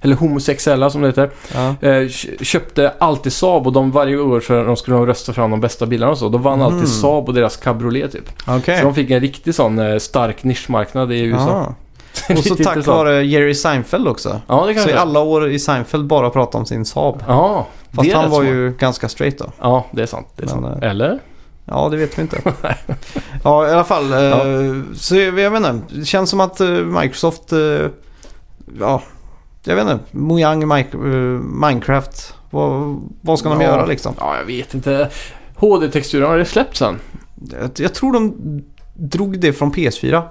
[SPEAKER 2] eller homosexuella som det heter.
[SPEAKER 1] Ja.
[SPEAKER 2] eh, kö- köpte alltid Saab och de varje år så de skulle de rösta fram de bästa bilarna och så. Då vann
[SPEAKER 1] Mhm.
[SPEAKER 2] alltid Saab och deras cabriolet typ.
[SPEAKER 1] Okej.
[SPEAKER 2] Så de fick en riktig sån eh, stark nischmarknad i USA.
[SPEAKER 1] Ah.
[SPEAKER 2] Det är
[SPEAKER 1] Och så
[SPEAKER 2] lite
[SPEAKER 1] tack
[SPEAKER 2] intressant.
[SPEAKER 1] vare Jerry Seinfeld också.
[SPEAKER 2] Ja, det
[SPEAKER 1] Så
[SPEAKER 2] kanske
[SPEAKER 1] i
[SPEAKER 2] alla...
[SPEAKER 1] alla år i Seinfeld bara pratade om sin Saab.
[SPEAKER 2] Ja,
[SPEAKER 1] Fast
[SPEAKER 2] det är
[SPEAKER 1] han
[SPEAKER 2] rätt
[SPEAKER 1] var
[SPEAKER 2] smart.
[SPEAKER 1] ju ganska straight då.
[SPEAKER 2] Ja, det är sant. Det är
[SPEAKER 1] Men, eh,
[SPEAKER 2] sant. Eller?
[SPEAKER 1] Ja, det vet vi inte. ja, i alla fall. eh, Så jag jag vet inte. Det känns som att eh, Microsoft... eh, Ja, jag vet inte. Mojang, Mic- eh, Minecraft. Vad, vad ska de
[SPEAKER 2] Ja.
[SPEAKER 1] göra liksom?
[SPEAKER 2] Ja, jag vet inte. HD-texturen, har det släppts sen?
[SPEAKER 1] Jag, jag tror de drog det från PS4.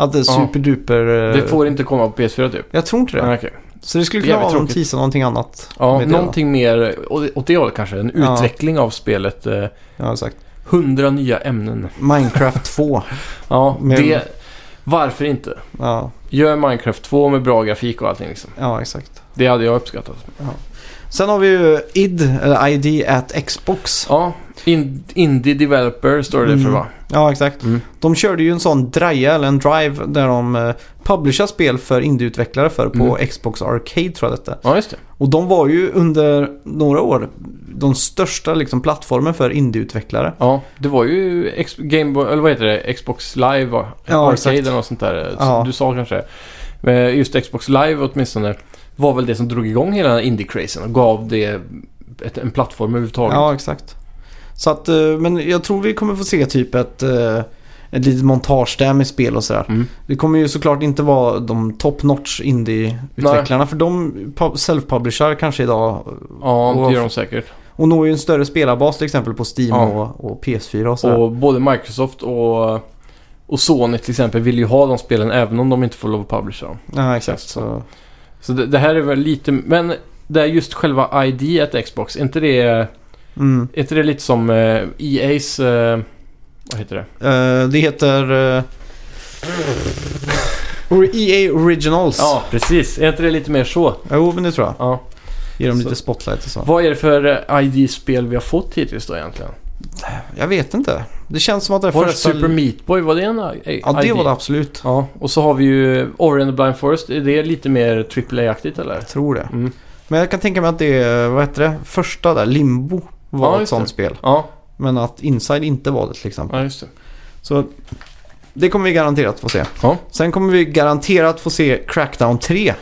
[SPEAKER 1] Att det är
[SPEAKER 2] Ja.
[SPEAKER 1] superduper... eh,
[SPEAKER 2] Det får inte komma på PS4 typ?
[SPEAKER 1] Jag tror inte det.
[SPEAKER 2] Nej, okej.
[SPEAKER 1] Så det skulle kunna
[SPEAKER 2] Jävligt
[SPEAKER 1] vara om de
[SPEAKER 2] tråkigt.
[SPEAKER 1] teasade någonting annat.
[SPEAKER 2] Ja,
[SPEAKER 1] med det då.
[SPEAKER 2] någonting mer eh, åt åt det hållet kanske. En
[SPEAKER 1] Ja.
[SPEAKER 2] utveckling av spelet. eh,
[SPEAKER 1] Ja, exakt.
[SPEAKER 2] Hundra nya ämnen.
[SPEAKER 1] Minecraft 2.
[SPEAKER 2] Ja,
[SPEAKER 1] Men-
[SPEAKER 2] det... Varför inte?
[SPEAKER 1] Ja,
[SPEAKER 2] Gör Minecraft 2 med bra grafik och allting liksom.
[SPEAKER 1] ja exakt.
[SPEAKER 2] Det hade jag uppskattat.
[SPEAKER 1] Sen har vi ju ID, eller ID at Xbox.
[SPEAKER 2] Ja, in, Indie Developer står det för
[SPEAKER 1] Mm.
[SPEAKER 2] va?
[SPEAKER 1] Ja, exakt.
[SPEAKER 2] Mm.
[SPEAKER 1] De körde ju en sån draja, eller en drive, där de eh, publishar spel för indieutvecklare för på
[SPEAKER 2] Mm.
[SPEAKER 1] Xbox Arcade tror jag detta.
[SPEAKER 2] Ja, just det.
[SPEAKER 1] Och de var ju under några år de största liksom, plattformen för indieutvecklare.
[SPEAKER 2] Ja, det var ju X- Game Boy, eller vad heter det? Xbox Live va?
[SPEAKER 1] Ja, exakt.
[SPEAKER 2] Arcade eller något sånt där. eh, som
[SPEAKER 1] Ja.
[SPEAKER 2] Du sa kanske. Men just Xbox Live åtminstone var väl det som drog igång hela indie-crazen och gav det ett, en plattform överhuvudtaget.
[SPEAKER 1] Ja, exakt. Så att, eh, men jag tror vi kommer få se typ ett, eh, ett litet montage där med spel och sådär.
[SPEAKER 2] Mm.
[SPEAKER 1] Det kommer ju såklart inte vara de top notch indie-utvecklarna för de pu- self-publishar kanske idag
[SPEAKER 2] Ja,
[SPEAKER 1] Och-
[SPEAKER 2] det gör de säkert.
[SPEAKER 1] och når ju en större spelarbas till exempel på Steam
[SPEAKER 2] Ja.
[SPEAKER 1] och, och PS4 och sådär.
[SPEAKER 2] Och både Microsoft och, och Sony till exempel vill ju ha de spelen även om de inte får lov att publishera dem.
[SPEAKER 1] ja, exakt. Så.
[SPEAKER 2] Så det, det här är väl lite... Men det är just själva ID at Xbox. Är inte det, är
[SPEAKER 1] Mm.
[SPEAKER 2] inte det lite som eh, EA's... Eh, vad heter det?
[SPEAKER 1] Eh, det heter... eh, or-
[SPEAKER 2] E
[SPEAKER 1] EA Originals.
[SPEAKER 2] Ja, precis. Är inte det lite mer så?
[SPEAKER 1] Jo, men det tror jag.
[SPEAKER 2] Ja.
[SPEAKER 1] Ger dem
[SPEAKER 2] Så-
[SPEAKER 1] lite spotlight och så.
[SPEAKER 2] Vad är det för eh, ID-spel vi har fått hittills då egentligen?
[SPEAKER 1] Jag vet inte. Det känns som att det är
[SPEAKER 2] Var det
[SPEAKER 1] första...
[SPEAKER 2] Super Meat Boy? Var det en eh, ID?
[SPEAKER 1] ja, det var det absolut.
[SPEAKER 2] Ja, och så har vi ju Ori and the Blind Forest. Är det lite mer AAA-aktigt eller?
[SPEAKER 1] Jag tror det.
[SPEAKER 2] Mm.
[SPEAKER 1] Men jag kan tänka mig att det, är- vad heter det, första där, Limbo var
[SPEAKER 2] Ja,
[SPEAKER 1] ett
[SPEAKER 2] just
[SPEAKER 1] sånt
[SPEAKER 2] det.
[SPEAKER 1] spel.
[SPEAKER 2] Ja,
[SPEAKER 1] Men att Inside inte var det till exempel.
[SPEAKER 2] ja just det.
[SPEAKER 1] Så det kommer vi garanterat få se.
[SPEAKER 2] Ja.
[SPEAKER 1] Sen kommer vi garanterat få se Crackdown 3.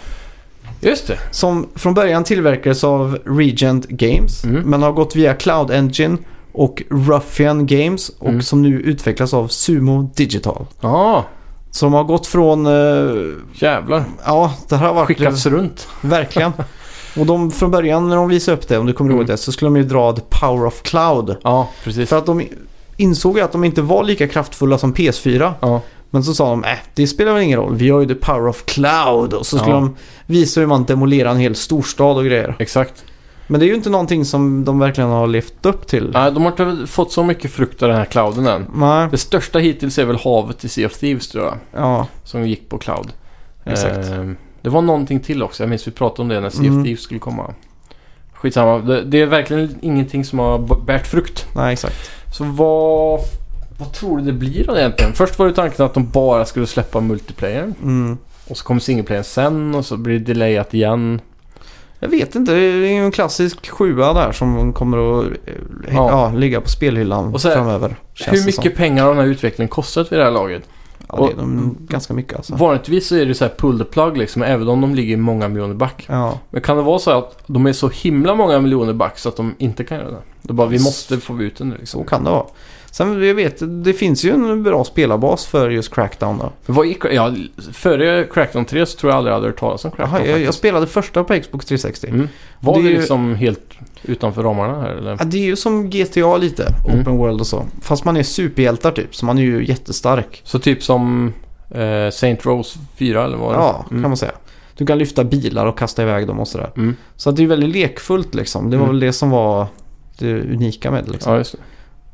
[SPEAKER 2] Just det.
[SPEAKER 1] Som från början tillverkades av Regent Games.
[SPEAKER 2] Mm.
[SPEAKER 1] Men har gått via Cloud Engine och Ruffian Games. Och
[SPEAKER 2] Mm.
[SPEAKER 1] som nu utvecklas av Sumo Digital.
[SPEAKER 2] Ja,
[SPEAKER 1] Som har gått från... eh,
[SPEAKER 2] jävlar.
[SPEAKER 1] ja, det här har varit...
[SPEAKER 2] Skickats runt.
[SPEAKER 1] Verkligen. Och de från början när de visade upp det, om du kommer ihåg
[SPEAKER 2] Mm.
[SPEAKER 1] det, så skulle de ju dra The Power of Cloud.
[SPEAKER 2] Ja, precis.
[SPEAKER 1] För att de insåg ju att de inte var lika kraftfulla som PS4.
[SPEAKER 2] Ja.
[SPEAKER 1] Men så sa de, äh, det spelar väl ingen roll, vi har ju The Power of Cloud. Och så skulle
[SPEAKER 2] Ja.
[SPEAKER 1] de visa hur man demolerar en hel storstad och grejer.
[SPEAKER 2] Exakt.
[SPEAKER 1] Men det är ju inte någonting som de verkligen har levt upp till.
[SPEAKER 2] Nej, de har inte fått så mycket frukt av den här clouden än.
[SPEAKER 1] Nej,
[SPEAKER 2] Det största hittills är väl havet i Sea of Thieves tror jag.
[SPEAKER 1] ja,
[SPEAKER 2] Som gick på cloud.
[SPEAKER 1] exakt.
[SPEAKER 2] Ehm, det var någonting till också. Jag minns vi pratade om det när Sea
[SPEAKER 1] Mm.
[SPEAKER 2] of Thieves skulle komma. Skitsamma. Det, det är verkligen ingenting som har b- bärt frukt.
[SPEAKER 1] Nej, exakt.
[SPEAKER 2] Så vad... Vad tror du det blir då egentligen? Först var det tanken att de bara skulle släppa multiplayern.
[SPEAKER 1] Mm.
[SPEAKER 2] Och så kommer singleplayern sen och så blir det delayat igen.
[SPEAKER 1] Jag vet inte, det är ju en klassisk sjua där som kommer att eh,
[SPEAKER 2] Ja.
[SPEAKER 1] ja. ligga på spelhyllan
[SPEAKER 2] Och så här,
[SPEAKER 1] framöver. känns
[SPEAKER 2] Hur
[SPEAKER 1] det som.
[SPEAKER 2] mycket pengar har den här utvecklingen kostat vid det här laget?
[SPEAKER 1] Ja, det är
[SPEAKER 2] Och-
[SPEAKER 1] de ganska mycket alltså.
[SPEAKER 2] Vanligtvis så är det så här pull the plug liksom, även om de ligger många miljoner back.
[SPEAKER 1] Ja,
[SPEAKER 2] Men kan det vara så här att de är så himla många miljoner back så att de inte kan göra det? Då bara, vi måste få ut den nu
[SPEAKER 1] så
[SPEAKER 2] liksom.
[SPEAKER 1] kan det vara. Sen, jag vet, det finns ju en bra spelarbas för just Crackdown då.
[SPEAKER 2] Vad gick, ja, före Crackdown 3 så tror jag aldrig jag hade hört talas om Crackdown.
[SPEAKER 1] Jaha, jag, jag
[SPEAKER 2] faktiskt.
[SPEAKER 1] spelade första på Xbox 360.
[SPEAKER 2] Mm. Var
[SPEAKER 1] det
[SPEAKER 2] det,
[SPEAKER 1] är ju-
[SPEAKER 2] liksom helt utanför ramarna här eller?
[SPEAKER 1] Ja, det är ju som GTA lite,
[SPEAKER 2] Mm.
[SPEAKER 1] Open World och så. Fast man är superhjältar typ, så man är ju jättestark.
[SPEAKER 2] Så typ som eh, Saint Rose 4 eller vad var det?
[SPEAKER 1] Ja,
[SPEAKER 2] Mm.
[SPEAKER 1] kan man säga. Du kan lyfta bilar och kasta iväg dem och sådär.
[SPEAKER 2] Mm.
[SPEAKER 1] Så att det är väldigt lekfullt liksom. Det var
[SPEAKER 2] Mm.
[SPEAKER 1] väl det som var det unika med det liksom.
[SPEAKER 2] Ja, just det.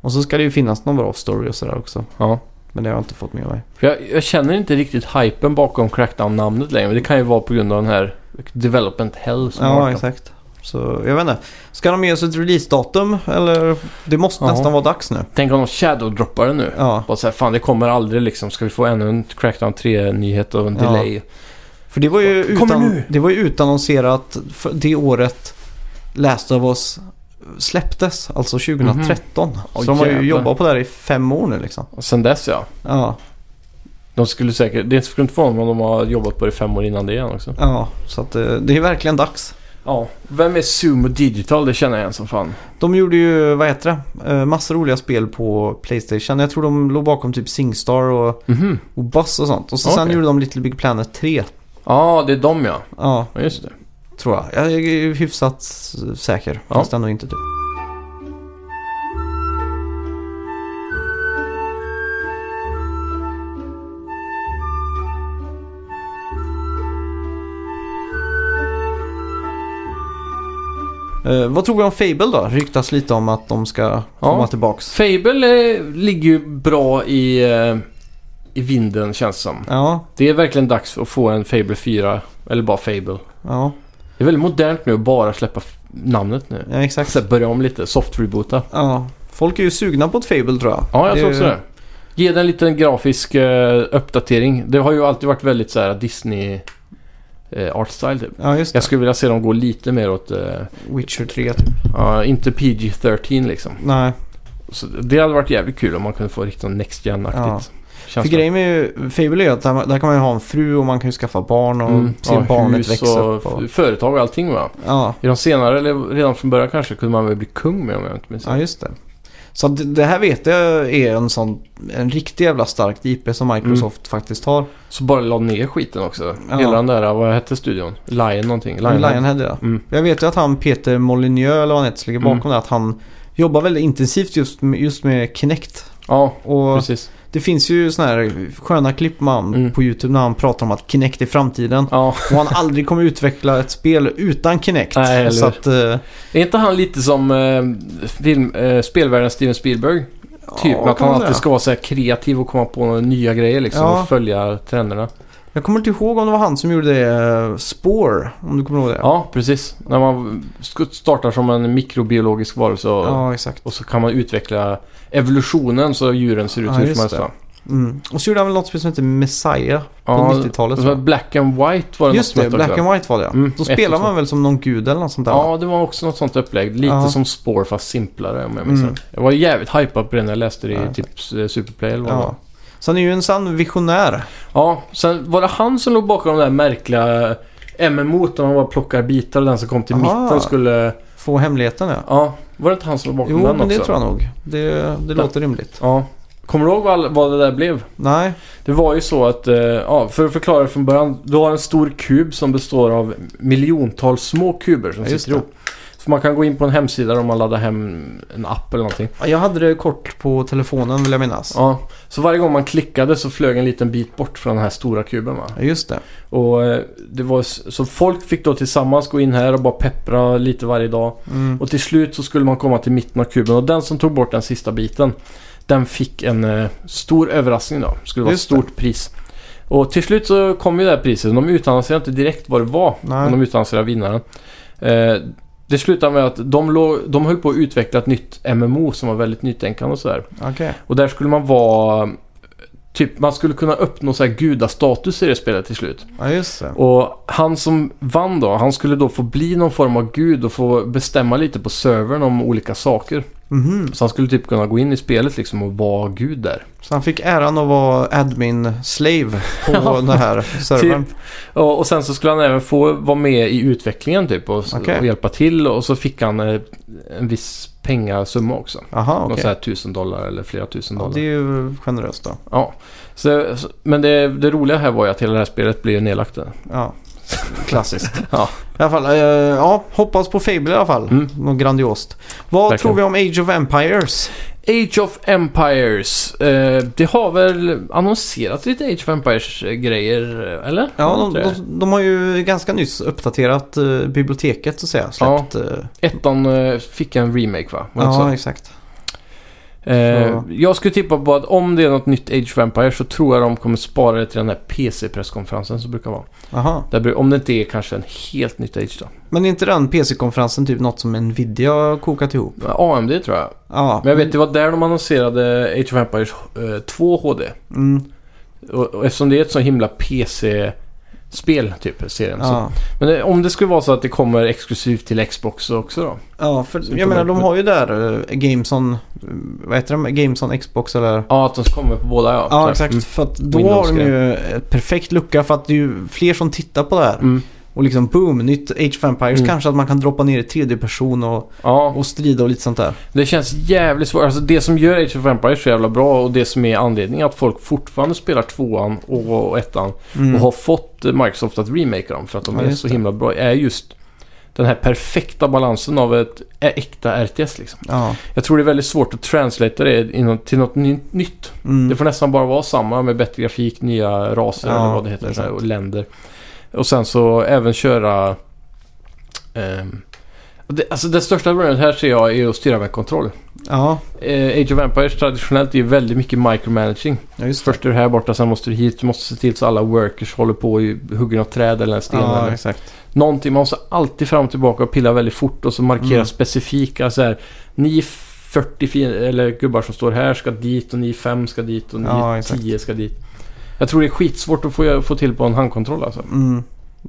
[SPEAKER 1] Och så ska det ju finnas någon bra story och sådär också.
[SPEAKER 2] Ja.
[SPEAKER 1] Men det har jag inte fått med mig.
[SPEAKER 2] För jag, jag känner inte riktigt hypen bakom Crackdown-namnet längre. Men det kan ju vara på grund av den här Development Hell som har
[SPEAKER 1] Ja,
[SPEAKER 2] varit.
[SPEAKER 1] exakt. Så jag vet inte. Ska de ge oss ett releasedatum? Eller? Det måste
[SPEAKER 2] Ja.
[SPEAKER 1] nästan vara dags nu.
[SPEAKER 2] Tänk om de shadow-droppar det nu.
[SPEAKER 1] Ja,
[SPEAKER 2] Bara så här, fan det kommer aldrig liksom. Ska vi få ännu en Crackdown 3-nyhet och en
[SPEAKER 1] Ja.
[SPEAKER 2] delay?
[SPEAKER 1] för det var ju,
[SPEAKER 2] Kommer
[SPEAKER 1] utan,
[SPEAKER 2] nu!
[SPEAKER 1] det var ju utannonserat för det året Last of Us släpptes, alltså 2013.
[SPEAKER 2] Mhm. Åh,
[SPEAKER 1] Så de har ju
[SPEAKER 2] jävlar.
[SPEAKER 1] jobbat på det här i fem år nu liksom.
[SPEAKER 2] Och sen dess ja.
[SPEAKER 1] Ja,
[SPEAKER 2] De skulle säkert, det skulle inte förvåna mig om de har jobbat på det fem år innan det igen också.
[SPEAKER 1] ja så att, eh, det är verkligen dags.
[SPEAKER 2] Ja. Vem är Sumo Digital? Det känner jag igen som fan.
[SPEAKER 1] De gjorde ju, vad heter det, Eh, massor roliga spel på Playstation. Jag tror de låg bakom typ Singstar och,
[SPEAKER 2] Mhm.
[SPEAKER 1] och Buzz och sånt. Och så sen
[SPEAKER 2] Okej.
[SPEAKER 1] gjorde de Little Big Planet 3.
[SPEAKER 2] Ja, det är de ja.
[SPEAKER 1] Ja,
[SPEAKER 2] Ja, just det.
[SPEAKER 1] Tror jag. Jag är ju hyfsat s- säker.
[SPEAKER 2] Ja.
[SPEAKER 1] Fast ändå inte typ. Eh, vad tror vi om Fable då? Ryktas lite om att de ska komma tillbaks.
[SPEAKER 2] Fable eh, ligger ju bra i, eh, i vinden känns det som.
[SPEAKER 1] Ja,
[SPEAKER 2] Det är verkligen dags att få en Fable 4. Eller bara Fable.
[SPEAKER 1] ja,
[SPEAKER 2] Det är väldigt modernt nu att bara släppa f- namnet nu.
[SPEAKER 1] ja exakt.
[SPEAKER 2] Så här, börja om lite, soft reboota.
[SPEAKER 1] Ja. Folk är ju sugna på ett Fable tror jag.
[SPEAKER 2] Ja, jag
[SPEAKER 1] Det-
[SPEAKER 2] tror också det. Ge den en liten grafisk eh, uppdatering. Det har ju alltid varit väldigt så här Disney eh, art style typ.
[SPEAKER 1] Ja, just det.
[SPEAKER 2] Jag skulle vilja se dem gå lite mer åt, eh,
[SPEAKER 1] Witcher 3 typ.
[SPEAKER 2] ja, inte PG-13 liksom.
[SPEAKER 1] Nej.
[SPEAKER 2] Så det hade varit jävligt kul om man kunde få riktigt next gen-aktigt.
[SPEAKER 1] För grejen med ju- Fable är ju att där, där kan man ju ha en fru och man kan ju skaffa barn och se barnet växa upp. Och,
[SPEAKER 2] f- företag Mm, och allting va?
[SPEAKER 1] ja,
[SPEAKER 2] I de senare, eller redan från början kanske, kunde man väl bli kung med om jag inte minns
[SPEAKER 1] ja,
[SPEAKER 2] fel.
[SPEAKER 1] just det. Så att det- det här vet jag är en sån, en riktig jävla stark IP som
[SPEAKER 2] Mm.
[SPEAKER 1] Microsoft faktiskt har.
[SPEAKER 2] Så bara la ner skiten också.
[SPEAKER 1] Ja.
[SPEAKER 2] Hela den där, vad hette studion? Lion någonting? Lionhead.
[SPEAKER 1] Lionhead ja.
[SPEAKER 2] Mm.
[SPEAKER 1] Jag vet ju att han Peter Molyneux eller vad han heter som ligger bakom det. Att han jobbar väldigt intensivt just med, just med Kinect.
[SPEAKER 2] Ja,
[SPEAKER 1] Och
[SPEAKER 2] precis.
[SPEAKER 1] det finns ju såna här sköna klipp med han
[SPEAKER 2] Mm.
[SPEAKER 1] på YouTube när han pratar om att Kinect är framtiden.
[SPEAKER 2] Ja.
[SPEAKER 1] Och han aldrig kommer utveckla ett spel utan Kinect.
[SPEAKER 2] Nej, eller
[SPEAKER 1] så att, eh,
[SPEAKER 2] Är inte han lite som eh, film, eh, spelvärlden Steven Spielberg? Typ
[SPEAKER 1] ja, kan man
[SPEAKER 2] att han
[SPEAKER 1] säga.
[SPEAKER 2] alltid ska vara så här kreativ och komma på några nya grejer liksom
[SPEAKER 1] Ja.
[SPEAKER 2] och följa trenderna.
[SPEAKER 1] Jag kommer inte ihåg om det var han som gjorde det, eh, Spore, om du kommer ihåg det.
[SPEAKER 2] Ja, precis. När man sk- startar som en mikrobiologisk varelse och,
[SPEAKER 1] Ja, exakt.
[SPEAKER 2] och så kan man utveckla evolutionen så djuren ser ut
[SPEAKER 1] Ja,
[SPEAKER 2] hur som
[SPEAKER 1] just
[SPEAKER 2] helst.
[SPEAKER 1] det.
[SPEAKER 2] va?
[SPEAKER 1] Mm. Och så gjorde han väl något spel som heter Messiah på
[SPEAKER 2] Ja,
[SPEAKER 1] 90-talet.
[SPEAKER 2] det var Black and White var det
[SPEAKER 1] Just
[SPEAKER 2] något
[SPEAKER 1] det, Black and White var det ja.
[SPEAKER 2] Mm,
[SPEAKER 1] Då
[SPEAKER 2] ett och
[SPEAKER 1] spelar
[SPEAKER 2] två.
[SPEAKER 1] man väl som någon gud eller något sånt där. va?
[SPEAKER 2] Ja, det var också något sånt upplägg. Lite
[SPEAKER 1] Ja.
[SPEAKER 2] som Spore fast simplare om jag minns
[SPEAKER 1] Mm.
[SPEAKER 2] rätt. Jag var jävligt hypad på det när jag läste det i
[SPEAKER 1] Ja.
[SPEAKER 2] typ eh, Superplay eller vad det var.
[SPEAKER 1] Ja. Så han är ju en sann visionär.
[SPEAKER 2] Ja, sen var det han som låg bakom den där märkliga MMO där man bara plockar bitar och den som kom till
[SPEAKER 1] Aha.
[SPEAKER 2] mitten skulle...
[SPEAKER 1] Få hemligheten ja.
[SPEAKER 2] Ja, var det inte han som låg bakom
[SPEAKER 1] Jo,
[SPEAKER 2] den
[SPEAKER 1] men det
[SPEAKER 2] också?
[SPEAKER 1] tror jag nog. Det, det låter rimligt.
[SPEAKER 2] Ja. Kommer du ihåg vad, all- vad det där blev?
[SPEAKER 1] Nej.
[SPEAKER 2] Det var ju så att, eh, ja, för att förklara det från början. Du har en stor kub som består av miljontals små kuber som
[SPEAKER 1] Ja, just
[SPEAKER 2] sitter ihop. Så man kan gå in på en hemsida om man laddar hem en app eller någonting.
[SPEAKER 1] Jag hade det kort på telefonen vill jag minnas.
[SPEAKER 2] Ja, så varje gång man klickade så flög en liten bit bort från den här stora kuben va?
[SPEAKER 1] Ja, Just det.
[SPEAKER 2] Och eh, det var, s- så folk fick då tillsammans gå in här och bara peppra lite varje dag.
[SPEAKER 1] Mm.
[SPEAKER 2] Och till slut så skulle man komma till mitten av kuben och den som tog bort den sista biten den fick en eh, stor överraskning då. Det skulle vara ett
[SPEAKER 1] Just det.
[SPEAKER 2] stort pris. Och till slut så kom ju det här priset. De utannonserade inte direkt vad det var.
[SPEAKER 1] Nej.
[SPEAKER 2] Men de utannonserade vinnaren. Eh, det slutade med att de, låg, de höll på att utveckla ett nytt MMO som var väldigt nytänkande och sådär.
[SPEAKER 1] Okej.
[SPEAKER 2] Och där skulle man vara... Typ, man skulle kunna uppnå så här gudastatus i det spelet till slut.
[SPEAKER 1] Ja, just det.
[SPEAKER 2] Och han som vann då, han skulle då få bli någon form av gud och få bestämma lite på servern om olika saker.
[SPEAKER 1] Mhm.
[SPEAKER 2] Så han skulle typ kunna gå in i spelet liksom och vara gud där.
[SPEAKER 1] Så han fick äran att vara admin-slave på den här servern.
[SPEAKER 2] Typ. Och, och sen så skulle han även få vara med i utvecklingen typ och,
[SPEAKER 1] Okej.
[SPEAKER 2] och hjälpa till. Och så fick han eh, en viss pengasumma också.
[SPEAKER 1] Jaha,
[SPEAKER 2] Någon
[SPEAKER 1] okej.
[SPEAKER 2] så här tusen dollar eller flera tusen
[SPEAKER 1] Ja,
[SPEAKER 2] dollar.
[SPEAKER 1] det är ju generöst då.
[SPEAKER 2] Ja. Så, så- men det, det roliga här var ju att hela det här spelet blev ju nedlagt. där.
[SPEAKER 1] Ja. Klassiskt.
[SPEAKER 2] Ja.
[SPEAKER 1] I alla fall, eh, ja, hoppas på Fable i alla fall.
[SPEAKER 2] Mm.
[SPEAKER 1] Något grandiost. Vad tror
[SPEAKER 2] Verkligen.
[SPEAKER 1] vi om Age of Empires?
[SPEAKER 2] Age of Empires. Eh, det har väl annonserat lite Age of Empires-grejer, eh, eller?
[SPEAKER 1] Ja, de,
[SPEAKER 2] Tror jag.
[SPEAKER 1] de, de har ju ganska nyss uppdaterat eh, biblioteket så att säga. Släppt, eh,
[SPEAKER 2] Ettan eh, fick en remake, va? Var det
[SPEAKER 1] ja,
[SPEAKER 2] så?
[SPEAKER 1] exakt.
[SPEAKER 2] Eh,
[SPEAKER 1] så-
[SPEAKER 2] jag skulle tippa på att om det är något nytt Age of Empires så tror jag de kommer spara det till den här PC-presskonferensen som brukar vara.
[SPEAKER 1] Aha.
[SPEAKER 2] Där, bru- om det inte är kanske en helt nytt Age då.
[SPEAKER 1] Men är inte den PC-konferensen typ något som Nvidia har kokat ihop?
[SPEAKER 2] AMD tror jag.
[SPEAKER 1] Ja.
[SPEAKER 2] Men jag vet, det var där de annonserade Age of Empires eh, 2 HD.
[SPEAKER 1] Mm,
[SPEAKER 2] Och, och eftersom det är ett så himla PC-spel, typ, serien. Så
[SPEAKER 1] ja.
[SPEAKER 2] Men eh, om det skulle vara så att det kommer exklusivt till Xbox också då?
[SPEAKER 1] ja,
[SPEAKER 2] Så
[SPEAKER 1] för
[SPEAKER 2] kommer-
[SPEAKER 1] jag menar de har ju där eh, Gameson, eh, vad heter de? Gameson Xbox eller?
[SPEAKER 2] Ja, att de kommer på båda ja.
[SPEAKER 1] Ja,
[SPEAKER 2] Så-
[SPEAKER 1] exakt.
[SPEAKER 2] Mm.
[SPEAKER 1] För att då
[SPEAKER 2] Windows
[SPEAKER 1] har de ju ett perfekt lucka för att det är ju fler som tittar på det här.
[SPEAKER 2] Mm.
[SPEAKER 1] Och liksom boom, nytt Age of Empires.
[SPEAKER 2] Mm.
[SPEAKER 1] Kanske att man kan droppa ner i tredje person och,
[SPEAKER 2] Ja,
[SPEAKER 1] och strida och lite sånt där.
[SPEAKER 2] det känns jävligt svårt. Alltså det som gör Age of Empires så jävla bra och det som är anledningen att folk fortfarande spelar tvåan och, och ettan
[SPEAKER 1] Mm.
[SPEAKER 2] och har fått eh, Microsoft att remake dem för att de
[SPEAKER 1] Ja,
[SPEAKER 2] är
[SPEAKER 1] just
[SPEAKER 2] så
[SPEAKER 1] det.
[SPEAKER 2] himla bra är just den här perfekta balansen av ett ä- äkta RTS liksom.
[SPEAKER 1] Ja.
[SPEAKER 2] Jag tror det är väldigt svårt att translata det i nå- till något ny- nytt.
[SPEAKER 1] Mm.
[SPEAKER 2] Det får nästan bara vara samma med bättre grafik, nya raser
[SPEAKER 1] Ja,
[SPEAKER 2] eller vad det
[SPEAKER 1] det
[SPEAKER 2] heter
[SPEAKER 1] är sant.
[SPEAKER 2] och länder. Och sen så även köra... ehm, det, alltså det största problemet här ser jag är att styra med kontroll.
[SPEAKER 1] ja.
[SPEAKER 2] Eh, Age of Empires traditionellt är ju väldigt mycket micromanaging.
[SPEAKER 1] ja, just det.
[SPEAKER 2] Först är du här borta, sen måste du hit. Du måste se till så alla workers håller på och hugger något träd eller en sten.
[SPEAKER 1] Ja,
[SPEAKER 2] eller
[SPEAKER 1] exakt.
[SPEAKER 2] någonting. Man måste alltid fram och tillbaka och pilla väldigt fort och så markera
[SPEAKER 1] Mm.
[SPEAKER 2] specifika så här. Ni 40 fin- eller gubbar som står här ska dit och ni 5 ska dit och ni
[SPEAKER 1] Ja, exakt.
[SPEAKER 2] 10 ska dit. Jag tror det är skitsvårt att få, få till på en handkontroll alltså.
[SPEAKER 1] Mm.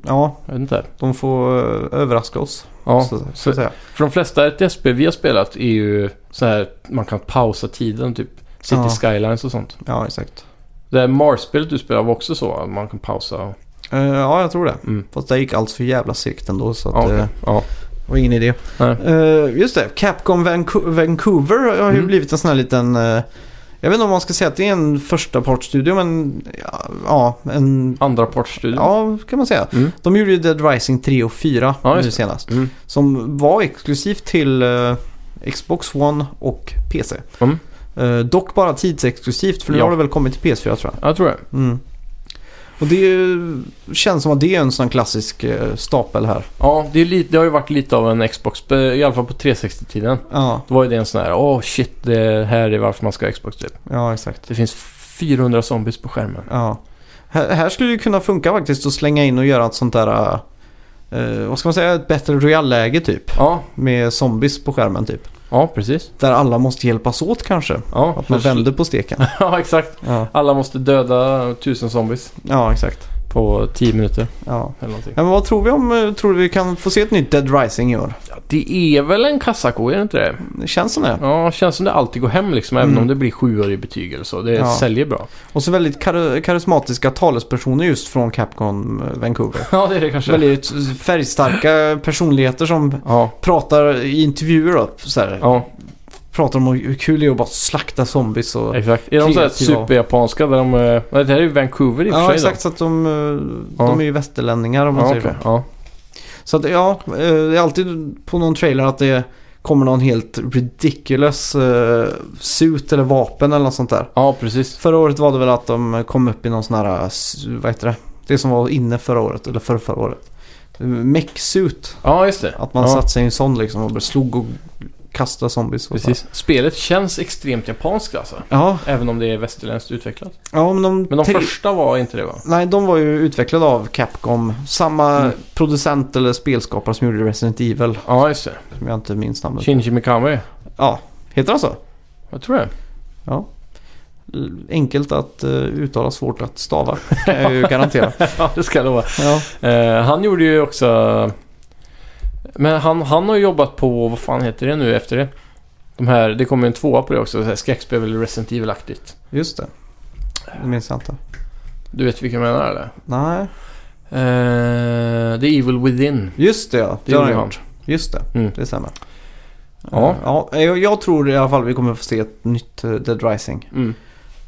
[SPEAKER 1] Ja,
[SPEAKER 2] Jag vet inte.
[SPEAKER 1] de får eh, överraska oss.
[SPEAKER 2] Ja,
[SPEAKER 1] så, så
[SPEAKER 2] för,
[SPEAKER 1] att säga.
[SPEAKER 2] för de flesta RTSB vi har spelat är ju så här man kan pausa tiden typ. City
[SPEAKER 1] Ja.
[SPEAKER 2] Skylines och sånt.
[SPEAKER 1] Ja, exakt.
[SPEAKER 2] Det här Mars-spelet du spelade var också så. att Man kan pausa. och-
[SPEAKER 1] Eh, ja, jag tror det.
[SPEAKER 2] Mm.
[SPEAKER 1] Fast det gick allt för jävla segt ändå. Så att,
[SPEAKER 2] Ja, okej.
[SPEAKER 1] eh,
[SPEAKER 2] ja.
[SPEAKER 1] var ingen idé.
[SPEAKER 2] Nej.
[SPEAKER 1] Eh, just det, Capcom Vanco- Vancouver har ju
[SPEAKER 2] Mm.
[SPEAKER 1] blivit en sån här liten... eh, jag vet inte om man ska säga att det är en första partsstudio men ja, ja, en...
[SPEAKER 2] Andra partsstudio.
[SPEAKER 1] Ja, kan man säga.
[SPEAKER 2] Mm.
[SPEAKER 1] De gjorde ju Dead Rising 3 och 4
[SPEAKER 2] Ja, just
[SPEAKER 1] nu
[SPEAKER 2] det.
[SPEAKER 1] senast.
[SPEAKER 2] Mm.
[SPEAKER 1] Som var exklusivt till eh, Xbox One och PC.
[SPEAKER 2] Mm.
[SPEAKER 1] Eh, dock bara tidsexklusivt för nu
[SPEAKER 2] Ja.
[SPEAKER 1] har det väl kommit till PS4 tror jag.
[SPEAKER 2] Jag tror det.
[SPEAKER 1] Mm. Och det är ju- känns som att det är en sån klassisk eh, stapel här.
[SPEAKER 2] Ja, det, är lite, det har ju varit lite av en Xbox, eh, i alla fall på 360-tiden.
[SPEAKER 1] Ja,
[SPEAKER 2] Då var ju det en sån här, åh shit, det här är varför man ska ha Xbox typ.
[SPEAKER 1] ja exakt.
[SPEAKER 2] Det finns 400 zombies på skärmen.
[SPEAKER 1] Ja. Här, här skulle det kunna funka faktiskt att slänga in och göra ett sånt där, eh, vad ska man säga, ett bättre royal-läge typ.
[SPEAKER 2] Ja,
[SPEAKER 1] Med zombies på skärmen typ.
[SPEAKER 2] ja precis.
[SPEAKER 1] Där alla måste hjälpas åt kanske.
[SPEAKER 2] Ja,
[SPEAKER 1] Att man vänder på steken.
[SPEAKER 2] ja, exakt.
[SPEAKER 1] Ja,
[SPEAKER 2] Alla måste döda tusen zombies
[SPEAKER 1] ja exakt.
[SPEAKER 2] på 10 minuter
[SPEAKER 1] Ja.
[SPEAKER 2] eller någonting.
[SPEAKER 1] Ja, men vad tror vi om, eh, tror du vi kan få se ett nytt Dead Rising i år?
[SPEAKER 2] Ja, det är väl en kassako, är det inte det?
[SPEAKER 1] Det känns som det.
[SPEAKER 2] Ja, känns som det alltid går hem liksom, även
[SPEAKER 1] Mm.
[SPEAKER 2] om det blir sjuor i betyg eller så. Det
[SPEAKER 1] Ja.
[SPEAKER 2] säljer bra.
[SPEAKER 1] Och så väldigt kar- karismatiska talespersoner just från Capcom eh, Vancouver.
[SPEAKER 2] Ja, det är det kanske.
[SPEAKER 1] Väldigt färgstarka personligheter som
[SPEAKER 2] Ja,
[SPEAKER 1] pratar i intervjuer då, så här,
[SPEAKER 2] ja,
[SPEAKER 1] Pratar om hur kul det är att bara slakta zombies och...
[SPEAKER 2] exakt. Är de så här
[SPEAKER 1] Kreativa.
[SPEAKER 2] superjapanska där de... eh, Nej, det här är ju Vancouver i och för
[SPEAKER 1] Ja,
[SPEAKER 2] sig
[SPEAKER 1] exakt. Så att de, eh,
[SPEAKER 2] Ja.
[SPEAKER 1] de är ju västerlänningar om
[SPEAKER 2] då.
[SPEAKER 1] man
[SPEAKER 2] Ja,
[SPEAKER 1] säger
[SPEAKER 2] okej.
[SPEAKER 1] så.
[SPEAKER 2] ja.
[SPEAKER 1] Så att ja, eh, det är alltid på någon trailer att det kommer någon helt ridiculous eh, suit eller vapen eller något sånt där.
[SPEAKER 2] ja, precis.
[SPEAKER 1] Förra året var det väl att de kom upp i någon sån här, eh, s- vad heter det? Det som var inne förra året, eller förra, förra året. Mech-suit.
[SPEAKER 2] Ja, just det.
[SPEAKER 1] Att man
[SPEAKER 2] ja.
[SPEAKER 1] satte sig i en sån liksom och bara slog och kastade zombies. Och så.
[SPEAKER 2] Precis. Spelet känns extremt japanskt alltså.
[SPEAKER 1] Ja,
[SPEAKER 2] Även om det är västerländskt utvecklat.
[SPEAKER 1] ja, men de,
[SPEAKER 2] Men de
[SPEAKER 1] tre-
[SPEAKER 2] första var inte det va?
[SPEAKER 1] Nej, de var ju utvecklade av Capcom. Samma
[SPEAKER 2] Mm.
[SPEAKER 1] producent eller spelskapare som gjorde Resident Evil.
[SPEAKER 2] Ja, just det.
[SPEAKER 1] Som jag inte minns namnet.
[SPEAKER 2] Shinji Mikami.
[SPEAKER 1] Ja, heter han så?
[SPEAKER 2] Jag tror det.
[SPEAKER 1] Ja. L- Enkelt att eh, uttala, svårt att stava. Kan jag ju garantera.
[SPEAKER 2] ja, det ska jag lova.
[SPEAKER 1] Ja.
[SPEAKER 2] Eh, han gjorde ju också... Men han, han har jobbat på, vad fan heter det nu efter det? De här, det kommer ju en tvåa på det också, så här skräckspel eller Resident Evil-aktigt.
[SPEAKER 1] Just det. Det minns jag inte.
[SPEAKER 2] Du vet vilka jag menar eller?
[SPEAKER 1] Nej,
[SPEAKER 2] Eh, The Evil Within.
[SPEAKER 1] just det ja.
[SPEAKER 2] Det
[SPEAKER 1] Det har
[SPEAKER 2] gjorde
[SPEAKER 1] han
[SPEAKER 2] han.
[SPEAKER 1] gjort. Just det,
[SPEAKER 2] Mm.
[SPEAKER 1] det stämmer.
[SPEAKER 2] Ja.
[SPEAKER 1] Eh, ja. Jag, jag tror i alla fall vi kommer få se ett nytt eh, Dead Rising.
[SPEAKER 2] Mm.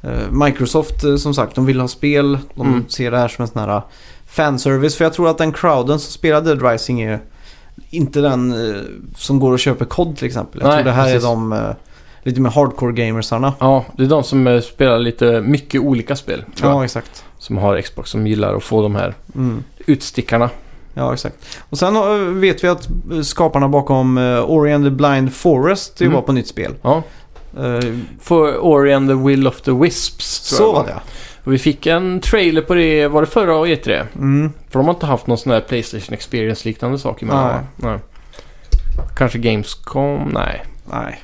[SPEAKER 1] Eh, Microsoft eh, som sagt, de vill ha spel. De
[SPEAKER 2] Mm.
[SPEAKER 1] ser det här som en sån här eh, fanservice. För jag tror att den crowden som spelade Dead Rising är inte den eh, som går och köper kod till exempel. Jag
[SPEAKER 2] Nej,
[SPEAKER 1] tror det här
[SPEAKER 2] precis.
[SPEAKER 1] är de eh, lite mer hardcore gamersarna.
[SPEAKER 2] Ja, det är de som eh, spelar lite mycket olika spel, tror jag.
[SPEAKER 1] Ja, exakt.
[SPEAKER 2] Som har Xbox, som gillar att få de här
[SPEAKER 1] Mm.
[SPEAKER 2] utstickarna.
[SPEAKER 1] Ja, exakt. Och sen eh, vet vi att eh, skaparna bakom eh, Ori and the Blind Forest jobbar
[SPEAKER 2] Mm.
[SPEAKER 1] på nytt spel.
[SPEAKER 2] Ja.
[SPEAKER 1] Eh,
[SPEAKER 2] För Ori and the Will of the Wisps, tror
[SPEAKER 1] Så
[SPEAKER 2] jag
[SPEAKER 1] var det.
[SPEAKER 2] Och vi fick en trailer på det, var det förra och E3?
[SPEAKER 1] Mm.
[SPEAKER 2] För de har inte haft någon sån här Playstation Experience liknande sak emellan va? Nej. Kanske Gamescom? Nej.
[SPEAKER 1] Nej.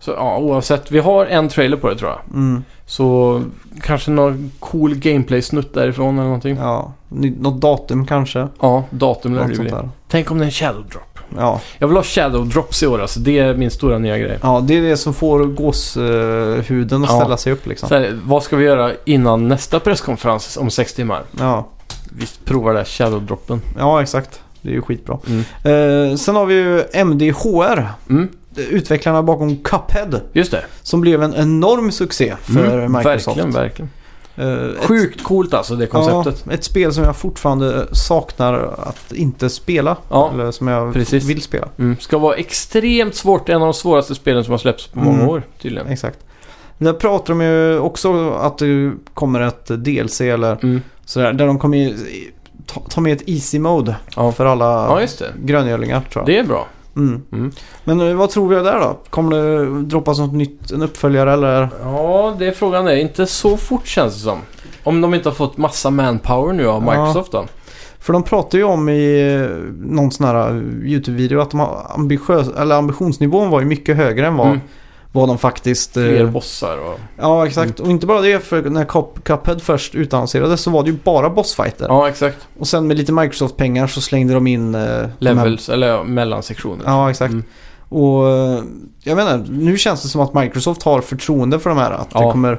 [SPEAKER 2] Så ja, oavsett. Vi har en trailer på det tror jag.
[SPEAKER 1] Mm.
[SPEAKER 2] Så kanske någon cool gameplay-snutt därifrån eller någonting. Ja,
[SPEAKER 1] Ja. Ny- Något datum kanske.
[SPEAKER 2] datum lär
[SPEAKER 1] Något
[SPEAKER 2] det
[SPEAKER 1] sånt
[SPEAKER 2] bli.
[SPEAKER 1] där.
[SPEAKER 2] Tänk om det är en shadow drop.
[SPEAKER 1] Ja.
[SPEAKER 2] Jag vill ha shadow drops i år alltså. Det är min stora nya grej.
[SPEAKER 1] Ja, det är det som får gåshuden att
[SPEAKER 2] Ja.
[SPEAKER 1] ställa sig upp liksom.
[SPEAKER 2] Så här, vad ska vi göra innan nästa presskonferens om sex timmar?
[SPEAKER 1] Ja,
[SPEAKER 2] Vi provar det här shadow droppen.
[SPEAKER 1] ja exakt. Det är ju skitbra.
[SPEAKER 2] Mm.
[SPEAKER 1] Eh, sen har vi ju MDHR.
[SPEAKER 2] Mm,
[SPEAKER 1] Utvecklarna bakom Cuphead.
[SPEAKER 2] just det.
[SPEAKER 1] Som blev en enorm succé för
[SPEAKER 2] mm,
[SPEAKER 1] Microsoft.
[SPEAKER 2] Verkligen, verkligen.
[SPEAKER 1] Eh, ett-
[SPEAKER 2] Sjukt coolt alltså det konceptet.
[SPEAKER 1] Ja, ett spel som jag fortfarande saknar att inte spela.
[SPEAKER 2] Ja,
[SPEAKER 1] eller som jag
[SPEAKER 2] precis.
[SPEAKER 1] vill spela.
[SPEAKER 2] Mm. Ska vara extremt svårt. En av de svåraste spelen som har släppts på många
[SPEAKER 1] Mm.
[SPEAKER 2] år tydligen.
[SPEAKER 1] Exakt. Där pratar de ju också att det kommer ett DLC eller
[SPEAKER 2] Mm.
[SPEAKER 1] sådär. Där de kommer ju ta, ta med ett easy mode
[SPEAKER 2] Ja.
[SPEAKER 1] för alla
[SPEAKER 2] Ja, just det.
[SPEAKER 1] gröngölingar tror jag.
[SPEAKER 2] Det är bra.
[SPEAKER 1] Mm.
[SPEAKER 2] Mm.
[SPEAKER 1] Men eh, vad tror vi där då? Kommer det droppas något nytt, en uppföljare eller?
[SPEAKER 2] Ja, det är frågan är. Inte så fort känns det som. Om de inte har fått massa manpower nu av
[SPEAKER 1] Ja.
[SPEAKER 2] Microsoft då.
[SPEAKER 1] För de pratar ju om i eh, någon sån här eh, YouTube-video att de har ambitiös, eller ambitionsnivån var ju mycket högre än vad,
[SPEAKER 2] Mm.
[SPEAKER 1] vad de faktiskt... eh,
[SPEAKER 2] Fler bossar och...
[SPEAKER 1] Ja, exakt. Och inte bara det, för när Cup- Cuphead först utannonserades så var det ju bara bossfighter.
[SPEAKER 2] Ja, exakt.
[SPEAKER 1] Och sen med lite Microsoft-pengar så slängde de in... eh, de här-
[SPEAKER 2] Levels, eller ja, mellansektioner.
[SPEAKER 1] Ja, exakt.
[SPEAKER 2] Mm.
[SPEAKER 1] Och eh, jag menar, nu känns det som att Microsoft har förtroende för de här. Att
[SPEAKER 2] Ja.
[SPEAKER 1] det kommer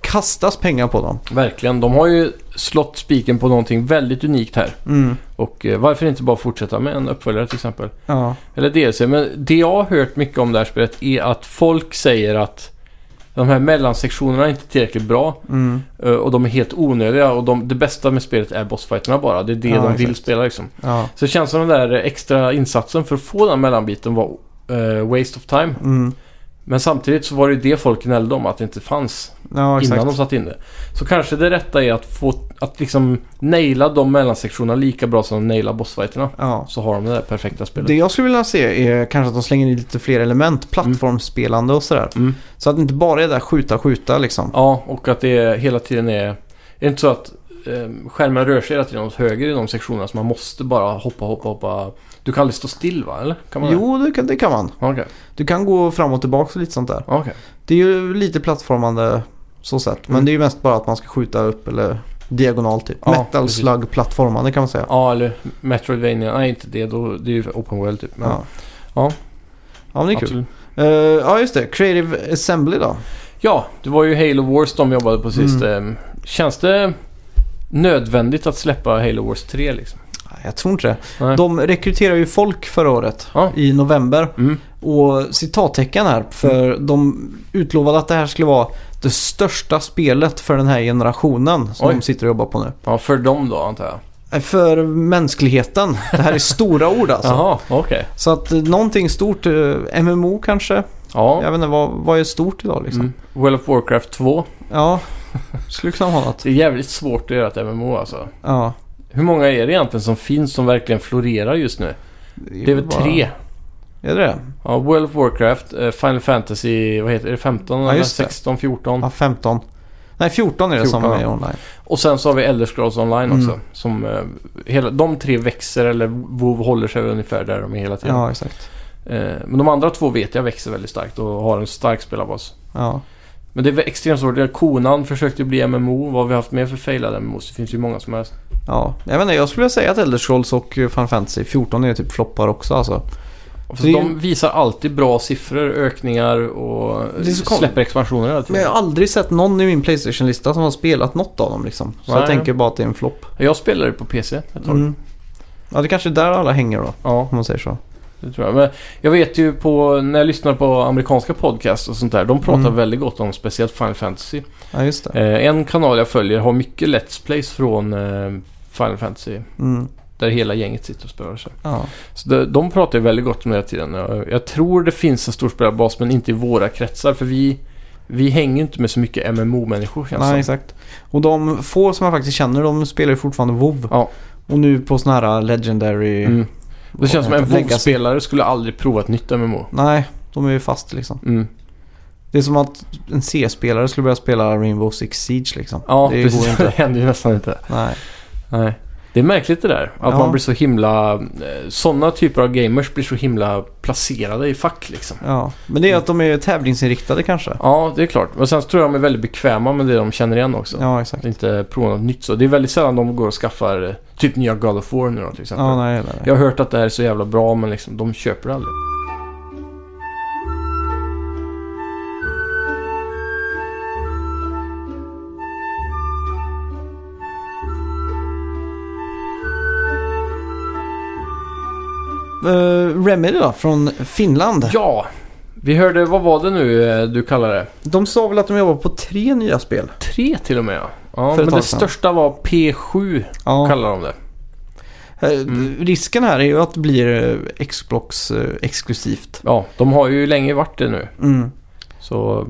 [SPEAKER 1] kastas pengar på dem.
[SPEAKER 2] Verkligen. De har ju slått spiken på någonting väldigt unikt här.
[SPEAKER 1] Mm.
[SPEAKER 2] Och eh, varför inte bara fortsätta med en uppföljare till exempel?
[SPEAKER 1] Ja.
[SPEAKER 2] Eller DLC. Men det jag har hört mycket om det här spelet är att folk säger att de här mellansektionerna är inte tillräckligt bra
[SPEAKER 1] Mm.
[SPEAKER 2] eh, och de är helt onödiga och de, det bästa med spelet är bossfighterna bara. Det är det
[SPEAKER 1] Ja,
[SPEAKER 2] de vill
[SPEAKER 1] exakt.
[SPEAKER 2] spela liksom.
[SPEAKER 1] Ja.
[SPEAKER 2] Så det känns som den där extra insatsen för att få den mellanbiten var eh, waste of time.
[SPEAKER 1] Mm.
[SPEAKER 2] Men samtidigt så var det ju det folk gnällde om att det inte fanns
[SPEAKER 1] ja, exakt.
[SPEAKER 2] innan de satte in det. Så kanske det rätta är att få att liksom naila de mellansektionerna lika bra som de naila bossfighterna.
[SPEAKER 1] Ja.
[SPEAKER 2] Så har de det där perfekta spelet.
[SPEAKER 1] Det jag skulle vilja se är kanske att de slänger in lite fler element. Plattformsspelande och sådär.
[SPEAKER 2] Mm.
[SPEAKER 1] Så att det inte bara är där skjuta, skjuta liksom.
[SPEAKER 2] Ja, och att det är, hela tiden är... Är det inte så att eh, skärmen rör sig hela tiden åt höger i de sektionerna så man måste bara hoppa, hoppa, hoppa. Du kan aldrig stå still va? Eller? Kan man det?
[SPEAKER 1] Jo, det kan, det kan man.
[SPEAKER 2] Ja, Okej.
[SPEAKER 1] Du kan gå fram och tillbaka och lite sånt där.
[SPEAKER 2] Ja, okej.
[SPEAKER 1] Det är ju lite plattformande så sett. Men
[SPEAKER 2] Mm.
[SPEAKER 1] det är ju mest bara att man ska skjuta upp eller diagonalt typ.
[SPEAKER 2] Ja,
[SPEAKER 1] Metal
[SPEAKER 2] precis.
[SPEAKER 1] slug plattformande kan man säga.
[SPEAKER 2] Ja, eller Metroidvania. Nej, inte det. Då, det är ju open world typ. Men,
[SPEAKER 1] Ja.
[SPEAKER 2] Ja.
[SPEAKER 1] Ja, men det är kul.
[SPEAKER 2] absolut.
[SPEAKER 1] Eh, ja, just det. Creative Assembly då.
[SPEAKER 2] ja, det var ju Halo Wars de jobbade på sist.
[SPEAKER 1] Mm.
[SPEAKER 2] Eh, Känns det nödvändigt att släppa Halo Wars 3 liksom?
[SPEAKER 1] Nej, Jag tror inte det.
[SPEAKER 2] Nej.
[SPEAKER 1] De rekryterar ju folk förra året
[SPEAKER 2] Ja.
[SPEAKER 1] i november.
[SPEAKER 2] Mm.
[SPEAKER 1] Och citattecken här, för de utlovade att det här skulle vara det största spelet för den här generationen som
[SPEAKER 2] Oj.
[SPEAKER 1] de sitter och jobbar på nu.
[SPEAKER 2] ja, för dem då antar jag.
[SPEAKER 1] Nej, För mänskligheten. Det här är stora ord alltså.
[SPEAKER 2] Jaha, okej.
[SPEAKER 1] Så att eh, någonting stort, eh, MMO kanske?
[SPEAKER 2] Ja.
[SPEAKER 1] Jag vet inte, vad, vad är stort idag liksom?
[SPEAKER 2] Mm. World of Warcraft 2.
[SPEAKER 1] Ja, skulle kunna vara något.
[SPEAKER 2] Det är jävligt svårt att göra ett MMO alltså.
[SPEAKER 1] Ja.
[SPEAKER 2] Hur många är det egentligen som finns som verkligen florerar just nu? Det är väl
[SPEAKER 1] bara-
[SPEAKER 2] tre?
[SPEAKER 1] Är det det?
[SPEAKER 2] Ja, World of Warcraft, eh, Final Fantasy, vad heter det? 15
[SPEAKER 1] Ja,
[SPEAKER 2] eller
[SPEAKER 1] just det.
[SPEAKER 2] 16, 14?
[SPEAKER 1] Ja, 15. Nej, 14 är det som
[SPEAKER 2] 14,
[SPEAKER 1] är
[SPEAKER 2] ja.
[SPEAKER 1] online.
[SPEAKER 2] Och sen så har vi Elder Scrolls Online
[SPEAKER 1] Mm.
[SPEAKER 2] också. Som, eh, hela, de tre växer eller WoW håller sig ungefär där de är hela tiden.
[SPEAKER 1] Ja, exakt.
[SPEAKER 2] Eh, men de andra två vet jag växer väldigt starkt och har en stark spelarbas.
[SPEAKER 1] Ja.
[SPEAKER 2] Men det är extremt svårt. Det är Konan försökte ju bli MMO. Vad har vi haft mer för failade MMOs? Det finns ju många som helst.
[SPEAKER 1] ja, jag vet inte, jag skulle vilja säga att Elder Scrolls och eh, Final Fantasy 14 är typ floppar också alltså.
[SPEAKER 2] Och
[SPEAKER 1] Det är ju-
[SPEAKER 2] De visar alltid bra siffror, ökningar och
[SPEAKER 1] Det är så konstigt.
[SPEAKER 2] släpper expansioner hela tiden.
[SPEAKER 1] Men jag har aldrig sett någon i min Playstation-lista som har spelat något av dem liksom. Så jag
[SPEAKER 2] Nej.
[SPEAKER 1] tänker bara att det är en flopp.
[SPEAKER 2] Jag spelade på PC ett tag.
[SPEAKER 1] Mm. Ja, det kanske är där alla hänger då,
[SPEAKER 2] Ja,
[SPEAKER 1] om man säger så.
[SPEAKER 2] det tror jag. Men jag vet ju på, när jag lyssnar på amerikanska podcast och sånt där. De pratar
[SPEAKER 1] Mm.
[SPEAKER 2] väldigt gott om speciellt Final Fantasy.
[SPEAKER 1] Ja, just det.
[SPEAKER 2] Eh, en kanal jag följer har mycket Let's Plays från eh, Final Fantasy.
[SPEAKER 1] Mm.
[SPEAKER 2] Där hela gänget sitter och spelar. Så,
[SPEAKER 1] Ja.
[SPEAKER 2] så de, de pratar ju väldigt gott om det hela tiden. Jag, jag tror det finns en stor spelarbas men inte i våra kretsar. För vi, vi hänger ju inte med så mycket MMO-människor känns
[SPEAKER 1] Nej,
[SPEAKER 2] det som.
[SPEAKER 1] exakt. Och de få som jag faktiskt känner, de spelar ju fortfarande WoW.
[SPEAKER 2] Ja.
[SPEAKER 1] Och nu på såna här Legendary...
[SPEAKER 2] Mm. Det känns som en
[SPEAKER 1] Legacy.
[SPEAKER 2] WoW-spelare skulle aldrig prova ett nytt MMO.
[SPEAKER 1] Nej, de är ju fast liksom.
[SPEAKER 2] Mm.
[SPEAKER 1] Det är som att en C-spelare skulle börja spela Rainbow Six Siege liksom.
[SPEAKER 2] Ja,
[SPEAKER 1] det
[SPEAKER 2] precis.
[SPEAKER 1] går
[SPEAKER 2] Det
[SPEAKER 1] inte.
[SPEAKER 2] händer ju nästan inte.
[SPEAKER 1] Nej.
[SPEAKER 2] Nej. Det är märkligt det där. Att
[SPEAKER 1] Ja.
[SPEAKER 2] man blir så himla... Sådana typer av gamers blir så himla placerade i fack liksom.
[SPEAKER 1] Ja. Men det är att de är tävlingsinriktade kanske.
[SPEAKER 2] Ja, det är klart. Men sen tror jag de är väldigt bekväma med det de känner igen också.
[SPEAKER 1] Ja,
[SPEAKER 2] Att
[SPEAKER 1] exakt.
[SPEAKER 2] inte prova något nytt så. Det är väldigt sällan de går och skaffar eh, typ nya God of War nu då till exempel.
[SPEAKER 1] Ja, nej, nej, nej.
[SPEAKER 2] Jag har hört att det här är så jävla bra men liksom de köper det aldrig.
[SPEAKER 1] Eh, Remedy då, från Finland.
[SPEAKER 2] Ja! Vi hörde, vad var det nu eh, du kallade det?
[SPEAKER 1] De sa väl att de jobbar på tre nya spel?
[SPEAKER 2] Tre till och med ja. ja
[SPEAKER 1] För ett
[SPEAKER 2] men det
[SPEAKER 1] tag sedan.
[SPEAKER 2] största var P7
[SPEAKER 1] Ja.
[SPEAKER 2] kallar de det.
[SPEAKER 1] Eh,
[SPEAKER 2] Mm.
[SPEAKER 1] Risken här är ju att det blir eh, Xbox eh, exklusivt.
[SPEAKER 2] Ja, de har ju länge varit det nu.
[SPEAKER 1] Mm.
[SPEAKER 2] Så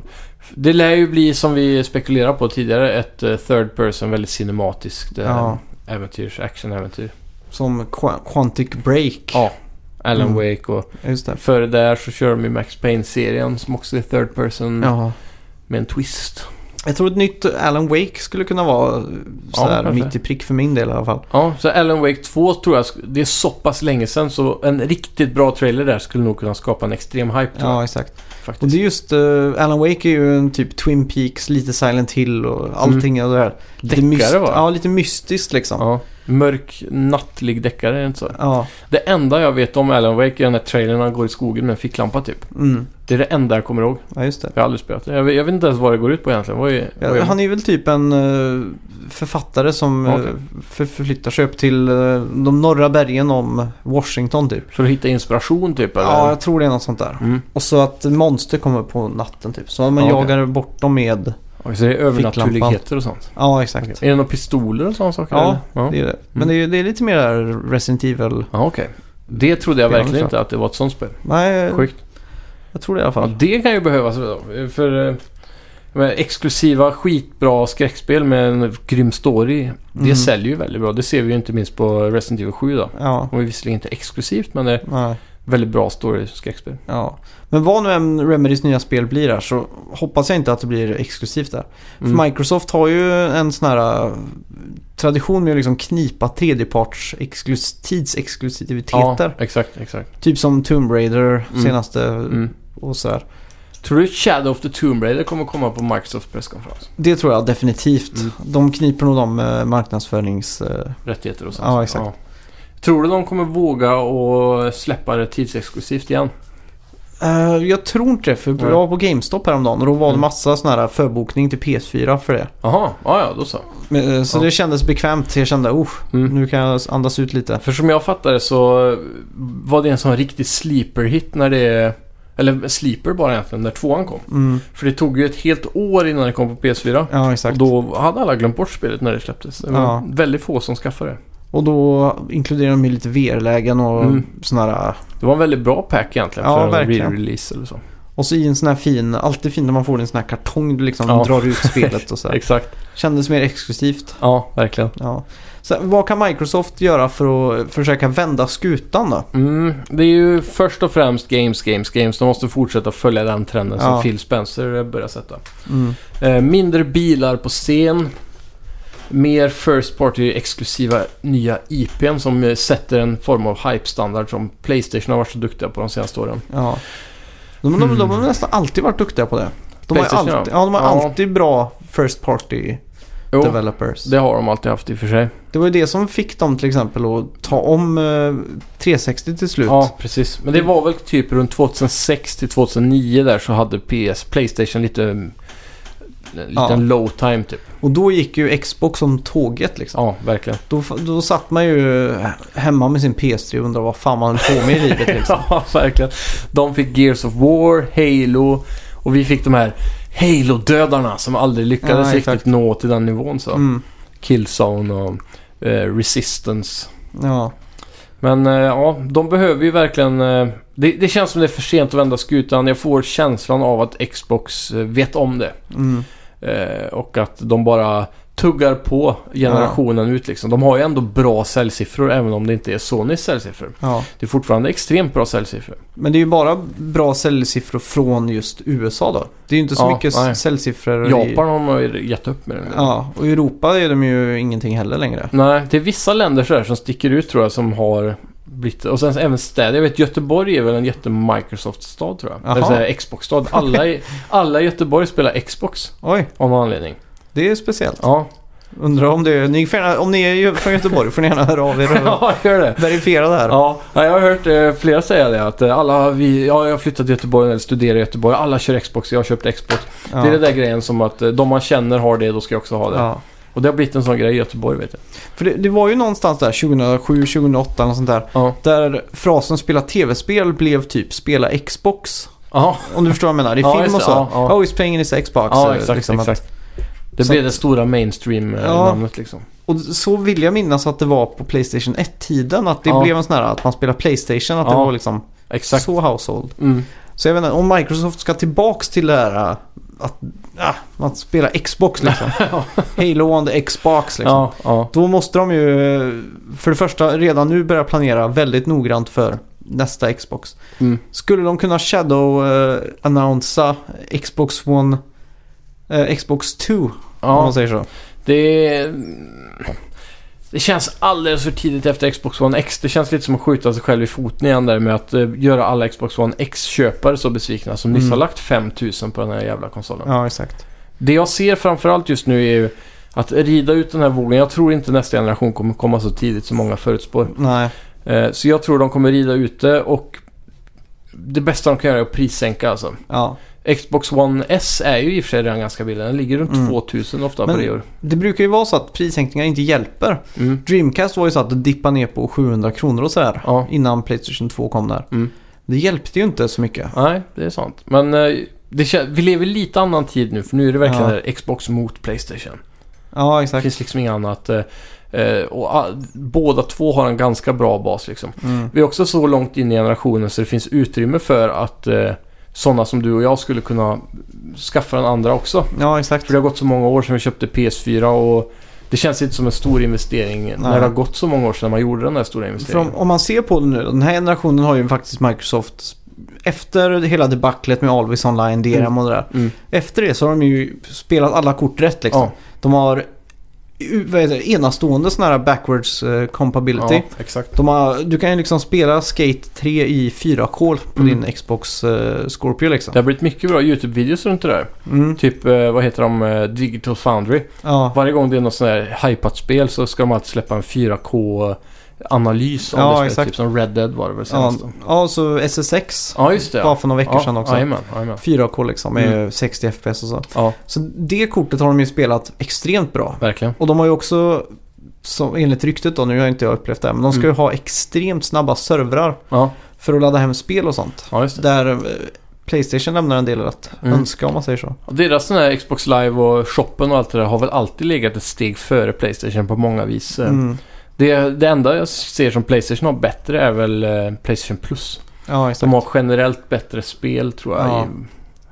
[SPEAKER 2] det lär ju bli som vi spekulerade på tidigare ett eh, third person väldigt cinematiskt eh,
[SPEAKER 1] Ja.
[SPEAKER 2] äventyrs, actionäventyr.
[SPEAKER 1] Som Qua- Quantic Break.
[SPEAKER 2] Ja. Alan
[SPEAKER 1] Mm.
[SPEAKER 2] Wake och
[SPEAKER 1] Just det.
[SPEAKER 2] före där så kör de ju Max Payne-serien som också är third person
[SPEAKER 1] Ja.
[SPEAKER 2] med en twist.
[SPEAKER 1] Jag tror ett nytt Alan Wake skulle kunna vara eh, sådär
[SPEAKER 2] kanske.
[SPEAKER 1] mitt i prick för min del i alla fall.
[SPEAKER 2] Ja, så Alan Wake 2 tror jag, sk- det är så pass länge sedan så en riktigt bra trailer där skulle nog kunna skapa en extrem hype tror jag,
[SPEAKER 1] Ja, exakt. Och
[SPEAKER 2] faktiskt.
[SPEAKER 1] det är just eh, Alan Wake är ju en typ Twin Peaks, lite Silent Hill och allting och det där. Lite
[SPEAKER 2] Mm. Deckare,
[SPEAKER 1] myst-
[SPEAKER 2] va?
[SPEAKER 1] Ja, lite mystiskt liksom.
[SPEAKER 2] Ja. Mörk nattlig deckare, är det inte så?
[SPEAKER 1] Ja.
[SPEAKER 2] Det enda jag vet om Alan Wake är den där trailern när han går i skogen med en ficklampa typ.
[SPEAKER 1] Mm.
[SPEAKER 2] Det är det enda jag kommer ihåg.
[SPEAKER 1] ja, just det.
[SPEAKER 2] Jag har aldrig spelat det. Jag vet, jag vet inte ens vad det går ut på egentligen. Vad är, vad är...
[SPEAKER 1] Ja, han är väl typ en eh, författare som eh,
[SPEAKER 2] Okej.
[SPEAKER 1] för, förflyttar sig upp till eh, de norra bergen om Washington typ.
[SPEAKER 2] För att hitta inspiration typ? Eller?
[SPEAKER 1] Ja, jag tror det är något sånt där.
[SPEAKER 2] Mm.
[SPEAKER 1] Och så att monster kommer på natten typ. Så man
[SPEAKER 2] Ja, okej.
[SPEAKER 1] jagar bort dem med...
[SPEAKER 2] Okej, så det är övernaturligheter och sånt?
[SPEAKER 1] Ja, exakt.
[SPEAKER 2] Okej. Är det några pistoler och sådana saker?
[SPEAKER 1] Ja,
[SPEAKER 2] eller? ja. Mm.
[SPEAKER 1] Det är det. Men det är, det är lite mer Resident Evil.
[SPEAKER 2] Ja, okej. Det trodde jag
[SPEAKER 1] Spelar
[SPEAKER 2] verkligen
[SPEAKER 1] så. Eh,
[SPEAKER 2] inte att det var ett sånt spel.
[SPEAKER 1] Nej,
[SPEAKER 2] Sjukt.
[SPEAKER 1] jag tror det i alla
[SPEAKER 2] Ja,
[SPEAKER 1] fall.
[SPEAKER 2] det kan ju behövas då. För eh, men exklusiva skitbra skräckspel med en grym story.
[SPEAKER 1] Mm.
[SPEAKER 2] Det säljer ju väldigt bra. Det ser vi ju inte minst på Resident Evil 7 då.
[SPEAKER 1] Ja.
[SPEAKER 2] Och är visserligen inte exklusivt men det är
[SPEAKER 1] Nej,
[SPEAKER 2] väldigt bra story skräckspel.
[SPEAKER 1] ja. Men vad nu än Remedys nya spel blir här så hoppas jag inte att det blir exklusivt där.
[SPEAKER 2] Mm.
[SPEAKER 1] För Microsoft har ju en sån här eh, tradition med att liksom knipa tredjeparts exklus-
[SPEAKER 2] Ja,
[SPEAKER 1] tidsexklusiviteter.
[SPEAKER 2] exakt, exakt.
[SPEAKER 1] Typ som Tomb Raider
[SPEAKER 2] Mm.
[SPEAKER 1] senaste
[SPEAKER 2] Mm.
[SPEAKER 1] och sådär.
[SPEAKER 2] Tror du Shadow of the Tomb Raider kommer komma på Microsofts presskonferens?
[SPEAKER 1] Det tror jag definitivt.
[SPEAKER 2] Mm.
[SPEAKER 1] De kniper nog de eh, marknadsförings... eh,
[SPEAKER 2] Rättigheter och sånt.
[SPEAKER 1] Ja, exakt.
[SPEAKER 2] Tror du de kommer våga och släppa det tidsexklusivt igen?
[SPEAKER 1] Eh, jag tror inte det, för jag
[SPEAKER 2] Nej.
[SPEAKER 1] var på GameStop häromdagen och då var det
[SPEAKER 2] Mm.
[SPEAKER 1] massa sån här förbokning till PS4 för det.
[SPEAKER 2] Jaha, ja, ja då så.
[SPEAKER 1] Men, eh, så
[SPEAKER 2] Mm. Ja. Mm.
[SPEAKER 1] det kändes bekvämt. Jag kände oh, nu kan jag andas ut lite.
[SPEAKER 2] För som jag fattar det så eh, var det en sån riktig sleeper hit när det... Eller sleeper bara egentligen, när tvåan kom.
[SPEAKER 1] Mm.
[SPEAKER 2] För det tog ju ett helt år innan det kom på PS4.
[SPEAKER 1] Ja, exakt.
[SPEAKER 2] Och då hade alla glömt bort spelet när det släpptes. Det var
[SPEAKER 1] Ja.
[SPEAKER 2] väldigt få som skaffade det.
[SPEAKER 1] inkluderar de ju lite VR-lägen och
[SPEAKER 2] Mm.
[SPEAKER 1] sån här.
[SPEAKER 2] Det var en väldigt bra pack egentligen
[SPEAKER 1] Ja,
[SPEAKER 2] för en
[SPEAKER 1] verkligen.
[SPEAKER 2] re-release eller så.
[SPEAKER 1] Och så i en sån här fin, alltid fin när man får en sån här kartong du liksom
[SPEAKER 2] Ja.
[SPEAKER 1] drar ut spelet och så här.
[SPEAKER 2] Exakt.
[SPEAKER 1] Kändes mer exklusivt.
[SPEAKER 2] Ja, verkligen.
[SPEAKER 1] Ja. Så vad kan Microsoft göra för att försöka vända skutan då?
[SPEAKER 2] Mm, det är ju först och främst games, games, games. De måste fortsätta följa den trenden
[SPEAKER 1] Ja.
[SPEAKER 2] som Phil Spencer eh, börjar sätta.
[SPEAKER 1] Mm.
[SPEAKER 2] Eh, mindre bilar på scen. Mer First Party-exklusiva nya IPn som eh, sätter en form av hype-standard som Playstation har varit så duktiga på de senaste åren.
[SPEAKER 1] Ja. De, de, de har nästan alltid varit duktiga på det. De har, ju
[SPEAKER 2] Mm. Playstation,
[SPEAKER 1] alltid,
[SPEAKER 2] ja.
[SPEAKER 1] ja, de har
[SPEAKER 2] Ja.
[SPEAKER 1] alltid bra first party
[SPEAKER 2] Jo,
[SPEAKER 1] developers.
[SPEAKER 2] det
[SPEAKER 1] Det...
[SPEAKER 2] har de alltid haft i och för sig.
[SPEAKER 1] var ju det som fick dem till exempel att ta om eh, 360 till slut.
[SPEAKER 2] Ja, precis. Men det var väl typ runt 2006 till 2009 där så hade PS, Playstation lite... mm, En liten
[SPEAKER 1] Ja.
[SPEAKER 2] low time typ.
[SPEAKER 1] Och då gick ju Xbox som tåget liksom.
[SPEAKER 2] Ja, verkligen.
[SPEAKER 1] Då, f- då satt man ju hemma med sin PS3 och undrade vad fan man höll på med i livet liksom.
[SPEAKER 2] Ja, verkligen. De fick Gears of War, Halo och vi fick de här Halo-dödarna som aldrig lyckades
[SPEAKER 1] Ja, exakt.
[SPEAKER 2] riktigt nå till den nivån. Så.
[SPEAKER 1] Mm.
[SPEAKER 2] Killzone och eh, Resistance.
[SPEAKER 1] Ja.
[SPEAKER 2] Men eh, ja, de behöver ju verkligen... Eh, det, det känns som det är för sent att vända skutan. Jag får känslan av att Xbox eh, vet om det.
[SPEAKER 1] Mm.
[SPEAKER 2] Eh, och att de bara tuggar på generationen ut liksom. De har ju ändå bra säljsiffror även om det inte är Sonys säljsiffror.
[SPEAKER 1] ja.
[SPEAKER 2] Det är fortfarande extremt bra säljsiffror.
[SPEAKER 1] Men det är ju bara bra säljsiffror från just USA då. Det är ju inte så
[SPEAKER 2] Ja,
[SPEAKER 1] mycket
[SPEAKER 2] nej.
[SPEAKER 1] säljsiffror i...
[SPEAKER 2] Japan har man ju gett upp med det nu.
[SPEAKER 1] Ja, och i Europa är de ju ingenting heller längre.
[SPEAKER 2] Nej, det är vissa länder så här som sticker ut tror jag som har blivit... Och sen även städer. Jag vet Göteborg är väl en jätte-Microsoft-stad tror jag.
[SPEAKER 1] Jaha.
[SPEAKER 2] Eller så här Xbox-stad. Alla i, alla i Göteborg spelar Xbox
[SPEAKER 1] Oj,
[SPEAKER 2] av någon anledning.
[SPEAKER 1] det är speciellt.
[SPEAKER 2] Ja,
[SPEAKER 1] Undrar om det är... Ni får gärna, om ni är ju från Göteborg får ni gärna höra av er och
[SPEAKER 2] ja gör det.
[SPEAKER 1] verifiera det här.
[SPEAKER 2] Ja, jag har hört eh, flera säga det att eh, alla vi, ja, jag har flyttat till Göteborg eller studerar i Göteborg, alla kör Xbox, jag har köpt Xbox.
[SPEAKER 1] Ja.
[SPEAKER 2] Det är den där grejen som att eh, de man känner har det, då ska jag också ha det.
[SPEAKER 1] Ja.
[SPEAKER 2] Och det har blivit en sån grej i Göteborg vet jag.
[SPEAKER 1] För det, det var ju någonstans där 2007, 2008 eller sånt där.
[SPEAKER 2] Ja.
[SPEAKER 1] Där frasen spela tv-spel blev typ spela Xbox.
[SPEAKER 2] Ja,
[SPEAKER 1] Om du förstår vad jag menar. I
[SPEAKER 2] Ja,
[SPEAKER 1] film
[SPEAKER 2] just
[SPEAKER 1] och
[SPEAKER 2] det.
[SPEAKER 1] så.
[SPEAKER 2] Ja, ja.
[SPEAKER 1] Oh, he's playing in his Xbox.
[SPEAKER 2] ja
[SPEAKER 1] eh,
[SPEAKER 2] exakt.
[SPEAKER 1] liksom att-
[SPEAKER 2] exakt. Det
[SPEAKER 1] Så
[SPEAKER 2] blev
[SPEAKER 1] att-
[SPEAKER 2] det stora
[SPEAKER 1] Ja.
[SPEAKER 2] mainstream-namnet liksom.
[SPEAKER 1] Och så vill jag minnas att det var på Playstation 1-tiden. Att det
[SPEAKER 2] Ja.
[SPEAKER 1] blev en sån här att man spelar Playstation. Att det
[SPEAKER 2] Ja.
[SPEAKER 1] var liksom
[SPEAKER 2] Exakt.
[SPEAKER 1] så household.
[SPEAKER 2] Mm.
[SPEAKER 1] Så jag vet inte, om Microsoft ska tillbaks till det här äh, att, ah, att spela Xbox liksom. Halo on the Xbox liksom.
[SPEAKER 2] Ja, ja.
[SPEAKER 1] Då måste de ju eh, för det första redan nu börja planera väldigt noggrant för nästa Xbox.
[SPEAKER 2] Mm.
[SPEAKER 1] Skulle de kunna shadow-annonsa Xbox One, eh, Xbox 2 om
[SPEAKER 2] ja.
[SPEAKER 1] man säger så.
[SPEAKER 2] Det... Det känns alldeles för tidigt efter Xbox One X. Det känns lite som att skjuta sig själv i foten igen där med att eh, göra alla Xbox One X-köpare så besvikna som nyss
[SPEAKER 1] Mm.
[SPEAKER 2] har lagt 5000 på den här jävla konsolen.
[SPEAKER 1] Ja, exakt.
[SPEAKER 2] Det jag ser framförallt just nu är ju Att rida ut den här vågen. Jag tror inte nästa generation kommer komma så tidigt som många förutspår.
[SPEAKER 1] Nej.
[SPEAKER 2] Eh, så jag tror de kommer rida ut det och det bästa de kan göra är att prissänka alltså.
[SPEAKER 1] Ja.
[SPEAKER 2] Xbox One S är ju i och för sig redan ganska billig. Den ligger runt
[SPEAKER 1] Mm.
[SPEAKER 2] 2000 ofta
[SPEAKER 1] Men-
[SPEAKER 2] på reor.
[SPEAKER 1] Det brukar ju vara så att prissänkningar inte hjälper.
[SPEAKER 2] Mm.
[SPEAKER 1] Dreamcast var ju så att det dippade ner på 700 kronor och sådär.
[SPEAKER 2] Ja.
[SPEAKER 1] Innan Playstation 2 kom där.
[SPEAKER 2] Mm.
[SPEAKER 1] Det hjälpte ju inte så mycket.
[SPEAKER 2] Nej, det är sant. Men eh, det, kän- vi lever i lite annan tid nu för nu är det verkligen
[SPEAKER 1] Ja.
[SPEAKER 2] det här Xbox mot Playstation.
[SPEAKER 1] Ja,
[SPEAKER 2] Det
[SPEAKER 1] exakt.
[SPEAKER 2] finns liksom inget annat. eh, eh, Och ah, båda två har en ganska bra bas liksom.
[SPEAKER 1] Mm.
[SPEAKER 2] Vi är också så långt in i generationen så det finns utrymme för att eh, sådana som du och jag skulle kunna skaffa den andra också.
[SPEAKER 1] Ja, exakt.
[SPEAKER 2] För det har gått så många år sedan vi köpte PS4 och det känns inte som en stor investering när det har gått så många år sedan man gjorde den där stora
[SPEAKER 1] För
[SPEAKER 2] investeringen.
[SPEAKER 1] om, om man ser på det nu, den här generationen har ju faktiskt Microsoft efter hela debaclet med Always Online, DRM och det där.
[SPEAKER 2] Mm.
[SPEAKER 1] Efter det så har de ju spelat alla kort rätt liksom.
[SPEAKER 2] Ja,
[SPEAKER 1] De har u- vad heter det, enastående sådana här backwards eh, compatibility.
[SPEAKER 2] ja, exakt.
[SPEAKER 1] De har, du kan ju liksom spela Skate 3 i 4K på
[SPEAKER 2] Mm.
[SPEAKER 1] din Xbox eh, Scorpio liksom.
[SPEAKER 2] Det har blivit mycket bra YouTube-videos runt det där.
[SPEAKER 1] Mm.
[SPEAKER 2] Typ, eh, vad heter de, eh, Digital Foundry.
[SPEAKER 1] Ja.
[SPEAKER 2] Varje gång det är något sånt här hypat spel så ska de alltid släppa en 4K-analys av
[SPEAKER 1] Ja,
[SPEAKER 2] det spelet.
[SPEAKER 1] exakt.
[SPEAKER 2] Typ som Red Dead var det väl
[SPEAKER 1] Ja,
[SPEAKER 2] senast. då.
[SPEAKER 1] ja, och så SSX.
[SPEAKER 2] Ja, just det.
[SPEAKER 1] Bara
[SPEAKER 2] Ja. Mm.
[SPEAKER 1] för några veckor sedan också.
[SPEAKER 2] Jajamän, jajamän.
[SPEAKER 1] 4K liksom med 60 FPS och så.
[SPEAKER 2] Ja,
[SPEAKER 1] Så det kortet har de ju spelat extremt bra.
[SPEAKER 2] verkligen.
[SPEAKER 1] Och de har ju också, som enligt ryktet då, nu har inte jag upplevt det, här, men de ska
[SPEAKER 2] Mm.
[SPEAKER 1] ju ha extremt snabba servrar
[SPEAKER 2] Ja,
[SPEAKER 1] för att ladda hem spel och sånt.
[SPEAKER 2] ja just det.
[SPEAKER 1] Där eh, Playstation lämnar en del att
[SPEAKER 2] Mm.
[SPEAKER 1] önska om man säger så.
[SPEAKER 2] Och deras sån här Xbox Live och shoppen och allt det där har väl alltid legat ett steg före Playstation på många vis. Eh,
[SPEAKER 1] Mm.
[SPEAKER 2] Det, det enda jag ser som Playstation har bättre är väl eh, Playstation Plus.
[SPEAKER 1] Ja, exakt.
[SPEAKER 2] De har generellt bättre spel tror jag
[SPEAKER 1] Ja.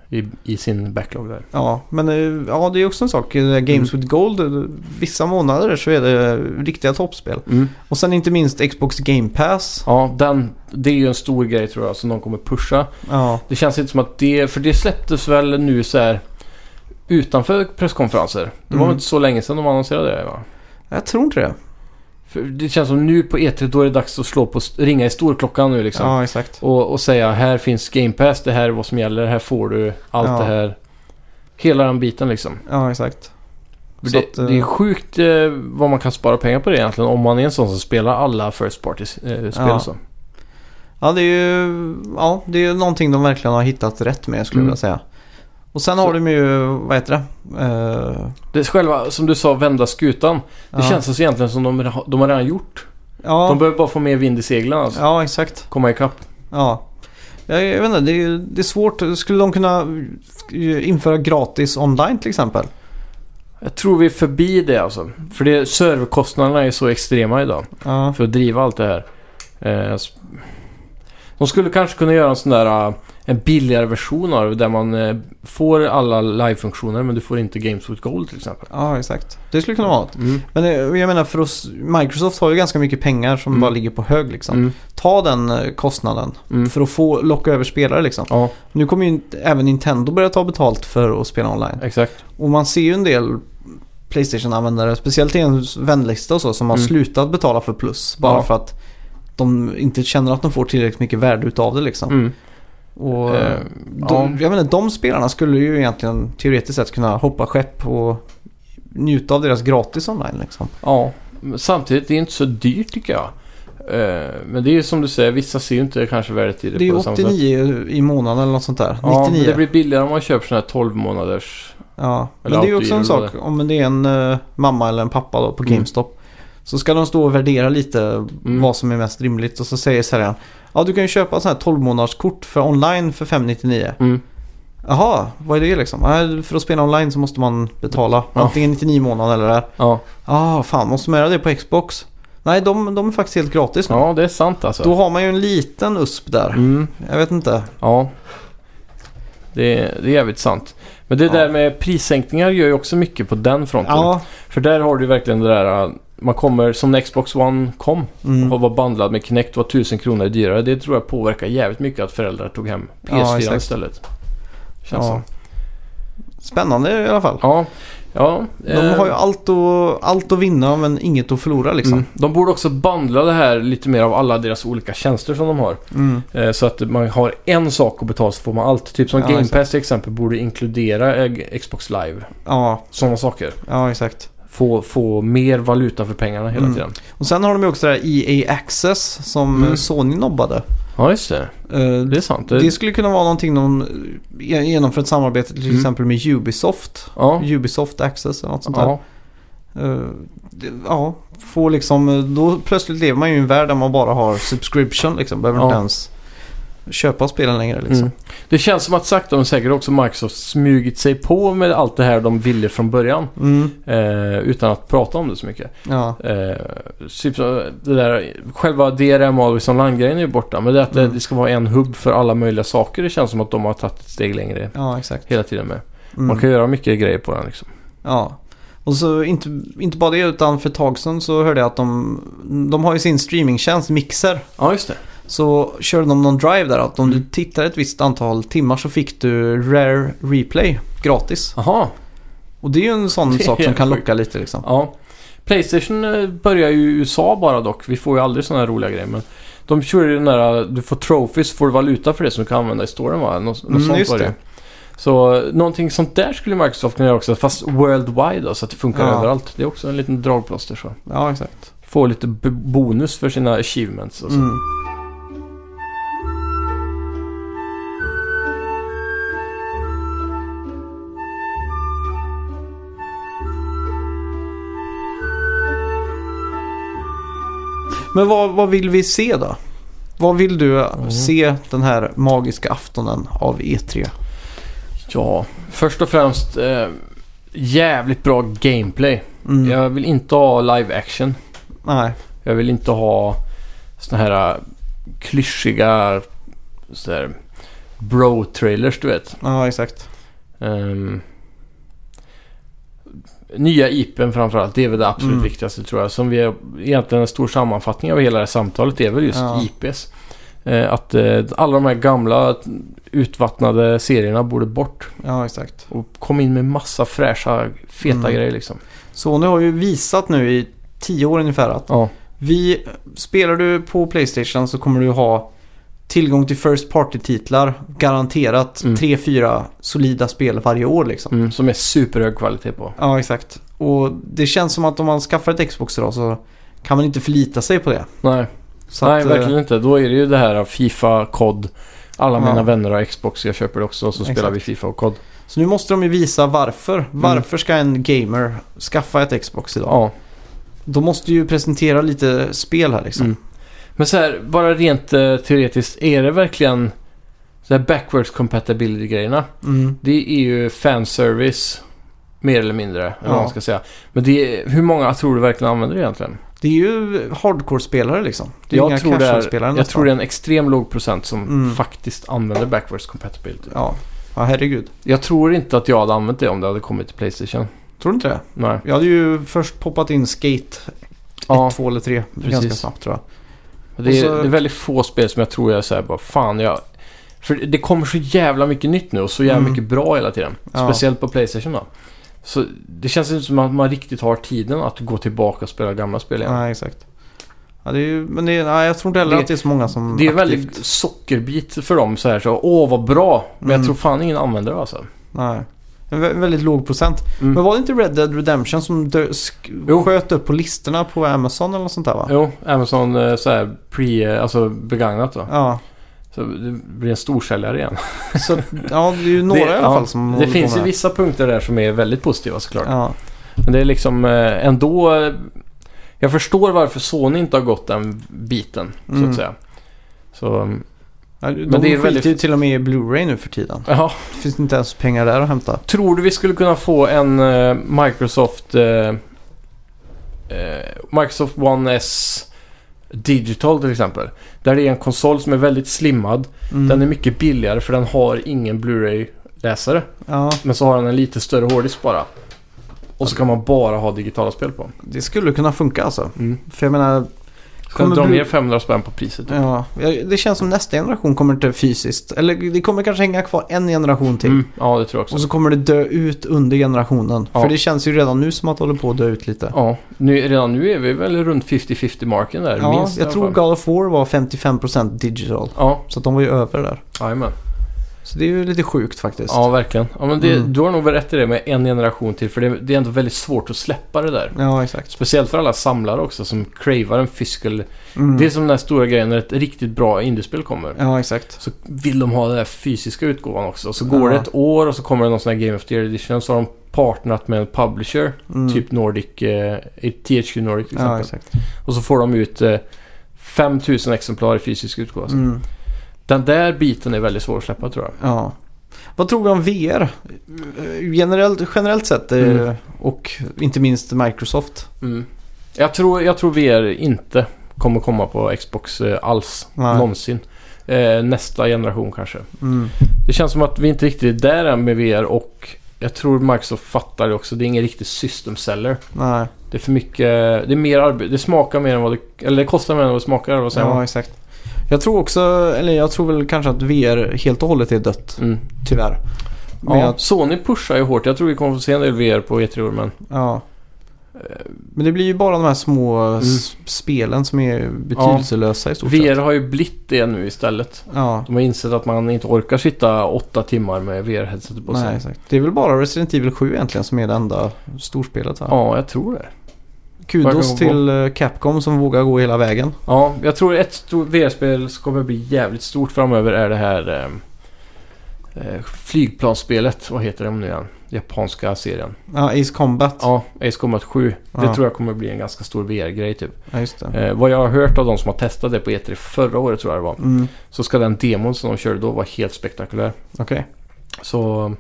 [SPEAKER 2] i, i, i sin backlog där.
[SPEAKER 1] Ja, men eh, ja, det är också en sak. Eh,
[SPEAKER 2] Mm.
[SPEAKER 1] Games with Gold, eh, vissa månader så är det eh, riktiga toppspel. Och sen inte minst Xbox Game Pass.
[SPEAKER 2] Ja, den, det är ju en stor grej tror jag som de kommer pusha.
[SPEAKER 1] Ja,
[SPEAKER 2] Det känns inte som att det... För det släpptes väl nu så här utanför presskonferenser. Det var
[SPEAKER 1] Mm.
[SPEAKER 2] väl inte så länge sedan de annonserade det va?
[SPEAKER 1] jag tror inte det.
[SPEAKER 2] För det känns som nu på E3 då är det dags att slå på, ringa i storklockan nu liksom.
[SPEAKER 1] Ja, exakt.
[SPEAKER 2] Och, och säga här finns Game Pass, det här är vad som gäller, här får du allt
[SPEAKER 1] Ja.
[SPEAKER 2] det här. Hela den biten liksom.
[SPEAKER 1] Ja, exakt.
[SPEAKER 2] För
[SPEAKER 1] Så
[SPEAKER 2] det,
[SPEAKER 1] att, eh,
[SPEAKER 2] det är sjukt eh, vad man kan spara pengar på det egentligen om man är en sån som spelar alla First Party-spel
[SPEAKER 1] Ja.
[SPEAKER 2] och så.
[SPEAKER 1] Ja, det är ju ja, det är ju någonting de verkligen har hittat rätt med skulle jag
[SPEAKER 2] Mm.
[SPEAKER 1] vilja säga. Och sen
[SPEAKER 2] Så-
[SPEAKER 1] har de ju, vad heter det? Eh,
[SPEAKER 2] Det är själva, som du sa, vända skutan.
[SPEAKER 1] ja.
[SPEAKER 2] Det känns alltså egentligen som de, reha- de har redan gjort.
[SPEAKER 1] Ja,
[SPEAKER 2] De behöver bara få mer vind i seglen alltså.
[SPEAKER 1] ja exakt.
[SPEAKER 2] Komma ikapp.
[SPEAKER 1] Ja. Jag, jag vet inte, det är, det är svårt. Skulle de kunna eh, införa gratis online till exempel?
[SPEAKER 2] Jag tror vi är förbi det alltså. För det, serverkostnaderna är så extrema idag.
[SPEAKER 1] Ja,
[SPEAKER 2] För att driva allt det här. Eh, s- De skulle kanske kunna göra en sån där... eh, En billigare version av det där man eh, får alla live-funktioner men du får inte Games with Gold till exempel.
[SPEAKER 1] ja exakt. Det skulle kunna vara något.
[SPEAKER 2] Mm.
[SPEAKER 1] Men eh, jag menar för oss, Microsoft har ju ganska mycket pengar som
[SPEAKER 2] Mm.
[SPEAKER 1] bara ligger på hög liksom.
[SPEAKER 2] Mm.
[SPEAKER 1] Ta den eh, kostnaden
[SPEAKER 2] Mm.
[SPEAKER 1] för att få locka över spelare liksom.
[SPEAKER 2] Ja,
[SPEAKER 1] Nu kommer ju inte- även Nintendo börja ta betalt för att spela online.
[SPEAKER 2] exakt.
[SPEAKER 1] Och man ser ju en del Playstation-användare, speciellt i en vänlista och så, som har
[SPEAKER 2] Mm.
[SPEAKER 1] slutat betala för plus. Bara
[SPEAKER 2] Ja.
[SPEAKER 1] för att de inte känner att de får tillräckligt mycket värde utav det liksom.
[SPEAKER 2] Mm.
[SPEAKER 1] Och
[SPEAKER 2] Eh, ja.
[SPEAKER 1] de, jag menar, de spelarna skulle ju egentligen teoretiskt sett kunna hoppa skepp och njuta av deras gratis online liksom.
[SPEAKER 2] Ja, men samtidigt det är inte så dyrt tycker jag. Eh, Men det är ju som du säger, vissa ser ju inte kanske värdet i det,
[SPEAKER 1] Det är ju
[SPEAKER 2] på samma sätt.
[SPEAKER 1] 89 i månaden eller något sånt där.
[SPEAKER 2] Ja, men
[SPEAKER 1] 99.
[SPEAKER 2] det blir billigare om man köper sådana här 12 månaders.
[SPEAKER 1] Ja, men
[SPEAKER 2] Eller
[SPEAKER 1] det är ju
[SPEAKER 2] allt
[SPEAKER 1] också
[SPEAKER 2] är
[SPEAKER 1] en
[SPEAKER 2] ju
[SPEAKER 1] sak. Om det är en eh, mamma eller en pappa då på
[SPEAKER 2] Mm.
[SPEAKER 1] GameStop. Så ska de stå och värdera lite vad som är mest rimligt. Och så säger säljaren. Ja, du kan ju köpa ett sånt här 12 månaderskort för online för 599.
[SPEAKER 2] Mm.
[SPEAKER 1] Jaha, vad är det liksom? Ja, för att spela online så måste man betala.
[SPEAKER 2] Ja.
[SPEAKER 1] Antingen 99 månader eller det här.
[SPEAKER 2] Ja.
[SPEAKER 1] Ja, ah, fan måste man göra det på Xbox? Nej, de, de är faktiskt helt gratis nu.
[SPEAKER 2] ja, det är sant alltså.
[SPEAKER 1] Då har man ju en liten USP där.
[SPEAKER 2] Mm.
[SPEAKER 1] Jag vet inte.
[SPEAKER 2] Ja, det, det är jävligt sant. Men det
[SPEAKER 1] Ja.
[SPEAKER 2] där med prissänkningar gör ju också mycket på den fronten.
[SPEAKER 1] Ja,
[SPEAKER 2] För där har du verkligen det där, äh, man kommer, som när Xbox One kom
[SPEAKER 1] mm.
[SPEAKER 2] och var bandlad med Kinect var 1000 kronor dyrare. Det tror jag påverkar jävligt mycket att föräldrar tog hem PS4
[SPEAKER 1] exakt.
[SPEAKER 2] istället. Känns
[SPEAKER 1] ja.
[SPEAKER 2] ja.
[SPEAKER 1] Spännande i alla fall.
[SPEAKER 2] ja, ja.
[SPEAKER 1] De
[SPEAKER 2] eh,
[SPEAKER 1] har ju allt att, allt att vinna men inget att förlora liksom.
[SPEAKER 2] mm. De borde också bandla det här lite mer av alla deras olika tjänster som de har.
[SPEAKER 1] Mm.
[SPEAKER 2] Eh, Så att man har en sak att betala så får man allt. Typ som
[SPEAKER 1] Ja,
[SPEAKER 2] Game
[SPEAKER 1] exakt.
[SPEAKER 2] Pass till exempel borde inkludera eh, Xbox Live.
[SPEAKER 1] Ja,
[SPEAKER 2] Sådana saker.
[SPEAKER 1] ja exakt.
[SPEAKER 2] få, få mer valuta för pengarna hela
[SPEAKER 1] Mm.
[SPEAKER 2] tiden.
[SPEAKER 1] Och sen har de ju också det här EA Access som
[SPEAKER 2] Mm.
[SPEAKER 1] eh, Sony nobbade.
[SPEAKER 2] Ja, just det.
[SPEAKER 1] Eh,
[SPEAKER 2] Det är sant. Det,
[SPEAKER 1] Det skulle kunna vara någonting de eh, genomför ett samarbete till
[SPEAKER 2] Mm.
[SPEAKER 1] exempel med Ubisoft.
[SPEAKER 2] ja.
[SPEAKER 1] Ubisoft Access eller något sånt där.
[SPEAKER 2] Ja.
[SPEAKER 1] Eh, det- Ja, få liksom, eh, då plötsligt lever man ju i en värld där man bara har subscription liksom. Behöver
[SPEAKER 2] Ja.
[SPEAKER 1] inte ens köpa spelen längre liksom.
[SPEAKER 2] Mm. Det känns som att sakta men säkert också Microsoft smugit sig på med allt det här de ville från början.
[SPEAKER 1] Mm.
[SPEAKER 2] Eh, utan att prata om det så mycket.
[SPEAKER 1] Ja.
[SPEAKER 2] Eh, typ så- det där, själva DRM och Always Online-grejen är ju borta. Men det är att det,
[SPEAKER 1] Mm.
[SPEAKER 2] det ska vara en hubb för alla möjliga saker. Det känns som att de har tagit ett steg längre
[SPEAKER 1] ja, exakt.
[SPEAKER 2] hela tiden med.
[SPEAKER 1] Mm.
[SPEAKER 2] Man kan göra mycket grejer på den liksom.
[SPEAKER 1] Ja. Och så inte, inte bara det utan för ett tag sedan så hörde jag att de, de har ju sin streamingtjänst Mixer.
[SPEAKER 2] Ja, just det.
[SPEAKER 1] Så körde de någon drive där att om du
[SPEAKER 2] Mm.
[SPEAKER 1] tittar ett visst antal timmar så fick du Rare Replay gratis.
[SPEAKER 2] Aha.
[SPEAKER 1] Och det är ju en sån
[SPEAKER 2] Det är
[SPEAKER 1] sak som kan
[SPEAKER 2] sjukt.
[SPEAKER 1] locka lite liksom.
[SPEAKER 2] Ja. Playstation eh, börjar ju i USA bara dock. Vi får ju aldrig sådana här roliga grejer. Men de kör ju den där, eh, du får trophies, får du valuta för det som du kan använda i storen va? Nå, något
[SPEAKER 1] Mm,
[SPEAKER 2] sånt
[SPEAKER 1] just
[SPEAKER 2] var det.
[SPEAKER 1] det.
[SPEAKER 2] Så eh, någonting sånt där skulle Microsoft kunna göra också. Fast worldwide då, så att det funkar
[SPEAKER 1] Ja.
[SPEAKER 2] överallt. Det är också en liten dragplåster så.
[SPEAKER 1] Ja, exakt.
[SPEAKER 2] Få lite b- bonus för sina achievements alltså. och så.
[SPEAKER 1] Mm. Men vad, vad vill vi se då? Vad vill du se den här magiska aftonen av E E3?
[SPEAKER 2] Ja, först och främst eh, jävligt bra gameplay.
[SPEAKER 1] Mm.
[SPEAKER 2] Jag vill inte ha live action.
[SPEAKER 1] Nej.
[SPEAKER 2] Jag vill inte ha såna här äh, klyschiga så här, bro-trailers, du vet.
[SPEAKER 1] Ja, exakt.
[SPEAKER 2] Ehm, nya IPn framförallt, det är väl det absolut
[SPEAKER 1] Mm.
[SPEAKER 2] viktigaste tror jag. Som vi har, egentligen en stor sammanfattning av hela det här samtalet är väl just
[SPEAKER 1] Ja.
[SPEAKER 2] IPs. Eh, att eh, alla de här gamla utvattnade serierna borde bort.
[SPEAKER 1] Ja, exakt.
[SPEAKER 2] Och kom in med massa fräscha, feta
[SPEAKER 1] Mm.
[SPEAKER 2] grejer liksom.
[SPEAKER 1] Sony har ju visat nu i tio år ungefär att
[SPEAKER 2] Ja.
[SPEAKER 1] vi, spelar du på Playstation så kommer du ha tillgång till First Party-titlar. Garanterat
[SPEAKER 2] Mm.
[SPEAKER 1] tre fyra solida spel varje år liksom.
[SPEAKER 2] Mm, som är superhög kvalitet på.
[SPEAKER 1] Ja, exakt. Och det känns som att om man skaffar ett Xbox idag så kan man inte förlita sig på det.
[SPEAKER 2] Nej,
[SPEAKER 1] Så
[SPEAKER 2] Nej,
[SPEAKER 1] att, eh,
[SPEAKER 2] verkligen inte. Då är det ju det här av Fifa, COD. Alla
[SPEAKER 1] Ja.
[SPEAKER 2] mina vänner har Xbox, jag köper det också och så
[SPEAKER 1] Exakt.
[SPEAKER 2] spelar vi Fifa och COD.
[SPEAKER 1] Så nu måste de ju visa varför. Varför ska en gamer skaffa ett Xbox idag?
[SPEAKER 2] Mm. Ja.
[SPEAKER 1] De måste ju presentera lite spel här liksom.
[SPEAKER 2] Mm. Men så här, bara rent eh, teoretiskt, är det verkligen så här backwards compatibility-grejerna?
[SPEAKER 1] Mm.
[SPEAKER 2] Det är ju fanservice, mer eller mindre, eller vad
[SPEAKER 1] Ja.
[SPEAKER 2] man ska säga. Men det är, hur många tror du verkligen använder det egentligen?
[SPEAKER 1] Det är ju hardcore-spelare liksom. Det är
[SPEAKER 2] Jag
[SPEAKER 1] inga
[SPEAKER 2] tror det är-
[SPEAKER 1] casual-spelare.
[SPEAKER 2] Jag
[SPEAKER 1] nästan.
[SPEAKER 2] tror det är en extrem låg procent som
[SPEAKER 1] Mm.
[SPEAKER 2] faktiskt använder backwards compatibility.
[SPEAKER 1] Ja. ja, herregud.
[SPEAKER 2] Jag tror inte att jag hade använt det om det hade kommit till Playstation.
[SPEAKER 1] Tror du inte det?
[SPEAKER 2] Nej.
[SPEAKER 1] Jag hade ju först poppat in Skate 1,
[SPEAKER 2] Ja.
[SPEAKER 1] 2 eller 3 ganska
[SPEAKER 2] precis.
[SPEAKER 1] snabbt tror jag.
[SPEAKER 2] Men Det är,
[SPEAKER 1] Och så-
[SPEAKER 2] det är väldigt få spel som jag tror jag säger bara fan jag... För det kommer så jävla mycket nytt nu och så jävla
[SPEAKER 1] Mm.
[SPEAKER 2] mycket bra hela tiden.
[SPEAKER 1] Ja.
[SPEAKER 2] Speciellt på Playstation då. Så det känns inte som att man riktigt har tiden att gå tillbaka och spela gamla spel igen.
[SPEAKER 1] Nej, exakt. Ja, det är ju, men det är, nej, jag tror inte heller
[SPEAKER 2] Det-
[SPEAKER 1] att det är så många som
[SPEAKER 2] Det är
[SPEAKER 1] Mm, aktivt-
[SPEAKER 2] väldigt sockerbit för dem så här så åh vad bra. Men jag
[SPEAKER 1] Mm.
[SPEAKER 2] tror fan ingen använder det alltså.
[SPEAKER 1] Nej. En vä- väldigt låg procent.
[SPEAKER 2] Mm.
[SPEAKER 1] Men var det inte Red Dead Redemption som dö, sk-
[SPEAKER 2] Jo.
[SPEAKER 1] sköt upp på listorna på Amazon eller något sånt där va?
[SPEAKER 2] Jo, Amazon eh, så här pre, eh, alltså begagnat då.
[SPEAKER 1] Ja,
[SPEAKER 2] Så det blir en storsäljare igen.
[SPEAKER 1] så ja, det är ju några
[SPEAKER 2] det,
[SPEAKER 1] i alla
[SPEAKER 2] ja,
[SPEAKER 1] fall som
[SPEAKER 2] Det
[SPEAKER 1] håller på
[SPEAKER 2] finns ju
[SPEAKER 1] med
[SPEAKER 2] vissa punkter där som är väldigt positiva såklart.
[SPEAKER 1] Ja,
[SPEAKER 2] Men det är liksom eh, ändå... eh, Jag förstår varför Sony inte har gått den biten, så
[SPEAKER 1] Mm.
[SPEAKER 2] att säga. Så, mm,
[SPEAKER 1] Ja, de
[SPEAKER 2] det är
[SPEAKER 1] men det är
[SPEAKER 2] väldigt-
[SPEAKER 1] väldigt... ju till och med i Blu-ray nu för tiden.
[SPEAKER 2] ja.
[SPEAKER 1] Det finns inte ens pengar där att hämta.
[SPEAKER 2] Tror du vi skulle kunna få en eh, Microsoft... Eh, eh, Microsoft One S Digital till exempel. Där det är en konsol som är väldigt slimmad.
[SPEAKER 1] Mm.
[SPEAKER 2] Den är mycket billigare för den har ingen Blu-ray-läsare.
[SPEAKER 1] Ja,
[SPEAKER 2] Men så har den en lite större hårddisk bara. Och så kan man bara ha digitala spel på.
[SPEAKER 1] det skulle kunna funka alltså.
[SPEAKER 2] Mm.
[SPEAKER 1] För jag menar,
[SPEAKER 2] Kan
[SPEAKER 1] Kommer
[SPEAKER 2] dra
[SPEAKER 1] Blu-
[SPEAKER 2] ner 500 spänn på priset.
[SPEAKER 1] Ja, jag- det känns som nästa generation kommer inte fysiskt. Eller det kommer kanske hänga kvar en generation till.
[SPEAKER 2] Mm, ja, det tror jag också.
[SPEAKER 1] Och så kommer det dö ut under generationen.
[SPEAKER 2] Ja.
[SPEAKER 1] För det känns ju redan nu som att det håller på att dö ut lite.
[SPEAKER 2] Ja, nu, redan nu är vi väl runt 50-50 marken där.
[SPEAKER 1] Ja,
[SPEAKER 2] minst i
[SPEAKER 1] jag
[SPEAKER 2] alla
[SPEAKER 1] tror
[SPEAKER 2] fall.
[SPEAKER 1] God of War var 55% digital.
[SPEAKER 2] Ja,
[SPEAKER 1] Så att de var ju över där.
[SPEAKER 2] jajamän.
[SPEAKER 1] Så det är ju lite sjukt faktiskt.
[SPEAKER 2] Ja, verkligen. Ja, men det,
[SPEAKER 1] Mm.
[SPEAKER 2] Du har nog rätt i det med en generation till. För det, det är ändå väldigt svårt att släppa det där.
[SPEAKER 1] Ja, exakt.
[SPEAKER 2] Speciellt för alla samlare också som cravar en physical.
[SPEAKER 1] Mm.
[SPEAKER 2] Det är som den här stora grejen när ett riktigt bra indiespel kommer.
[SPEAKER 1] Ja, exakt.
[SPEAKER 2] Så vill de ha den här fysiska utgåvan också. Och Så går
[SPEAKER 1] Ja.
[SPEAKER 2] det ett år och så kommer det någon sån här Game of the Year Edition. Så har de partnerat med en publisher.
[SPEAKER 1] Mm.
[SPEAKER 2] Typ Nordic, eh, THQ Nordic till
[SPEAKER 1] Ja,
[SPEAKER 2] exempel.
[SPEAKER 1] exakt.
[SPEAKER 2] och så får de ut eh, 5000 exemplar i fysisk utgåva.
[SPEAKER 1] Mm.
[SPEAKER 2] Den där biten är väldigt svår att släppa tror jag.
[SPEAKER 1] Ja. Vad tror vi om VR? Eh, Generellt, generellt sett eh,
[SPEAKER 2] Mm.
[SPEAKER 1] och inte minst Microsoft.
[SPEAKER 2] Mm. Jag, tror, jag tror VR inte kommer komma på Xbox eh, alls.
[SPEAKER 1] Nej.
[SPEAKER 2] Någonsin. Eh, nästa generation kanske.
[SPEAKER 1] Mm.
[SPEAKER 2] Det känns som att vi inte riktigt är där än med VR och jag tror Microsoft fattar det också. Det är ingen riktig system seller.
[SPEAKER 1] Nej,
[SPEAKER 2] Det är för mycket... Det är mer arbete. Det smakar mer än vad det... Eller det kostar mer än vad det smakar. Vad säger
[SPEAKER 1] ja,
[SPEAKER 2] man?
[SPEAKER 1] exakt. Jag tror också, eller jag tror väl kanske att VR helt och hållet är dött,
[SPEAKER 2] Mm.
[SPEAKER 1] tyvärr. Men
[SPEAKER 2] Ja,
[SPEAKER 1] ja. Jag,
[SPEAKER 2] Sony pushar ju hårt. Jag tror vi kommer få se en del VR på E3 men...
[SPEAKER 1] ja.
[SPEAKER 2] Eh.
[SPEAKER 1] Men det blir ju bara de här små
[SPEAKER 2] Mm.
[SPEAKER 1] eh, s- spelen som är betydelselösa i stort
[SPEAKER 2] VR
[SPEAKER 1] sett.
[SPEAKER 2] har ju blivit det nu istället.
[SPEAKER 1] Ja,
[SPEAKER 2] De har insett att man inte orkar sitta åtta timmar med VR-headsetet på sig.
[SPEAKER 1] nej, exakt. Det är väl bara Resident Evil 7 egentligen som är det enda storspelet här.
[SPEAKER 2] Ja, jag tror det.
[SPEAKER 1] Kudos
[SPEAKER 2] verkar
[SPEAKER 1] till eh, Capcom som vågar gå hela vägen.
[SPEAKER 2] Ja, jag tror ett stort VR-spel som kommer bli jävligt stort framöver är det här eh, eh, flygplansspelet. Vad heter det nu igen? Japanska serien.
[SPEAKER 1] Ja, Ace Combat. Ja,
[SPEAKER 2] Ja, Ace Combat 7.
[SPEAKER 1] Ja.
[SPEAKER 2] Det tror jag kommer bli en ganska stor VR-grej typ.
[SPEAKER 1] just det.
[SPEAKER 2] Eh, vad jag har hört av de som har testat det på E3 förra året tror jag det var.
[SPEAKER 1] Mm,
[SPEAKER 2] Så ska den demon som de körde då vara helt spektakulär.
[SPEAKER 1] Okej.
[SPEAKER 2] Så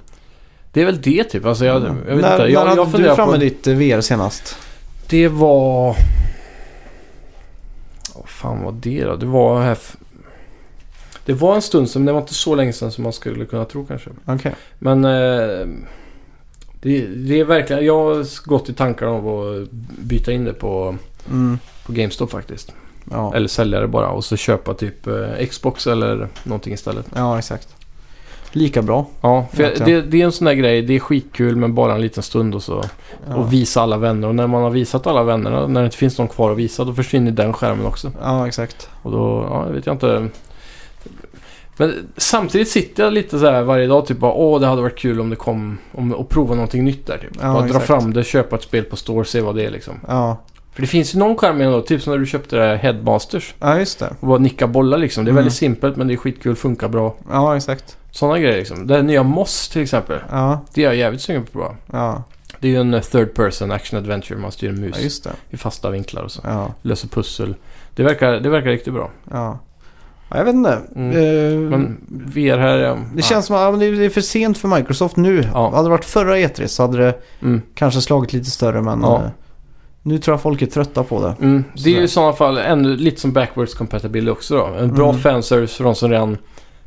[SPEAKER 2] det är väl det typ. Alltså jag, jag vet
[SPEAKER 1] när
[SPEAKER 2] inte. Jag,
[SPEAKER 1] när
[SPEAKER 2] jag
[SPEAKER 1] hade du
[SPEAKER 2] funderar
[SPEAKER 1] fram
[SPEAKER 2] på...
[SPEAKER 1] med ditt eh, VR senast?
[SPEAKER 2] Det var... Vad fan var det då? Det var här... f- Det var en stund sen, men det var inte så länge sedan som man skulle kunna tro kanske.
[SPEAKER 1] Okej.
[SPEAKER 2] Men... Eh, det, det är verkligen... Jag har gått i tankar om att byta in det på,
[SPEAKER 1] Mm.
[SPEAKER 2] på GameStop faktiskt.
[SPEAKER 1] Ja.
[SPEAKER 2] Eller sälja det bara och så köpa typ eh, Xbox eller någonting istället.
[SPEAKER 1] ja, exakt. Lika bra.
[SPEAKER 2] Ja, för jag, det,
[SPEAKER 1] Verkligen.
[SPEAKER 2] det är en sån där grej. Det är skitkul men bara en liten stund och så.
[SPEAKER 1] Ja.
[SPEAKER 2] Och visa alla vänner. Och när man har visat alla vännerna, när det inte finns någon kvar att visa, då försvinner den skärmen också.
[SPEAKER 1] Ja, exakt.
[SPEAKER 2] Och då, ja, vet jag inte. Men samtidigt sitter jag lite så här varje dag typ bara, åh det hade varit kul om det kom, om, att prova någonting nytt där typ.
[SPEAKER 1] Ja,
[SPEAKER 2] bara dra
[SPEAKER 1] exakt.
[SPEAKER 2] fram det, köpa ett spel på store, se vad det är liksom.
[SPEAKER 1] Ja,
[SPEAKER 2] För det finns ju någon charm ändå, typ som när du köpte det här Headmasters.
[SPEAKER 1] ja just det.
[SPEAKER 2] Och bara nicka bollar liksom. Det är
[SPEAKER 1] Mm.
[SPEAKER 2] väldigt simpelt men det är skitkul, funkar bra.
[SPEAKER 1] Ja, exakt.
[SPEAKER 2] Sådana grejer liksom. Det här nya Moss till exempel.
[SPEAKER 1] Ja,
[SPEAKER 2] Det är jag jävligt sugen på att prova.
[SPEAKER 1] ja,
[SPEAKER 2] Det är ju en eh, third person action adventure, man styr en mus
[SPEAKER 1] ja just det.
[SPEAKER 2] i fasta vinklar och så.
[SPEAKER 1] Ja,
[SPEAKER 2] Löser pussel. Det verkar, det verkar riktigt bra.
[SPEAKER 1] ja. ja jag vet inte.
[SPEAKER 2] Mm.
[SPEAKER 1] Eh,
[SPEAKER 2] Men VR här... ja,
[SPEAKER 1] det
[SPEAKER 2] nej.
[SPEAKER 1] känns som att ja, men det det är för sent för Microsoft nu.
[SPEAKER 2] Ja.
[SPEAKER 1] Hade det varit förra E3 så hade det
[SPEAKER 2] Mm.
[SPEAKER 1] kanske slagit lite större men
[SPEAKER 2] Ja.
[SPEAKER 1] eh, nu tror jag folk är trötta på det.
[SPEAKER 2] Mm. Det är ju
[SPEAKER 1] Sådär.
[SPEAKER 2] i sådana fall ännu lite som backwards compatibility också då. En bra
[SPEAKER 1] Mm.
[SPEAKER 2] fanservice för de som redan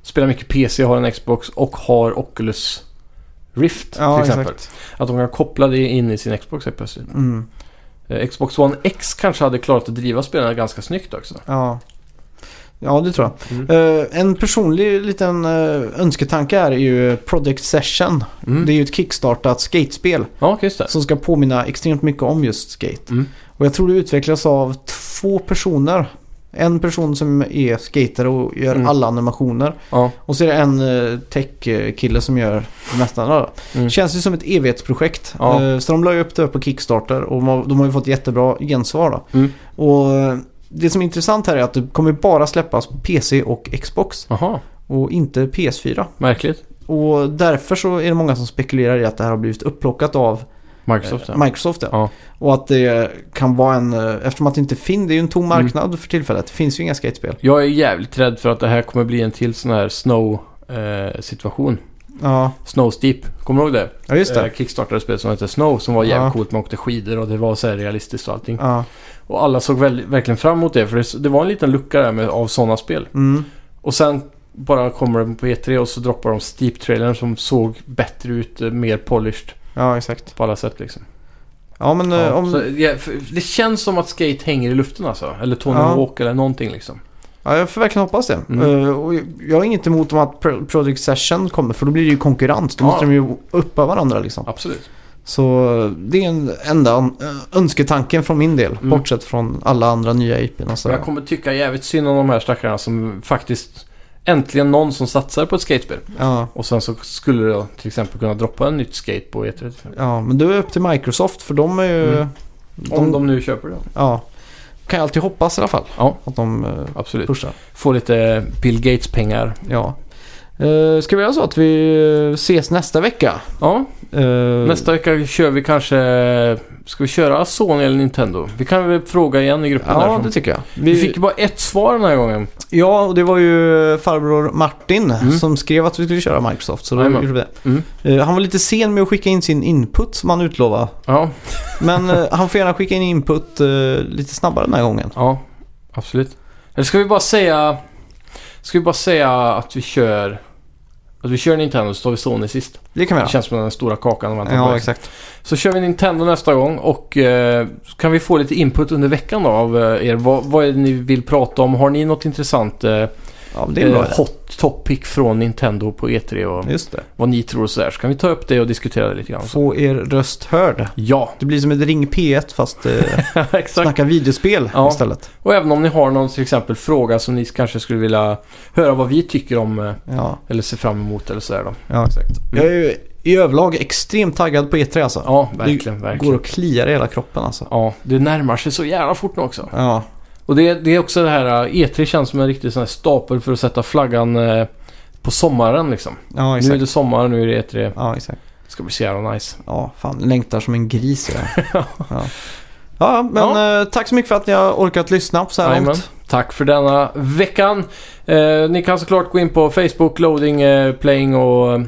[SPEAKER 2] spelar mycket PC, har en Xbox och har Oculus Rift
[SPEAKER 1] Ja,
[SPEAKER 2] till exempel. Att de kan koppla det in i sin Xbox helt plötsligt.
[SPEAKER 1] Mm.
[SPEAKER 2] Eh, Xbox One X kanske hade klarat att driva spelarna ganska snyggt också.
[SPEAKER 1] Ja. ja, det tror jag.
[SPEAKER 2] Mm.
[SPEAKER 1] Eh, en personlig liten eh, önsketanke här är ju Project Session.
[SPEAKER 2] Mm.
[SPEAKER 1] Det är ju ett kickstartat skatespel
[SPEAKER 2] Ja, just det.
[SPEAKER 1] som ska påminna extremt mycket om just skate.
[SPEAKER 2] Mm.
[SPEAKER 1] Och jag tror det utvecklas av två personer. En person som är skater och gör
[SPEAKER 2] Mm.
[SPEAKER 1] alla animationer.
[SPEAKER 2] Ja.
[SPEAKER 1] Och så är det en eh, tech-kille som gör det mesta. andra.
[SPEAKER 2] Mm.
[SPEAKER 1] Känns ju som ett evighetsprojekt.
[SPEAKER 2] Ja.
[SPEAKER 1] Eh, Så de la ju upp det på Kickstarter och ma- de har ju fått jättebra gensvar då.
[SPEAKER 2] Mm.
[SPEAKER 1] Och eh, det som är intressant här är att det kommer bara släppas på PC och Xbox
[SPEAKER 2] Jaha,
[SPEAKER 1] och inte PS4.
[SPEAKER 2] märkligt.
[SPEAKER 1] Och därför så är det många som spekulerar i att det här har blivit upplockat av
[SPEAKER 2] Microsoft ja.
[SPEAKER 1] Microsoft ja.
[SPEAKER 2] Ja.
[SPEAKER 1] Och att det kan vara en, eh, eftersom att det inte finns, det är ju en tom
[SPEAKER 2] Mm.
[SPEAKER 1] marknad för tillfället. Det finns ju inga skatespel.
[SPEAKER 2] Jag är jävligt rädd för att det här kommer bli en till sån här snow eh, situation.
[SPEAKER 1] Ja,
[SPEAKER 2] Snow Steep, kommer du ihåg det?
[SPEAKER 1] ja just det.
[SPEAKER 2] Eh, kickstartade spel som hette Snow som var jävligt
[SPEAKER 1] Ja.
[SPEAKER 2] coolt. Man åkte skidor och det var så här realistiskt och allting.
[SPEAKER 1] Ja.
[SPEAKER 2] Och alla såg väl, verkligen fram emot det för det, det var en liten lucka där med, av sådana spel.
[SPEAKER 1] Mm.
[SPEAKER 2] Och sen bara kommer de på E3 och så droppar de Steep-trailern som såg bättre ut, eh, mer polished
[SPEAKER 1] ja, exakt.
[SPEAKER 2] på alla sätt liksom.
[SPEAKER 1] Ja, men eh,
[SPEAKER 2] Ja, så,
[SPEAKER 1] om...
[SPEAKER 2] ja, för- det känns som att skate hänger i luften alltså. Eller Tony
[SPEAKER 1] Ja.
[SPEAKER 2] Hawk eller någonting liksom.
[SPEAKER 1] Ja, jag får verkligen hoppas det.
[SPEAKER 2] Mm.
[SPEAKER 1] Eh, och jag har inget emot om att Pro- Project Session kommer för då blir det ju konkurrens. Då
[SPEAKER 2] Ja.
[SPEAKER 1] måste de ju uppa varandra liksom.
[SPEAKER 2] Absolut.
[SPEAKER 1] Så eh, det är en enda eh, önsketanken från min del.
[SPEAKER 2] Mm.
[SPEAKER 1] Bortsett från alla andra nya IPn och
[SPEAKER 2] Och jag
[SPEAKER 1] sådär.
[SPEAKER 2] kommer tycka jävligt synd om de här stackarna som faktiskt äntligen någon som satsar på ett skatespel.
[SPEAKER 1] Ja.
[SPEAKER 2] Och sen så skulle jag till exempel kunna droppa en nytt skate på E E3.
[SPEAKER 1] ja, men det är upp till Microsoft för de är ju...
[SPEAKER 2] Mm. Om de nu köper det.
[SPEAKER 1] Ja. Kan jag alltid hoppas i alla fall.
[SPEAKER 2] Ja.
[SPEAKER 1] Att de eh,
[SPEAKER 2] Absolut.
[SPEAKER 1] pushar.
[SPEAKER 2] Få lite Bill Gates-pengar.
[SPEAKER 1] Ja. Eh, Ska vi göra så att vi eh, ses nästa vecka?
[SPEAKER 2] Ja,
[SPEAKER 1] Eh,
[SPEAKER 2] nästa vecka kör vi kanske... Ska vi köra Sony eller Nintendo? Vi kan väl fråga igen i gruppen där.
[SPEAKER 1] Ja,
[SPEAKER 2] som-
[SPEAKER 1] det tycker jag.
[SPEAKER 2] Vi fick ju bara ett svar den här gången.
[SPEAKER 1] Ja, och det var ju farbror Martin
[SPEAKER 2] Mm.
[SPEAKER 1] som skrev att vi skulle köra Microsoft. Så då
[SPEAKER 2] Jajamän.
[SPEAKER 1] gjorde vi det.
[SPEAKER 2] Mm.
[SPEAKER 1] Eh, Han var lite sen med att skicka in sin input som han utlovade.
[SPEAKER 2] Ja,
[SPEAKER 1] Men eh, han får gärna skicka in input eh, lite snabbare den här gången.
[SPEAKER 2] ja absolut. Eller ska vi bara säga... Ska vi bara säga att vi kör... Att vi kör Nintendo så tar vi Sony sist.
[SPEAKER 1] Det kan vi
[SPEAKER 2] Det
[SPEAKER 1] göra.
[SPEAKER 2] känns som den stora kakan att vänta på.
[SPEAKER 1] Ja,
[SPEAKER 2] liksom.
[SPEAKER 1] exakt.
[SPEAKER 2] Så kör vi Nintendo nästa gång och eh, så kan vi få lite input under veckan då av eh, er. Vad, vad är det ni vill prata om? Har ni något intressant eh,
[SPEAKER 1] Ja, det är en bra
[SPEAKER 2] eh,
[SPEAKER 1] idé.
[SPEAKER 2] hot topic från Nintendo på E3 och
[SPEAKER 1] Just det.
[SPEAKER 2] vad ni tror och sådär. Så kan vi ta upp det och diskutera det lite grann. Så.
[SPEAKER 1] Få er röst hörd.
[SPEAKER 2] Ja,
[SPEAKER 1] Det blir som ett Ring P1 fast eh,
[SPEAKER 2] exakt.
[SPEAKER 1] snacka videospel
[SPEAKER 2] Ja.
[SPEAKER 1] istället.
[SPEAKER 2] Och även om ni har någon till exempel fråga som ni kanske skulle vilja höra vad vi tycker om eh,
[SPEAKER 1] Ja,
[SPEAKER 2] eller ser fram emot eller sådär då.
[SPEAKER 1] ja exakt. Jag är ju i överlag extremt taggad på E3 alltså.
[SPEAKER 2] Mm. Ja, verkligen,
[SPEAKER 1] Går
[SPEAKER 2] verkligen.
[SPEAKER 1] och kliar i hela kroppen alltså.
[SPEAKER 2] Ja, det närmar sig så jävla fort nu också.
[SPEAKER 1] Ja,
[SPEAKER 2] Och det, det är också det här, eh, E3 känns som en riktig sån här stapel för att sätta flaggan eh, på sommaren liksom.
[SPEAKER 1] ja
[SPEAKER 2] Nu är
[SPEAKER 1] exakt.
[SPEAKER 2] det sommar, nu är det E3.
[SPEAKER 1] Ja, exakt.
[SPEAKER 2] Det ska bli så jävla nice.
[SPEAKER 1] Ja, fan. Längtar som en gris. Ja, ja. ja men eh, tack så mycket för att ni har orkat lyssna på så här
[SPEAKER 2] Jajamän.
[SPEAKER 1] långt.
[SPEAKER 2] Tack för denna veckan. Eh, ni kan såklart gå in på Facebook, Loading, eh, Playing och,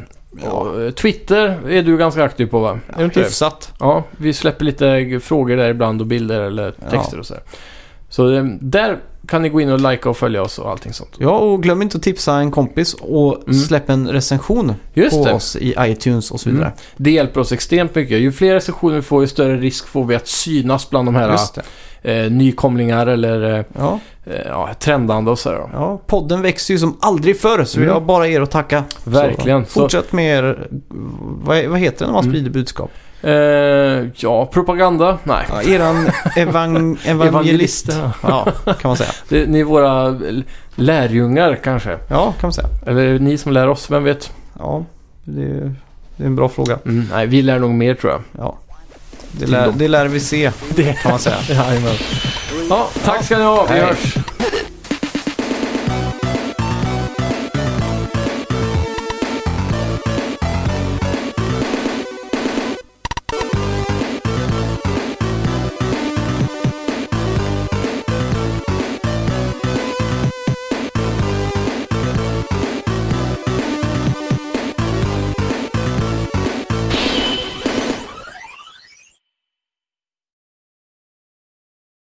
[SPEAKER 2] och eh, Twitter är du ganska aktiv på va? är du inte det?
[SPEAKER 1] Hyfsat.
[SPEAKER 2] Ja, vi släpper lite frågor där ibland och bilder eller texter och sådär. Så eh, där kan ni gå in och likea och följa oss och allting sånt.
[SPEAKER 1] Ja, och glöm inte att tipsa en kompis och
[SPEAKER 2] Mm.
[SPEAKER 1] släpp en recension
[SPEAKER 2] Just
[SPEAKER 1] på
[SPEAKER 2] det. Mm.
[SPEAKER 1] oss i iTunes och så vidare.
[SPEAKER 2] Det hjälper oss extremt mycket. Ju fler recensioner vi får, ju större risk får vi att synas bland de här
[SPEAKER 1] Just det.
[SPEAKER 2] eh, nykomlingar eller
[SPEAKER 1] Ja,
[SPEAKER 2] eh, ja, trendande och sådär. då.
[SPEAKER 1] ja, podden växer ju som aldrig förr så vi
[SPEAKER 2] Mm.
[SPEAKER 1] har bara er att tacka.
[SPEAKER 2] Verkligen.
[SPEAKER 1] Så, fortsätt med er, vad, vad heter det när man
[SPEAKER 2] Mm.
[SPEAKER 1] sprider budskap?
[SPEAKER 2] Eh, ja, propaganda? Nej.
[SPEAKER 1] Ja, eran evang, evangelist.
[SPEAKER 2] Evangelister.
[SPEAKER 1] ja, kan man säga.
[SPEAKER 2] Det, ni är våra l- lärjungar kanske.
[SPEAKER 1] Ja, kan man säga.
[SPEAKER 2] Eller är det ni som lär oss, vem vet?
[SPEAKER 1] Ja, det är, det är en bra fråga.
[SPEAKER 2] nej, vi lär nog mer tror jag.
[SPEAKER 1] Ja. Det lär, det lär vi se,
[SPEAKER 2] Det
[SPEAKER 1] kan man säga.
[SPEAKER 2] Ja, jajamän. ja, tack ska ni ha. Vi
[SPEAKER 1] Hej.
[SPEAKER 2] hörs.